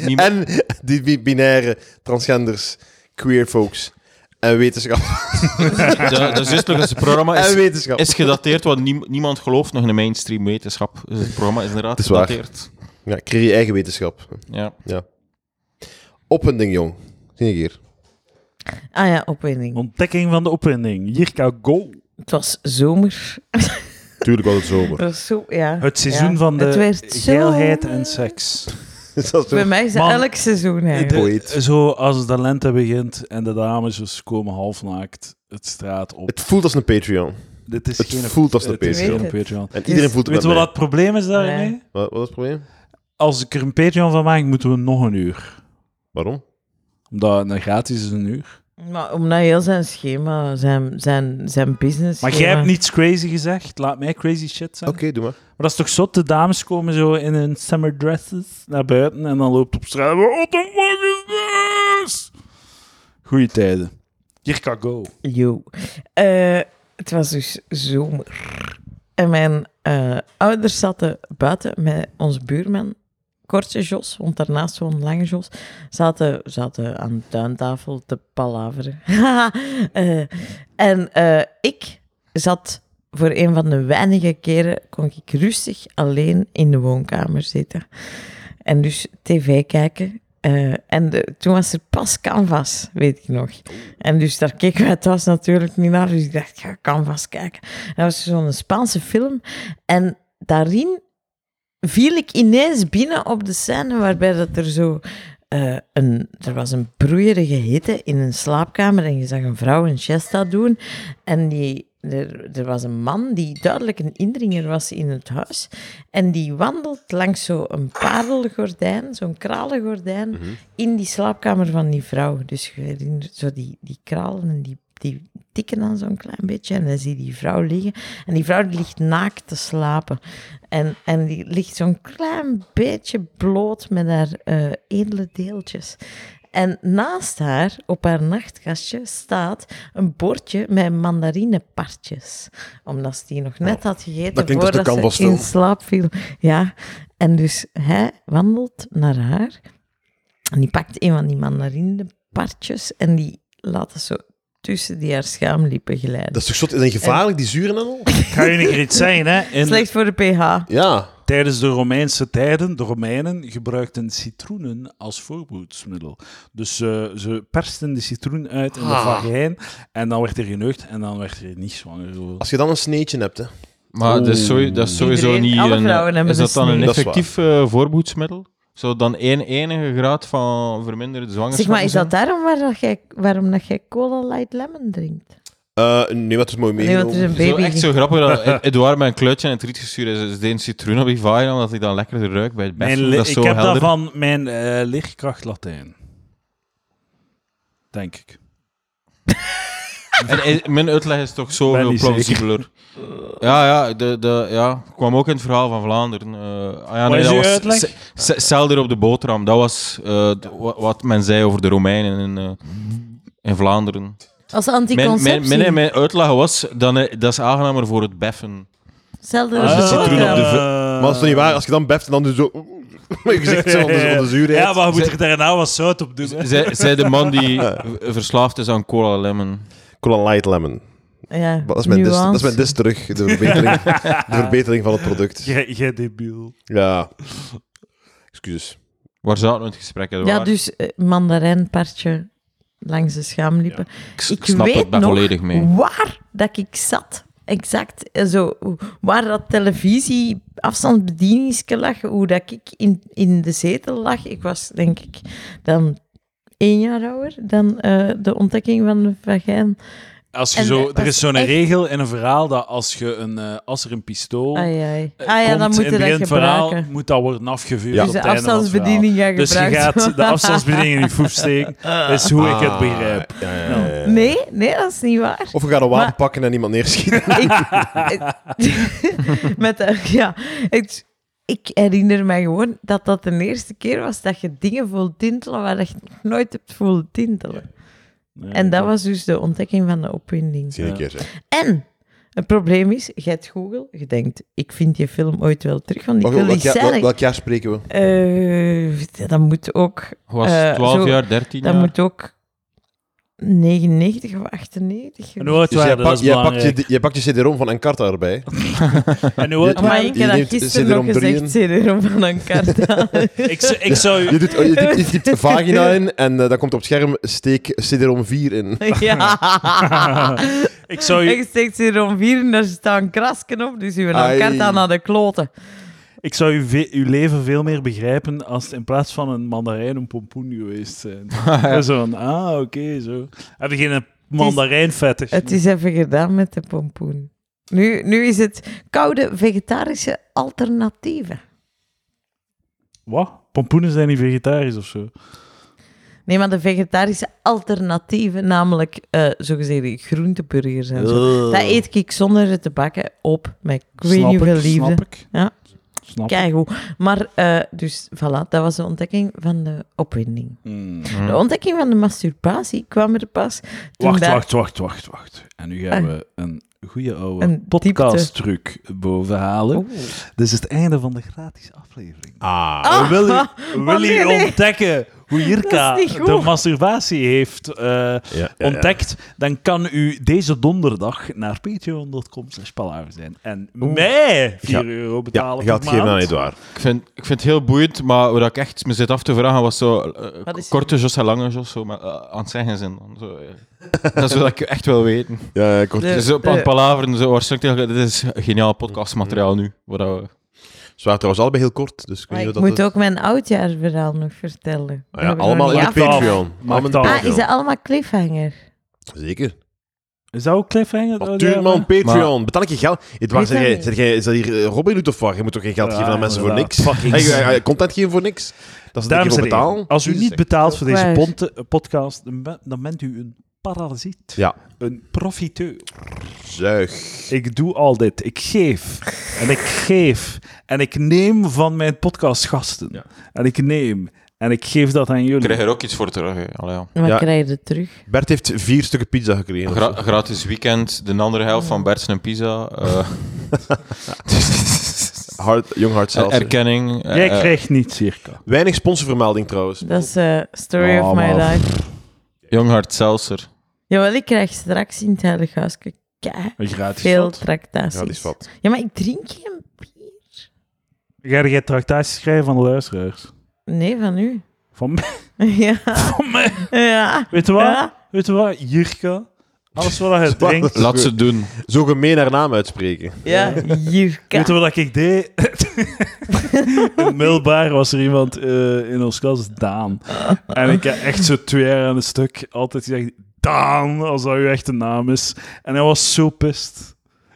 [SPEAKER 4] Niet meer-
[SPEAKER 2] En die bi- binaire transgenders, queer folks en wetenschap.
[SPEAKER 4] dat, dat is juist nog eens, het programma
[SPEAKER 2] en
[SPEAKER 4] is,
[SPEAKER 2] wetenschap.
[SPEAKER 4] is gedateerd, want niem- niemand gelooft nog in de mainstream wetenschap. Dus het programma is inderdaad
[SPEAKER 2] Het is waar.
[SPEAKER 4] gedateerd.
[SPEAKER 2] Ja, creëer je eigen wetenschap.
[SPEAKER 4] Ja.
[SPEAKER 2] Op een ding, jong. Zie ik hier.
[SPEAKER 5] Ah ja, opwinding.
[SPEAKER 1] Ontdekking van de opwinding. Jirka Go.
[SPEAKER 5] Het was zomer.
[SPEAKER 2] Tuurlijk was het
[SPEAKER 5] Het
[SPEAKER 2] zomer.
[SPEAKER 5] was zo, ja.
[SPEAKER 1] Het seizoen
[SPEAKER 5] Ja.
[SPEAKER 1] van
[SPEAKER 5] Het
[SPEAKER 1] de
[SPEAKER 5] werd zo-
[SPEAKER 1] geilheid en seks.
[SPEAKER 2] Dus dat is
[SPEAKER 5] Bij mij is dat
[SPEAKER 1] Man.
[SPEAKER 5] elk seizoen
[SPEAKER 1] De-
[SPEAKER 5] eigenlijk.
[SPEAKER 2] poëet.
[SPEAKER 1] zo als de lente begint en de dames dus komen halfnaakt het straat op.
[SPEAKER 2] Het voelt als een Patreon.
[SPEAKER 1] Dit is
[SPEAKER 2] het
[SPEAKER 1] geen
[SPEAKER 2] voelt als een
[SPEAKER 1] het is
[SPEAKER 5] Patreon.
[SPEAKER 1] geen Patreon.
[SPEAKER 2] En iedereen voelt het
[SPEAKER 1] Weet je wat
[SPEAKER 2] met mij.
[SPEAKER 1] het probleem is daarmee?
[SPEAKER 5] Nee.
[SPEAKER 2] Wat, wat is het probleem?
[SPEAKER 1] Als ik er een Patreon van maak, moeten we nog een uur.
[SPEAKER 2] Waarom?
[SPEAKER 6] Omdat een gratis is een uur.
[SPEAKER 5] Maar omdat heel zijn schema, zijn, zijn, zijn business.
[SPEAKER 1] Maar jij hebt niets crazy gezegd. Laat mij crazy shit
[SPEAKER 2] Oké,
[SPEAKER 1] zeggen.
[SPEAKER 2] doe maar.
[SPEAKER 1] Maar dat is toch zot? De dames komen zo in hun summer dresses naar buiten en dan loopt op straat. What the fuck is this? Goeie tijden. Jirka Go.
[SPEAKER 5] Yo. Eh, het was dus zomer. En mijn eh, ouders zaten buiten met onze buurman, Kortje Jos, want daarnaast woonde Lange Jos, zaten, zaten aan de tuintafel te palaveren. Haha. Eh, en eh, ik zat voor een van de weinige keren, kon ik rustig alleen in de woonkamer zitten. En dus tv kijken. Eh, Eh, en de- toen was er pas Canvas, weet ik nog. En dus daar keken wij thuis natuurlijk niet naar. Dus ik dacht, ik ga Canvas kijken. En dat was zo'n Spaanse film. En daarin viel ik ineens binnen op de scène waarbij dat er zo... eh, een, er was een broeierige hitte in een slaapkamer en je zag een vrouw een siesta doen. En die, er, er was een man die duidelijk een indringer was in het huis. En die wandelt langs zo'n parelgordijn, zo'n kralengordijn, in die slaapkamer van die vrouw. Dus je herinnert zo die, die kralen en die, die tikken dan zo'n klein beetje. En dan zie je die vrouw liggen. En die vrouw die ligt naakt te slapen. En, en die ligt zo'n klein beetje bloot met haar eh, edele deeltjes. En naast haar, op haar nachtkastje, staat een bordje met mandarinepartjes. Omdat ze die nog net had gegeten
[SPEAKER 2] Oh, Dat klinkt als de
[SPEAKER 5] voordat ze
[SPEAKER 2] canvasfilm.
[SPEAKER 5] in slaap viel. Ja, en dus hij wandelt naar haar. En die pakt een van die mandarinepartjes en die laat het zo tussen die haar schaamlippen glijden.
[SPEAKER 2] Dat is toch zot? Is dat
[SPEAKER 1] Eh.
[SPEAKER 2] gevaarlijk, die zuren en al?
[SPEAKER 3] Ik ga je nog iets zeggen, hè. In-
[SPEAKER 5] Slecht voor de pH.
[SPEAKER 2] Ja.
[SPEAKER 1] Tijdens de Romeinse tijden, de Romeinen gebruikten citroenen als voorboedsmiddel. Dus eh, ze persten de citroen uit in de
[SPEAKER 2] Ah.
[SPEAKER 1] vagijn en dan werd er geneukt en dan werd er niet zwanger.
[SPEAKER 2] Als je dan een sneetje hebt, hè.
[SPEAKER 4] Maar dat is, sowieso, dat is sowieso
[SPEAKER 5] Iedereen-
[SPEAKER 4] niet
[SPEAKER 5] alle vrouwen
[SPEAKER 4] een...
[SPEAKER 5] hebben dus
[SPEAKER 4] Is dat dan
[SPEAKER 5] een
[SPEAKER 4] een
[SPEAKER 5] snee.
[SPEAKER 2] Dat is waar.
[SPEAKER 4] effectief eh, voorboedsmiddel? Zou dan één enige graad van verminderde zwangerschap
[SPEAKER 5] Zeg maar, is
[SPEAKER 4] zijn?
[SPEAKER 5] dat daarom waar dat jij, waarom dat jij cola light lemon drinkt?
[SPEAKER 2] Eh nee, wat is mooi
[SPEAKER 5] Nee,
[SPEAKER 2] meegenomen.
[SPEAKER 5] want het is een
[SPEAKER 4] Zo,
[SPEAKER 5] baby.
[SPEAKER 4] echt zo grappig dat E- Ed- Edouard met een kleutje in het riet gestuurd is. Is een citroen op die vagina, omdat hij dan lekkerder ruikt bij het
[SPEAKER 1] Mijn
[SPEAKER 4] best.
[SPEAKER 1] le-
[SPEAKER 4] Dat is zo
[SPEAKER 1] ik heb dat
[SPEAKER 4] helder.
[SPEAKER 1] van mijn eh, leerkracht Latijn. Denk ik.
[SPEAKER 4] En i- mijn uitleg is toch
[SPEAKER 1] Ben
[SPEAKER 4] zoveel
[SPEAKER 1] niet
[SPEAKER 4] plausibeler. Ja, ja, de, de, ja, kwam ook in het verhaal van Vlaanderen. Eh, ah ja,
[SPEAKER 1] Wat is
[SPEAKER 4] dat
[SPEAKER 1] uw
[SPEAKER 4] was
[SPEAKER 1] uitleg?
[SPEAKER 4] se- se- Zelder op de boterham. Dat was eh, d- wa- wat men zei over de Romeinen in, eh, in Vlaanderen.
[SPEAKER 5] Als
[SPEAKER 4] Mijn,
[SPEAKER 5] anticonceptie.
[SPEAKER 4] mijn, mijn, mijn uitleg was, dan, eh, dat is aangenamer voor het beffen.
[SPEAKER 5] Zelden
[SPEAKER 2] Ah,
[SPEAKER 5] als
[SPEAKER 2] de citroen op de
[SPEAKER 5] cola.
[SPEAKER 2] v- Maar dat is
[SPEAKER 1] eh,
[SPEAKER 2] toch niet waar? Als je dan beft en dan doe je zo... Mijn gezicht zo onder, onder zuurheid.
[SPEAKER 1] Ja, maar je moet er daarna wat zout op doen. hè.
[SPEAKER 4] Zij, zij de man die v- verslaafd is aan cola lemon.
[SPEAKER 2] Cola Light Lemon.
[SPEAKER 5] Ja,
[SPEAKER 2] Dat is mijn, dis, dat
[SPEAKER 5] nuance.
[SPEAKER 2] is mijn dis terug. De verbetering, de verbetering van het product.
[SPEAKER 1] Jij jij debiel.
[SPEAKER 2] Ja. Excuses.
[SPEAKER 4] Waar zaten we in het gesprek? Edouard?
[SPEAKER 5] Ja, dus eh, mandarijnpartje langs de schaamlippen.
[SPEAKER 4] ik s-
[SPEAKER 5] ik
[SPEAKER 4] snap
[SPEAKER 5] weet
[SPEAKER 4] het, ben
[SPEAKER 5] nog
[SPEAKER 4] volledig mee.
[SPEAKER 5] waar dat ik zat. Exact. eh, Zo, waar dat televisie afstandsbedieningske lag, hoe dat ik in, in de zetel lag. Ik was denk ik dan één jaar ouder dan eh, de ontdekking van de vagijn.
[SPEAKER 1] Als je
[SPEAKER 5] En
[SPEAKER 1] zo,
[SPEAKER 5] dat
[SPEAKER 1] er is
[SPEAKER 5] was
[SPEAKER 1] zo'n
[SPEAKER 5] echt-
[SPEAKER 1] regel in een verhaal dat als, je een, eh, als er een pistool
[SPEAKER 5] Ai, ai.
[SPEAKER 1] eh,
[SPEAKER 5] Ah ja,
[SPEAKER 1] komt
[SPEAKER 5] dan moet
[SPEAKER 1] in
[SPEAKER 5] je
[SPEAKER 1] het
[SPEAKER 5] dat
[SPEAKER 1] begin verhaal,
[SPEAKER 5] gebruiken.
[SPEAKER 1] moet dat worden afgevuurd
[SPEAKER 2] Ja.
[SPEAKER 1] op
[SPEAKER 5] Dus de
[SPEAKER 1] het einde van het verhaal.
[SPEAKER 5] afstandsbediening gaat
[SPEAKER 1] Dus je
[SPEAKER 5] gebruikt
[SPEAKER 1] gaat de afstandsbediening in je foef steken, is hoe ik het begrijp.
[SPEAKER 2] Ah,
[SPEAKER 1] Nou.
[SPEAKER 2] Ja, ja, ja, ja.
[SPEAKER 5] Nee, nee, dat is niet waar.
[SPEAKER 2] Of we gaan een wapen
[SPEAKER 5] Maar-
[SPEAKER 2] pakken en iemand neerschieten.
[SPEAKER 5] ik, ik- met de- ja, ik, ik herinner mij gewoon dat dat de eerste keer was dat je dingen voelt tintelen waar je nog nooit hebt voelen tintelen. en dat was dus de ontdekking van de opwinding.
[SPEAKER 2] Zie je een keer, zeg.
[SPEAKER 5] En het probleem is, je hebt Google, je denkt, ik vind die film ooit wel terug, want ik
[SPEAKER 2] Wacht,
[SPEAKER 5] wil
[SPEAKER 2] welk,
[SPEAKER 5] die
[SPEAKER 2] jaar, wel-
[SPEAKER 5] scène...
[SPEAKER 2] welk jaar spreken we?
[SPEAKER 5] Eh, dat moet ook...
[SPEAKER 4] Hoe was
[SPEAKER 5] eh,
[SPEAKER 4] het? 12
[SPEAKER 5] zo-
[SPEAKER 4] jaar, 13
[SPEAKER 5] Dat
[SPEAKER 4] jaar?
[SPEAKER 5] moet ook 99 of 98
[SPEAKER 1] En hoe oud
[SPEAKER 2] Dus
[SPEAKER 1] waren dat?
[SPEAKER 2] jij, pak-
[SPEAKER 1] Dat is
[SPEAKER 2] jij pakt
[SPEAKER 1] belangrijk.
[SPEAKER 2] je, jij pakt je CD-ROM van Encarta erbij.
[SPEAKER 1] En hoe oud
[SPEAKER 2] je-
[SPEAKER 5] Maar
[SPEAKER 1] waren
[SPEAKER 5] ik
[SPEAKER 2] je
[SPEAKER 5] heb dat
[SPEAKER 2] neemt
[SPEAKER 5] gisteren nog
[SPEAKER 2] CD-ROM
[SPEAKER 5] gezegd, CD-ROM van een kaart
[SPEAKER 1] Ik, zou- ik zou u...
[SPEAKER 2] Je, doet, je, typt- je typt vagina in en eh, dan komt op het scherm steek CD-ROM 4 in.
[SPEAKER 5] Ja.
[SPEAKER 1] Ik zou u...
[SPEAKER 5] Ik steek ze hier om vier en daar staan krasken op, dus u
[SPEAKER 2] Ai.
[SPEAKER 5] elkaar aan naar de kloten.
[SPEAKER 1] Ik zou uw, ve- uw leven veel meer begrijpen als het in plaats van een mandarijn een pompoen geweest zijn. Zo'n, ah, oké, zo. Heb je geen mandarijnvetter?
[SPEAKER 5] Het is even gedaan met de pompoen. Nu, nu is het koude vegetarische alternatieven.
[SPEAKER 1] Wat? Pompoenen zijn niet vegetarisch of zo?
[SPEAKER 5] Nee, maar de vegetarische alternatieven, namelijk eh zogezegde groenteburgers en zo. Dat
[SPEAKER 4] Eh.
[SPEAKER 5] eet ik zonder het te bakken op met ik weet
[SPEAKER 1] Snap
[SPEAKER 5] niet hoeveel
[SPEAKER 1] ik,
[SPEAKER 5] liefde.
[SPEAKER 1] Snap ik.
[SPEAKER 5] Ja.
[SPEAKER 1] Snap ik.
[SPEAKER 5] Keigoed. Maar, eh, dus voilà, dat was de ontdekking van de opwinding.
[SPEAKER 1] Mm.
[SPEAKER 4] Mm.
[SPEAKER 5] De ontdekking van de masturbatie kwam er pas toen
[SPEAKER 1] Wacht,
[SPEAKER 5] daar-
[SPEAKER 1] wacht, wacht, wacht, wacht. En nu gaan
[SPEAKER 5] Ah.
[SPEAKER 1] we een goede oude
[SPEAKER 5] Een Oh.
[SPEAKER 1] podcast-truc bovenhalen.
[SPEAKER 5] Oeh.
[SPEAKER 1] Dit is het einde van de gratis aflevering.
[SPEAKER 2] Ah.
[SPEAKER 5] Ah,
[SPEAKER 1] Wil je,
[SPEAKER 5] ah,
[SPEAKER 1] wil
[SPEAKER 5] maar
[SPEAKER 1] je
[SPEAKER 5] nee, nee.
[SPEAKER 1] ontdekken hoe Jirka
[SPEAKER 5] Dat is niet goed.
[SPEAKER 1] de masturbatie heeft eh,
[SPEAKER 2] Ja, ja, ja.
[SPEAKER 1] ontdekt, dan kan u deze donderdag naar patreon.com slash palaver zijn en mij 4 euro
[SPEAKER 2] Ja,
[SPEAKER 1] betalen per
[SPEAKER 2] gaat geven aan
[SPEAKER 1] maand.
[SPEAKER 2] Edouard.
[SPEAKER 4] Ik vind, ik vind het heel boeiend, maar waar ik echt me zit af te vragen was zo eh,
[SPEAKER 5] Wat is-
[SPEAKER 4] korte Jos en lange Jos, zo, maar, eh, aan het zeggen zijn. dan, Zo, eh. dat is wat ik echt wil weten.
[SPEAKER 2] Ja, kort.
[SPEAKER 5] De-
[SPEAKER 4] Dus op aan het palaveren, zo, waarschijnlijk, tegen- dit is geniaal podcastmateriaal nu. Waar dat we,
[SPEAKER 2] Ze waren trouwens allebei heel kort, dus ik weet
[SPEAKER 5] Maar
[SPEAKER 2] niet
[SPEAKER 5] ik
[SPEAKER 2] of dat...
[SPEAKER 5] moet
[SPEAKER 2] het-
[SPEAKER 5] ook mijn oudjaarverhaal nog vertellen.
[SPEAKER 2] Ah ja,
[SPEAKER 5] Dat heb ik
[SPEAKER 2] allemaal
[SPEAKER 5] nog
[SPEAKER 2] in de
[SPEAKER 5] niet af-
[SPEAKER 1] afgehaald.
[SPEAKER 2] Patreon. Allemaal in de
[SPEAKER 1] Maakt
[SPEAKER 5] Ah, is
[SPEAKER 2] Patreon.
[SPEAKER 5] dat allemaal cliffhanger?
[SPEAKER 2] Zeker.
[SPEAKER 1] Is dat ook cliffhanger?
[SPEAKER 2] Natuurlijk man, Patreon. Betaal ik je geld? Edouard, zeg
[SPEAKER 5] Weet dat
[SPEAKER 2] jij-
[SPEAKER 5] niet.
[SPEAKER 2] zeg jij- is dat hier eh, Robin doet of wat? Je moet toch geen geld
[SPEAKER 1] Ja,
[SPEAKER 2] geven aan mensen voor
[SPEAKER 1] inderdaad.
[SPEAKER 2] niks?
[SPEAKER 1] Fucking
[SPEAKER 2] Hey,
[SPEAKER 1] zin.
[SPEAKER 2] eh, eh, Content geven voor niks? Dat is
[SPEAKER 1] Dames
[SPEAKER 2] niet
[SPEAKER 1] en
[SPEAKER 2] betaal.
[SPEAKER 1] heren, als u niet betaalt voor deze
[SPEAKER 5] Waar?
[SPEAKER 1] ponte- eh, podcast, dan ben- dan bent u een parasiet.
[SPEAKER 2] Ja.
[SPEAKER 1] Een profiteur.
[SPEAKER 2] Zuig.
[SPEAKER 1] Ik doe al dit. Ik geef. En ik geef. En ik neem van mijn podcastgasten.
[SPEAKER 4] Ja.
[SPEAKER 1] En ik neem. En ik geef dat aan jullie.
[SPEAKER 4] krijgen er ook iets voor terug. hè. Allee, ja.
[SPEAKER 5] Maar
[SPEAKER 2] Ja.
[SPEAKER 5] krijg je het terug?
[SPEAKER 2] Bert heeft vier stukken pizza gekregen.
[SPEAKER 4] Gra- gratis weekend, de andere helft van Bertsen en Pisa. eh.
[SPEAKER 2] Hard, young Hard zelfs.
[SPEAKER 4] erkenning. eh,
[SPEAKER 1] Jij
[SPEAKER 4] eh,
[SPEAKER 1] krijgt niet, circa.
[SPEAKER 2] Weinig sponsorvermelding trouwens.
[SPEAKER 5] Dat is eh, Story
[SPEAKER 1] Oh,
[SPEAKER 5] of My
[SPEAKER 1] maar-
[SPEAKER 5] Life.
[SPEAKER 4] Jonghart Seltzer.
[SPEAKER 5] Jawel, ik krijg straks in het Heilig Huis
[SPEAKER 1] Een gratis
[SPEAKER 5] veel
[SPEAKER 1] shot.
[SPEAKER 5] tractaties.
[SPEAKER 2] Ja, die is wat.
[SPEAKER 5] Ja, maar ik drink geen bier.
[SPEAKER 1] Ga jij tractaties schrijven van de luisteraars?
[SPEAKER 5] Nee, van u.
[SPEAKER 1] Van mij?
[SPEAKER 5] Ja.
[SPEAKER 1] Van mij?
[SPEAKER 5] ja.
[SPEAKER 1] Weet je wat?
[SPEAKER 5] Ja.
[SPEAKER 1] Weet je wat? Jirka. Alles wat je
[SPEAKER 2] Wat?
[SPEAKER 1] drinkt.
[SPEAKER 4] Laat ze doen.
[SPEAKER 2] Zo gemeen haar naam uitspreken.
[SPEAKER 5] Ja, Jirka.
[SPEAKER 1] Weet je wat ik deed? in middelbaar was er iemand eh, in ons klas, Daan. En ik heb echt zo twee jaar aan een stuk altijd gezegd... Daan, als dat uw echte naam is. En hij was zo pist.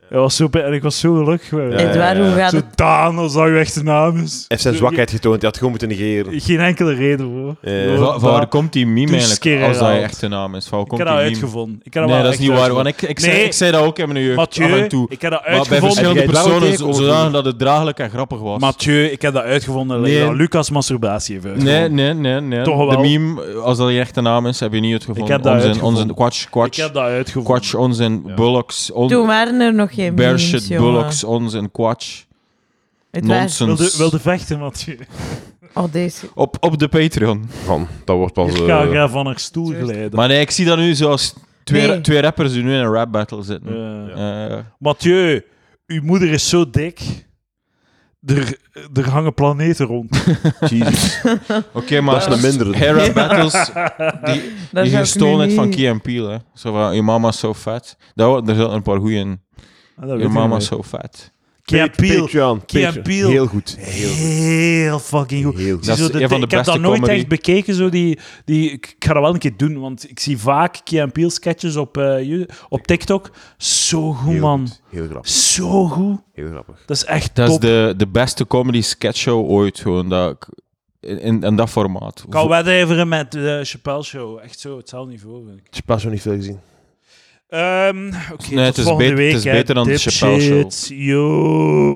[SPEAKER 1] Hij was zo pist. En ik was zo gelukkig. geweest.
[SPEAKER 2] Ja, ja,
[SPEAKER 5] Edouard,
[SPEAKER 2] ja.
[SPEAKER 5] hoe gaat
[SPEAKER 1] Zo,
[SPEAKER 5] het?
[SPEAKER 1] Daan, als dat uw echte naam is.
[SPEAKER 2] Hij heeft zijn
[SPEAKER 1] Zo,
[SPEAKER 2] zwakheid getoond. Hij had gewoon moeten negeren.
[SPEAKER 1] Geen, geen enkele reden voor.
[SPEAKER 2] Eh,
[SPEAKER 1] Gewoon
[SPEAKER 4] Van, van waar
[SPEAKER 1] Daan.
[SPEAKER 4] komt die meme
[SPEAKER 1] Doe
[SPEAKER 4] eigenlijk,
[SPEAKER 1] skeren
[SPEAKER 4] als dat je
[SPEAKER 1] uit.
[SPEAKER 4] echte naam is? Van waar
[SPEAKER 1] Ik
[SPEAKER 4] komt
[SPEAKER 1] heb
[SPEAKER 4] die
[SPEAKER 1] dat
[SPEAKER 4] meme?
[SPEAKER 1] uitgevonden. Ik heb dat
[SPEAKER 4] Nee,
[SPEAKER 1] wel
[SPEAKER 4] dat is
[SPEAKER 1] echt
[SPEAKER 4] niet waar, want
[SPEAKER 1] uitgevonden.
[SPEAKER 4] ik, ik, zei,
[SPEAKER 1] Nee.
[SPEAKER 4] ik zei dat ook in mijn jeugd, af en
[SPEAKER 1] Mathieu,
[SPEAKER 4] toe.
[SPEAKER 1] ik heb dat
[SPEAKER 4] Maar bij
[SPEAKER 1] uitgevonden.
[SPEAKER 4] verschillende
[SPEAKER 2] Heb jij dat
[SPEAKER 4] personen,
[SPEAKER 2] ook
[SPEAKER 4] zodanig dat het draaglijk en grappig was.
[SPEAKER 1] Mathieu, ik heb dat uitgevonden.
[SPEAKER 4] Nee.
[SPEAKER 1] dat Lucas masturbatie heeft uitgevonden.
[SPEAKER 4] Nee, nee, nee, nee.
[SPEAKER 1] Toch wel.
[SPEAKER 4] De meme, als dat je echte naam is, heb je niet uitgevonden.
[SPEAKER 1] Ik heb dat
[SPEAKER 4] onzin,
[SPEAKER 1] uitgevonden.
[SPEAKER 4] onzin, kwatsch,
[SPEAKER 1] Ik heb
[SPEAKER 4] kwatsch,
[SPEAKER 1] dat uitgevonden.
[SPEAKER 4] kwatsch, onzin, bullocks, on,
[SPEAKER 5] Toen waren er nog geen
[SPEAKER 4] bear
[SPEAKER 5] memes,
[SPEAKER 4] shit,
[SPEAKER 5] jongen.
[SPEAKER 4] bullocks, onzin, kwatsch,
[SPEAKER 5] Het was-
[SPEAKER 4] nonsens.
[SPEAKER 1] Wilde, wilde vechten, Mathieu.
[SPEAKER 5] Oh, deze.
[SPEAKER 4] Op, op de Patreon.
[SPEAKER 2] Man, dat wordt pas...
[SPEAKER 1] Ik
[SPEAKER 2] eh,
[SPEAKER 1] ga graag van haar stoel
[SPEAKER 5] Juist.
[SPEAKER 1] glijden.
[SPEAKER 4] Maar nee, ik zie dat nu zoals twee,
[SPEAKER 5] Nee.
[SPEAKER 4] twee rappers die nu in een rap battle zitten.
[SPEAKER 1] Eh,
[SPEAKER 4] Eh,
[SPEAKER 1] Mathieu, uw moeder is zo dik. Er, er hangen planeten rond.
[SPEAKER 2] Jesus.
[SPEAKER 4] Oké, maar
[SPEAKER 2] Dat is een mindere.
[SPEAKER 4] Hey, rap battles, die,
[SPEAKER 5] Dat
[SPEAKER 4] die
[SPEAKER 5] zou ik nu
[SPEAKER 4] gestolen is van
[SPEAKER 5] niet-
[SPEAKER 4] Key en Peele. Hè. Zo van, je mama is zo vet. Daar, wa- daar zaten een paar goeie in.
[SPEAKER 1] Ah, dat
[SPEAKER 4] Je
[SPEAKER 1] weet ik
[SPEAKER 4] mama
[SPEAKER 1] niet.
[SPEAKER 4] is zo vet.
[SPEAKER 1] Key and Peele.
[SPEAKER 2] Patreon.
[SPEAKER 1] Key and
[SPEAKER 2] Patreon.
[SPEAKER 1] Peele.
[SPEAKER 2] Heel goed. Heel goed.
[SPEAKER 1] Heel fucking goed.
[SPEAKER 2] Heel goed.
[SPEAKER 1] Zie
[SPEAKER 4] Dat is
[SPEAKER 1] zo de
[SPEAKER 4] een van
[SPEAKER 1] te-
[SPEAKER 4] de
[SPEAKER 1] ik heb dat
[SPEAKER 4] beste
[SPEAKER 1] nooit
[SPEAKER 4] comedy.
[SPEAKER 1] echt bekeken. Zo die, die, ik ga dat wel een keer doen, want ik zie vaak Key and Peele sketches op, eh, Ju- op TikTok. Zo goed,
[SPEAKER 2] Heel
[SPEAKER 1] man.
[SPEAKER 2] goed. Heel grappig.
[SPEAKER 1] Zo goed.
[SPEAKER 2] Heel grappig.
[SPEAKER 1] Dat is echt
[SPEAKER 4] Dat is
[SPEAKER 1] top.
[SPEAKER 4] de, de beste comedy sketchshow ooit. Gewoon, dat, ik- in, in, in dat formaat.
[SPEAKER 1] Kan wedijveren met de Chappelle Show. Echt zo, hetzelfde niveau, vind ik.
[SPEAKER 2] Ik heb pas nog niet veel gezien.
[SPEAKER 1] Ehm, Oké,
[SPEAKER 4] Nee,
[SPEAKER 1] tot
[SPEAKER 4] het is
[SPEAKER 1] volgende
[SPEAKER 4] beter-
[SPEAKER 1] week.
[SPEAKER 4] het is
[SPEAKER 1] hè.
[SPEAKER 4] beter dan de Chappelle Show.
[SPEAKER 1] Dipshits, Yo.